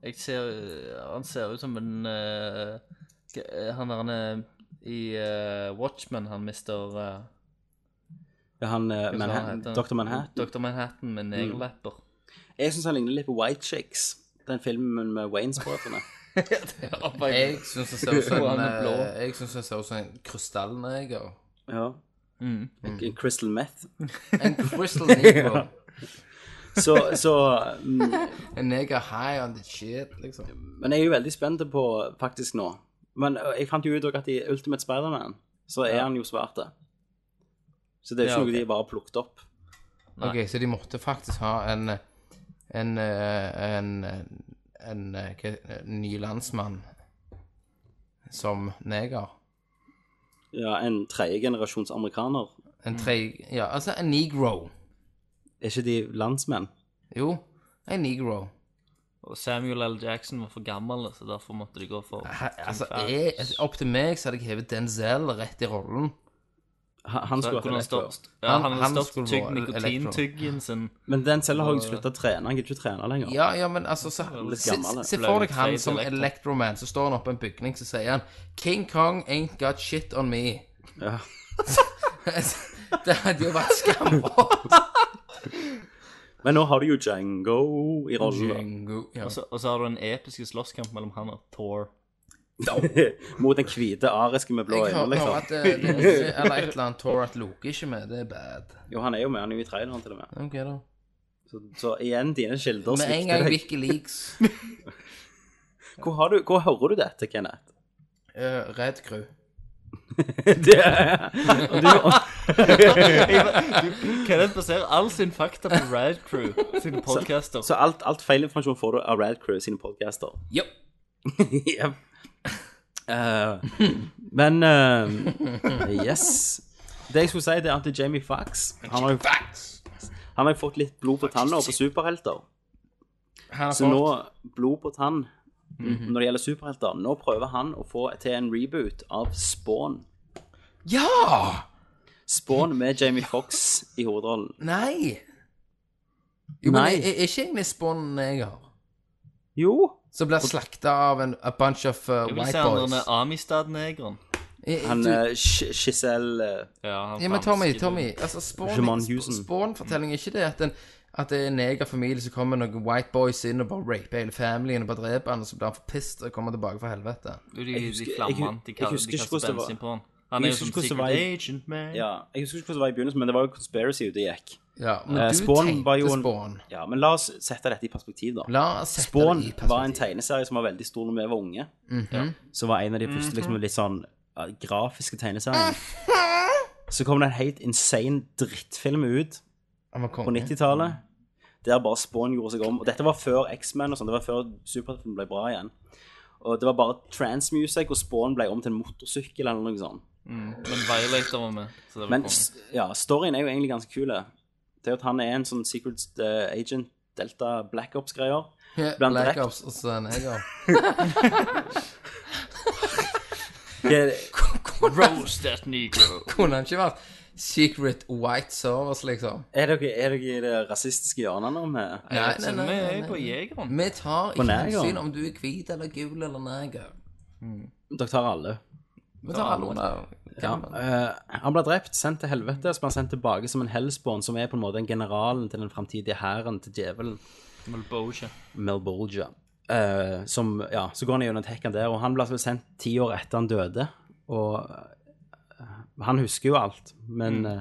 F: Jeg ser Han ser ut som en eh, g- Han er en eh, i eh, Watchmen, han mister eh,
E: Ja, han, eh,
F: hva
E: Manhattan,
F: heter han?
E: Dr. Manhattan.
F: Dr. Manhattan med negerlepper.
E: Jeg syns han ligner litt på White Chicks, den filmen med Waynes-brødrene.
D: Jeg syns det ser ut som en,
F: Han er blå.
D: eh, jeg synes det ser ut som en krystallneger.
E: Ja.
F: Mm.
E: En Crystal Meth.
D: En crystal neger.
E: Så, så mm,
D: En neger high on the shit, liksom.
E: Men jeg er jo veldig spent på faktisk nå. Men ø, jeg fant jo ut også at i Ultimate Spider-Man så er han jo svarte. Så det er jo ikke
F: Ja,
E: noe
F: ok.
E: de bare har plukket opp.
D: Ok, så de måtte faktisk ha en en eh, en, en, en, eh, hva- en ny landsmann som neger.
E: Ja, En tredje generasjons amerikaner.
D: En tre... Ja, altså en negro.
E: Er ikke de landsmenn?
D: Jo, en negro.
F: Og Samuel L. Jackson var for gammel, så derfor måtte de gå for
D: Hæ, altså,
F: Fat.
D: jeg, altså, opp til meg så hadde jeg hevet Denzel rett i rollen.
E: Ha- Han
F: Så
E: skulle
F: kunne han
E: hatt elektro.
F: stoppet ja,
D: Han-
F: Han
D: han
F: hadde stoppet
D: skulle
F: tygg
D: være
F: nikotintyggen sin.
E: Men den selv har jeg slutta å trene. Han gidder ikke trene lenger.
D: Ja, ja, men altså, så,
E: litt
D: se,
E: gammel,
D: se
F: det.
D: for deg han
F: Blade
D: som
F: Electro.
D: Electroman, så står han oppe i en bygning, så sier han King Kong ain't got shit on me.
E: Ja.
D: det hadde jo vært skambra.
E: Men nå har du jo Django i rollen.
D: Django, ja.
F: Og
E: Altså,
F: så- Og så har du en episk slåsskamp mellom han og Thor.
E: da. Mot den hvite arisken med blå
D: Jeg
E: øyne, liksom.
D: hører hører at eh, det er ikke- Eller et eller annet Thor at Loke ikke er med. Det er bad.
E: Jo, han er jo med. Han er jo i traileren til og med.
D: Ok, da.
E: Så, så igjen, dine kilder
D: Med en
E: svikter
D: gang
E: deg.
D: Wikileaks.
E: Hvor, har du, hvor hører du dette, Kenneth?
D: Uh, Red eh, Crew.
E: Det er, og du, og,
F: Kenneth baserer all sin fakta på Rad Crew sine podcaster.
E: så alt, alt feil informasjon får du av Rad Crew sine podcaster.
D: Jo.
E: Jep. Eh, men eh, Yes. Det jeg skulle si, det er at Jamie Fox Han har jo Han har jo fått litt blod på tanna og på superhelter.
D: Han har
E: Så nå
D: fått
E: Blod på tann
D: Mhm.
E: når det gjelder superhelter. Nå prøver han å få til en reboot av Spawn.
D: Ja!
E: Spawn med Jamie Fox i hovedrollen.
D: Nei! Jo, men
E: Nei.
D: jeg, jeg, er ikke egentlig spånen jeg har.
E: Jo!
D: Som blir slakta av en a bunch of uh,
F: Jeg vil se
D: white
F: han
D: boys.
F: derne Amistad-negeren.
D: Jeg- jeg-
E: Han
D: du-
E: eh, Sh- Giselle eh,
F: Ja, han
D: Ja, men
F: franske
D: Tommy,
F: du.
D: Tommy, altså Spawn,
E: Juman
D: Sp-
E: Houston.
D: Spawn-fortelling er ikke det at, en, at det er en negerfamilie som kommer noen white boys inn og bare raper hele familien og bare dreper han, og så blir han for pissed og kommer tilbake fra helvete.
F: Du, de,
E: husker-
F: de
E: jeg
F: flammer han, de,
E: husker- jeg
F: kaller-
E: husker
F: de
E: ikke
F: kaster
E: hvordan det var.
F: bensin på han. Han
E: Jeg
F: er jo
E: husker
F: som
E: ikke hvordan det
F: secret
E: var i-
F: agent, man.
E: Ja, jeg husker ikke hvordan det var i begynnelsen, men det var jo conspiracy ute gikk.
D: Ja, men
E: Eh,
D: du
E: Spawn var jo
D: tenkte
E: en-
D: Spawn.
E: Ja, men la oss sette dette i perspektiv, da.
D: La oss sette
E: Spawn
D: det i
E: var en
D: perspektiv. Mhm.
E: tegneserie som var veldig stor når vi var unge. Som var en av de første liksom, litt sånn ja, grafiske tegneseriene. Så kom det en helt insane drittfilm ut
D: Han var
E: på
D: konge.
E: 90-tallet. Der bare Spawn gjorde seg om. Og dette var før X-Men og sånn. Det var før Superheltfilm ble bra igjen. Og det var bare transmusic, og Spawn ble om til en motorsykkel eller noe sånt.
F: Men Violator var med. Så det var
E: Men
F: konge.
E: s- ja, storyen er jo egentlig ganske kul. det. Det er jo at han er en sånn secret eh, agent, Delta Black Ops-greier.
D: Ja,
E: ble han
D: Black
E: drept?
D: Ops og så neger.
E: Det-
F: Roast that negro.
D: Kunne han ikke vært Secret White Service, liksom?
E: Er dere, er dere i det rasistiske hjørnet nå med
D: Nei,
F: Så vi er på Jegeren.
D: Vi tar
E: På
D: ikke
E: negeren.
D: hensyn om du er hvit eller gul eller neger.
E: Dere tar alle.
D: Vi tar alle under.
E: Ja. eh, han ble drept, sendt til helvete, så ble han sendt tilbake som en hellspawn, som er på en måte en generalen til den framtidige hæren til djevelen,
F: Malboja.
E: Melbolgia. Eh, som, ja, så går han gjennom tekken der, og han ble altså sendt ti år etter han døde. Og eh, han husker jo alt, men
F: Mm.
E: eh,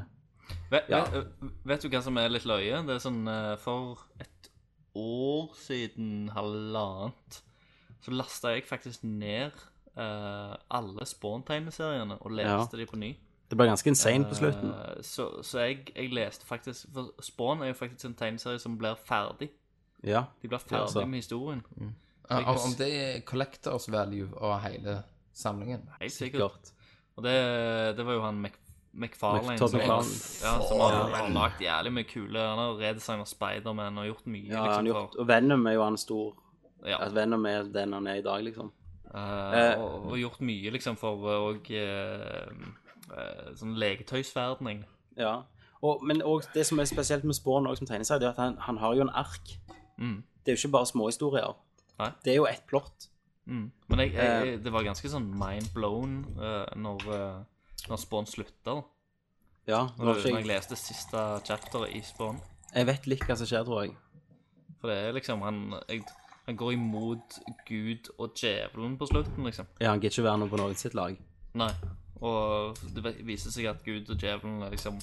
F: Vet,
E: Ja.
F: vet, vet du hva som er litt løye? Det er sånn eh, For et år siden, halvannet, så lasta jeg faktisk ned eh, alle Spawn-tegneseriene og leste de på ny.
E: det ble ganske insane på slutten.
F: Eh, så så jeg, jeg leste faktisk For Spawn er jo faktisk en tegneserie som blir ferdig.
E: Ja.
F: De blir
E: Ja,
F: ferdig
E: altså.
F: med historien.
D: Ja, om- om det er collectors value av hele samlingen.
F: Helt sikkert.
E: Klart.
F: Og det, det var jo han Mc, McFarlane
E: Todd
F: som, har-
E: McFarlane.
F: ja, som har, har lagt jævlig mye kule Han har redesignet Spiderman og gjort mye.
E: Ja,
F: liksom,
E: han gjort, og Venom er jo han stor.
F: for, ja,
E: At Venom er den han er i dag, liksom.
F: eh, og, og gjort mye liksom for eh, og, eh, eh, sånn legetøysverden, egentlig.
E: Ja. Og, men også det som er spesielt med Spawn også som tegneserie, det er at han, han har jo en ark.
F: Mm,
E: Det er jo ikke bare småhistorier.
F: Nei.
E: Det er jo ett plott.
F: Mm. Men jeg, jeg, jeg, det var ganske sånn mind blown eh, når, eh, når Spawn slutta. da.
E: Ja, nå har
F: Når,
E: ikke
F: når sånn jeg
E: jeg,
F: leste siste chapter i Spawn.
E: jeg vet litt hva som skjer, tror jeg.
F: For det er liksom Han, jeg, han går imot Gud og djevelen på slutten, liksom.
E: Ja, Han gidder ikke være noe på noen sitt lag.
F: Nei. Og det vi- viser seg at Gud og djevelen er liksom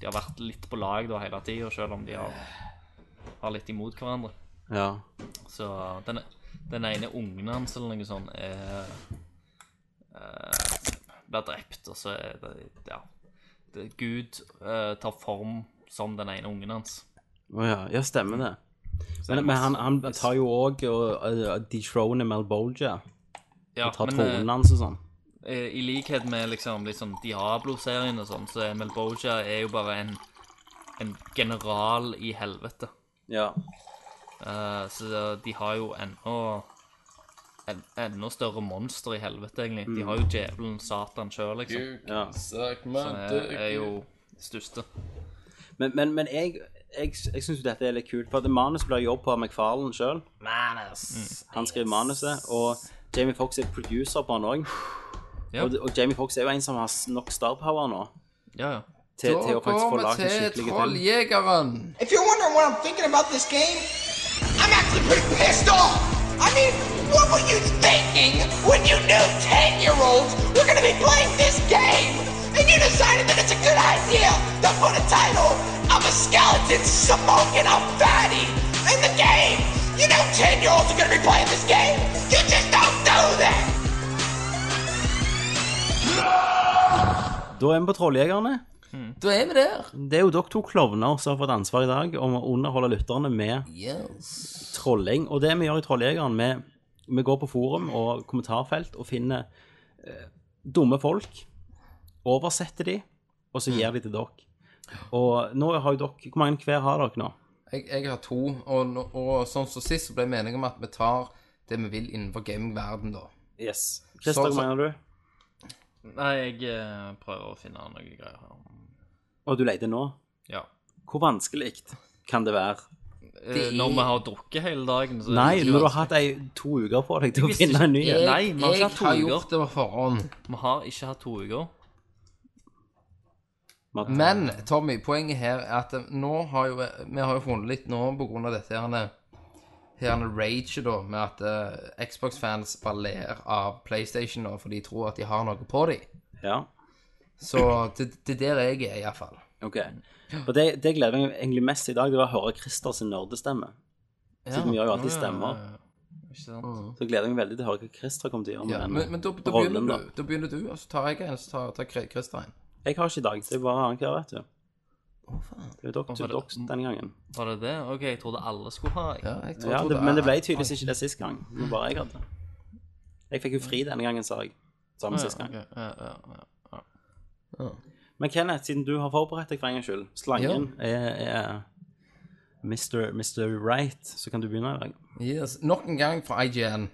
F: De har vært litt på lag da hele tida, selv om de har, har litt imot hverandre.
E: Ja.
F: Så den, den ene ungen hans eller noe sånt er eh, Blir drept, og så er det Ja. Det, Gud eh, tar form som den ene ungen hans.
E: Å ja. ja, stemmer det. Men, men han, han tar jo òg og, og, og detroner Malbolgia.
F: Ja,
E: Tar
F: men, eh,
E: tronen hans og sånn.
F: Eh, I likhet med liksom, litt sånn Diablo-serien og sånn, så er Melboja er jo bare en, en general i helvete.
E: Ja.
F: Eh, så de har jo ennå en, enda større monster i helvete, egentlig. De har jo djevelen Satan sjøl, liksom.
E: ja.
F: Han er, er jo største.
E: Men, men, men jeg, jeg, jeg syns jo dette er litt kult, for at manus blir jobb på av McFarlane sjøl.
F: Mm.
E: Han skriver manuset, og Jamie Fox er producer på han òg.
F: Ja.
E: Og, og Jamie Fox er jo en som har s- nok star power nå
F: Ja, ja.
E: til, til
D: Da
E: å faktisk få
D: går
E: lagd
D: vi
E: en
D: til
E: skikkelig film.
D: Trolljegeren.
I: If you're wondering what I'm thinking about this game, I'm actually pretty pissed off. I mean, what were you thinking when you knew 10 year olds were going to be playing this game? And you decided that it's a good idea to put a title I'm a skeleton smoking a fatty in the game. You know 10 year olds are going to be playing this game. You just don't do that.
E: Da er vi på Trolljegerne.
D: Da er vi der.
E: Det er jo dere to klovner som har fått ansvar i dag om å underholde lytterne med
D: Yes.
E: trolling. Og det vi gjør i Trolljegeren, vi, vi går på forum og kommentarfelt og finner eh, dumme folk, oversetter de, og så gir de til dere. Og nå har jo dere Hvor mange hver har dere nå?
D: Jeg, jeg har to, og, nå- og sånn som sist så ble jeg meningen om at vi tar det vi vil innenfor gamingverden da.
E: Yes. Christer,
D: Så-
E: hvor
D: så-
E: mange har du?
F: Nei, jeg eh, prøver å finne noe greier her.
E: Og du leter nå.
F: Ja.
E: Hvor vanskelig kan det være?
F: Eh,
D: Det er-
F: Når vi har drukket hele dagen, så
E: Nei,
F: det
E: når du har
F: vanskelig.
E: hatt ei, to uker på deg til å
F: visste
E: finne en ny
F: ikke-
E: en.
F: Nei, vi har ikke
D: jeg
F: hatt to
D: har
F: uker.
D: gjort det på forhånd.
F: Vi har ikke hatt to uker.
D: Men Tommy, poenget her er at eh, nå har jo vi har jo funnet litt nå på grunn av dette herne, herne rage da, med at eh, Xbox-fans bare ler av PlayStation nå, for de tror at de har noe på dem.
E: Ja,
D: Så det, det er der jeg er, iallfall.
E: ok. Og det, det gleder jeg meg egentlig mest i dag, det var å høre Christer sin nerdestemme. Siden vi gjør jo alltid stemmer.
F: Ikke sant?
E: Så gleder jeg meg veldig til å høre hva Christer kommer til å gjøre med
D: Ja,
E: den.
D: men, men da, da,
E: rollen,
D: begynner
E: da.
D: du, da begynner du, og så tar jeg en, så tar, tar Kri- Christer en.
E: Jeg har ikke i dag, så jeg bare annenhver, vet du. Det er dere
F: Hvorfor
E: to
F: er det-
E: doks denne gangen.
F: Var det det? OK, jeg trodde alle skulle ha en.
D: Ja, jeg tror,
E: Ja,
D: tror
E: det, men det ble tydeligvis ikke det sist gang. Det var bare jeg hadde. Jeg fikk jo fri denne gangen, sa jeg. Samme sist gang.
F: Ok, ja, ja, ja.
E: Men Kenneth, siden du har forberedt deg for en gangs skyld, slangen er, er Mr. Mr. Right, så kan du begynne i dag.
D: Yes. Nok en gang fra IGN.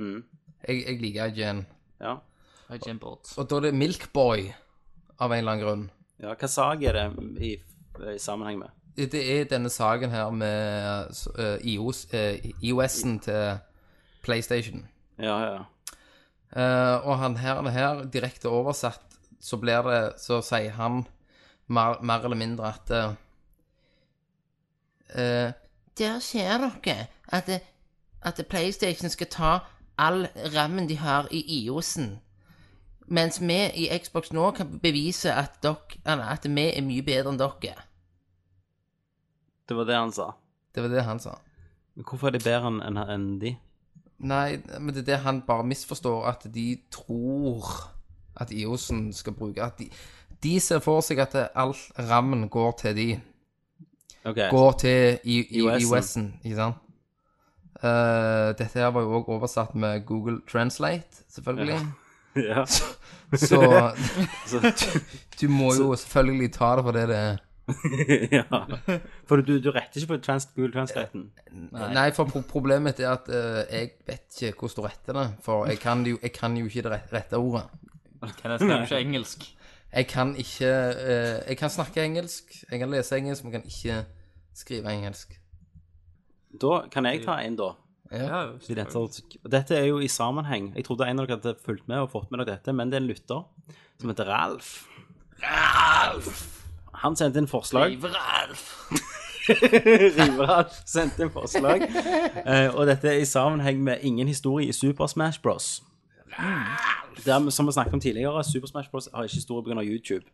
E: Mm.
D: Jeg, jeg liker IGN.
E: Ja.
F: Hei, Jim Bolt.
D: Og da er det Milkboy, av en eller annen grunn.
E: ja. Hva sag er det i, i sammenheng med?
D: Det er denne saken her med eh, IOS, eh, iOS-en til PlayStation.
E: Ja, ja, ja.
D: Eh, og han her, han her, direkte oversatt, så blir det Så sier han mer, mer eller mindre at eh, Der ser dere at, det- at det PlayStation skal ta all rammen de har i IOS-en. Mens vi i Xbox nå kan bevise at, dere, eller at vi er mye bedre enn dere.
E: Det var det han sa.
D: Det var det han sa.
E: Men hvorfor er det bedre enn enn enn de?
D: Nei, men det er det han bare misforstår, at de tror at IOS-en skal bruke At de, de ser for seg at det- all rammen går til de.
E: Ok,
D: Går til I- I-
E: IOS-en.
D: IOS-en, ikke sant? Eh, dette her var jo òg oversatt med Google Translate, selvfølgelig.
E: ja.
D: Så
E: Så,
D: du må jo selvfølgelig ta det for det det er.
E: ja. For du, du retter ikke på trans Google Translaten.
D: Nei, for pro problemet mitt er at eh, jeg vet ikke hvordan du retter det. For jeg kan jo, jeg kan jo ikke det rett- rette ordet.
F: Kenneth kan jo ikke engelsk.
D: Jeg kan ikke eh, Jeg kan snakke engelsk, jeg kan lese engelsk, men jeg kan ikke skrive engelsk.
E: Da kan jeg ta en, da. I dette, og dette er jo i sammenheng. Jeg trodde en av dere hadde fulgt med og fått med dere dette, men det er en lytter som heter Ralf. Ralf! Han sendte inn forslag. Riveralf sendte inn forslag. Eh, og dette er i sammenheng med Ingen historie i Super Smash Bros. Det er, som vi snakket om tidligere, Super Smash Bros har ikke historie pga. YouTube.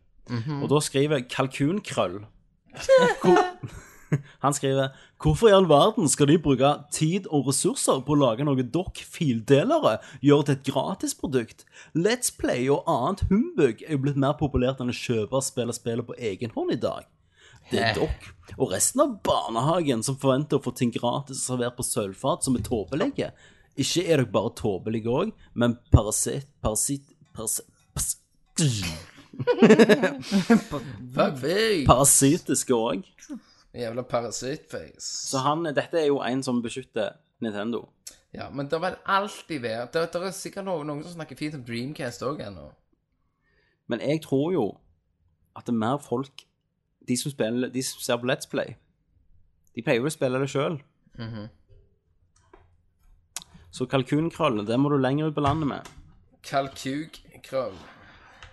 E: Og da skriver Kalkunkrøll Hvor, Han skriver Hvorfor i all verden skal de bruke tid og ressurser på å lage noe dere fildelere gjør til et gratisprodukt? Let's Play og annet humbug er jo blitt mer populært enn å kjøpe og spille spillet på egen hånd i dag. Det er dere og resten av barnehagen som forventer å få ting gratis servert på sølvfat som er tåpelige. Ikke er dere bare tåpelige òg, men parasitt... Parasitt... Parasitt...
F: Mm.
D: Fuckface!
E: Parasitiske òg.
D: Jævla parasittface.
E: Så han, dette er jo en som beskytter Nintendo.
D: Ja, men det vil alltid være Det, det er sikkert noen, noen som snakker fint om Dreamcast òg ennå.
E: Men jeg tror jo at det er mer folk De som, spiller, de som ser på Let's Play, de pleier jo å spille det sjøl.
D: Mhm.
E: Så kalkunkrøllene, det må du lenger ut på landet med.
D: Kalkukkrøll.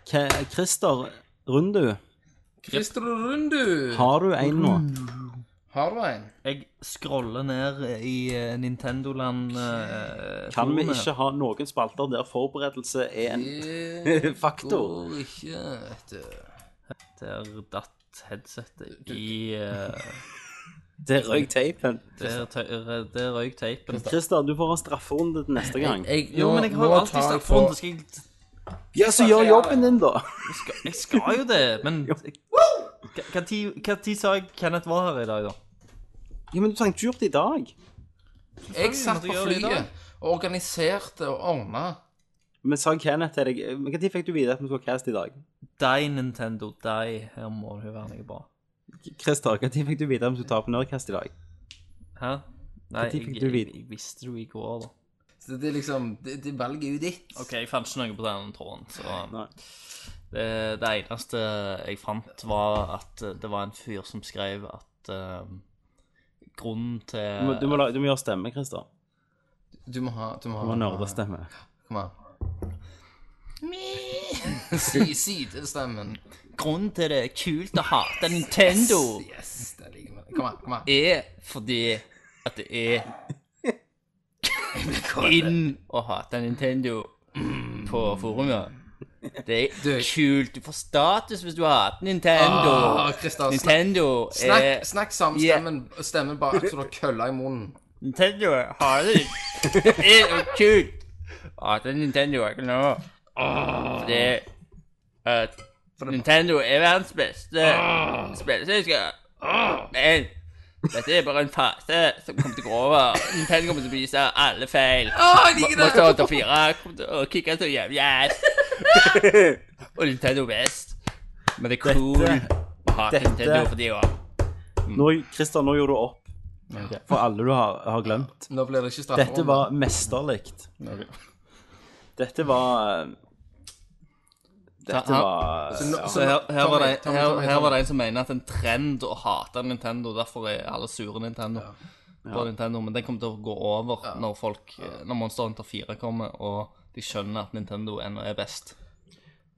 E: K Christer Rundu,
D: Christer Rundu,
E: har du en nå?
D: Mm, har du en?
F: Jeg scroller ned i eh, Nintendoland eh,
E: Kan vi
F: forumet.
E: ikke ha noen spalter der forberedelse er en
D: Eh,
E: faktor?
D: Går ikke, vet du.
F: Der datt headsetet i eh,
E: Det røyk teipen.
F: Der, tøy- der røyk teipen.
E: Christer, du får ha strafferunde til neste gang.
D: Jeg,
F: Jo, men jeg har jo alltid
D: tar jeg
F: snakket om
D: på-
F: det. Skal jeg
E: Ja, så gjør jobben din, da.
F: Jeg skal, jeg skal jo det, men Når sa jeg Kenneth var her i dag, da?
E: Ja, Men du trengte ikke gjort det i dag.
D: Jeg satt
F: måtte
D: på
F: gjøre det i dag.
D: flyet og organiserte og ordna.
E: Men sa Kenneth til deg Men Når fikk du vite at vi skulle caste i dag?
F: Deg, Nintendo, deg. Her må du være noe bra.
E: Christer, når fikk du vite at vi skulle ta på Nerdcast i dag?
F: Hæ? Nei,
E: Når
F: jeg,
E: fikk
F: jeg,
E: du
F: jeg,
E: vite?
F: visste det jo i går, da.
D: Så det er liksom Det, det valget er jo ditt.
F: OK, jeg fant ikke noe på den tråden, så
E: Nei.
F: det, det eneste jeg fant, var at eh, det var en fyr som skrev at eh, grunnen
E: Du må,
F: til
E: du må, la- du må gjøre stemme, Christer.
D: Du må ha Du må ha,
E: Du må nerdestemme.
D: Kom an. Si sidestemmen.
F: Grunnen til det er kult å hate Nintendo,
D: Yes, det liker vi. Kom an, kom an.
F: er fordi at det er inn å hate Nintendo på forumet. Det
D: Du-
F: er kult. Du får status hvis du hater Nintendo.
D: Ah, Christian, snakk-
F: Nintendo
D: Snakk,
F: er
D: snakk sammen stemmen, stemmen bare så du har kølla i munnen.
F: Nintendo har det Det er jo kult. At det er Nintendo ikke nå. Fordi at Nintendo er verdens beste spilleselskap. Men dette er bare en fase som kommer til å gå over. Nintendo kommer til å vise alle feil. Monster Hunter 4 kommer til å kicke så jævlig ass. Og Nintendo er best. Men det er cool
E: Dette-
F: å hate
E: dette-
F: Nintendo for de òg.
D: Mm.
E: Nå, Christer, nå gjorde du opp for alle du har, har glemt.
D: Nå blir det ikke straffe.
E: Dette var mesterlig. Dette var eh, Dette
F: Han-
E: var
D: altså, Nå-
F: Så her, her,
D: Tommy,
F: var det,
D: Tommy,
F: her,
D: Tommy,
F: her var
D: Tommy.
F: det en som mener at det er en trend å hate Nintendo. Derfor er alle sure Nintendo. På Nintendo, Men den kommer til å gå over når, folk, eh, når Monster Hunter 4 kommer og de skjønner at Nintendo ennå er best.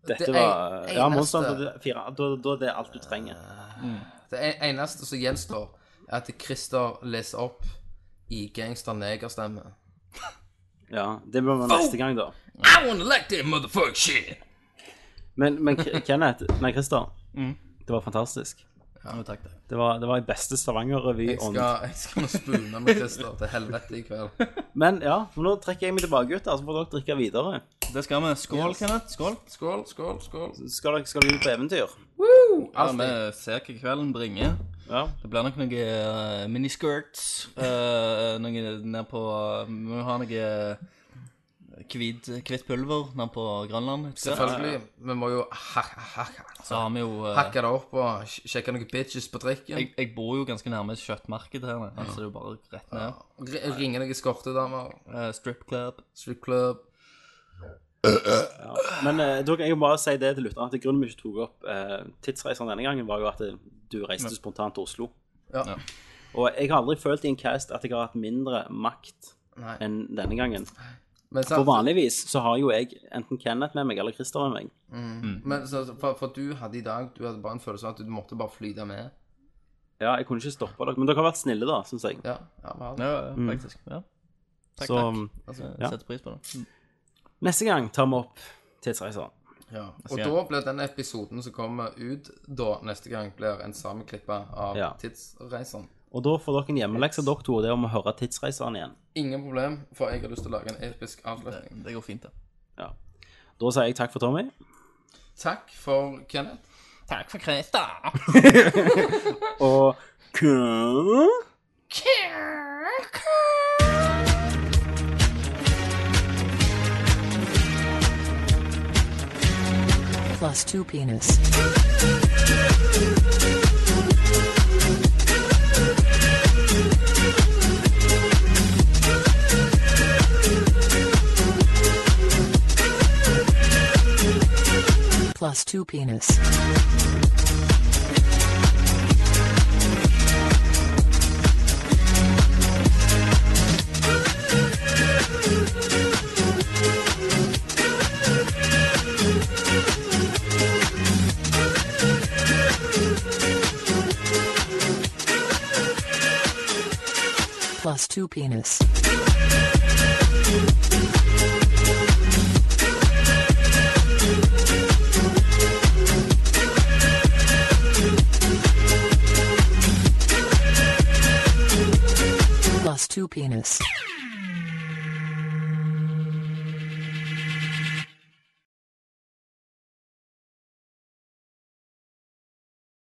E: Dette
D: det
E: var
D: en-
E: Ja,
D: eneste-
E: Monster Hunter 4. Da, da er det alt du trenger.
D: Det en- eneste som gjenstår, er at Christer leser opp i gangster negerstemme.
E: Ja, Det blir med neste gang, da.
D: I wanna like that motherfucker shit.
E: Men, men K- Kenneth Nei, Christer.
D: Mm.
E: Det var fantastisk.
F: Jo, takk, takk.
E: Det var, det var i beste
D: Jeg
E: Stavanger-revy-ånd.
D: skal, jeg skal nå spune med Christer til helvete i kveld.
E: Men ja, for nå trekker jeg meg tilbake, gutter. Så får dere drikke videre.
F: Det skal vi. Skål, Kenneth. Skål.
D: Skål, skål, skål.
E: Skal dere, skal dere ut på eventyr?
F: Ja, vi ser hva kvelden bringer.
E: Ja.
F: Det blir nok noen eh, miniskirts. eh, noe ned på Vi må ha noe hvit, hvitt pulver ned på Grønland. etter hvert.
D: Selvfølgelig. Vi må jo ha- ha- ha-
F: Så har vi jo eh,
D: hakke det opp og sj- sjekke noen bitches på drikken.
F: jeg, jeg bor jo ganske nærme kjøttmarkedet her. Altså, det er jo bare rett ned.
D: R- Ringe noen skortedamer.
F: Eh, strip club.
D: Strip club.
E: Men eh, dere, jeg må bare si det til lytterne, at grunnen vi ikke tok opp eh, tidsreiseren denne gangen, var jo at eh, du reiste spontant til Oslo.
D: Ja.
F: Ja.
E: Og jeg har aldri følt i en cast at jeg har hatt mindre makt
D: Nei.
E: enn denne gangen.
D: Men,
E: For
D: sant,
E: vanligvis så har jo jeg enten Kenneth med meg eller Christer med meg.
D: men så, for, for du hadde i dag Du hadde bare en følelse av at du måtte bare flyte med.
E: Ja, jeg kunne ikke stoppa dere, men dere har vært snille, da, syns jeg.
D: Ja, ja vel.
F: Ja, faktisk. Ja.
E: Mm.
F: Takk,
E: Så um,
F: takk.
D: Altså,
E: ja.
F: Setter pris på det.
E: neste gang tar vi opp tidsreiseren.
D: Ja, og
F: skal-
D: da blir den episoden som kommer ut da neste gang, blir en sammenklippe av
E: Ja.
D: Tidsreiseren.
E: Og da får dere en hjemmelekse, dere to, og det er om å høre tidsreiseren igjen.
D: Ingen problem, for jeg har lyst til å lage en episk avslutning.
F: Det går fint, det.
E: Ja. Da sier jeg takk for Tommy.
D: Takk for Kenneth.
F: Takk for Christer.
E: Og Kø?
J: Plus two penis. Plus two penis. Plus two penis. Plus two penis.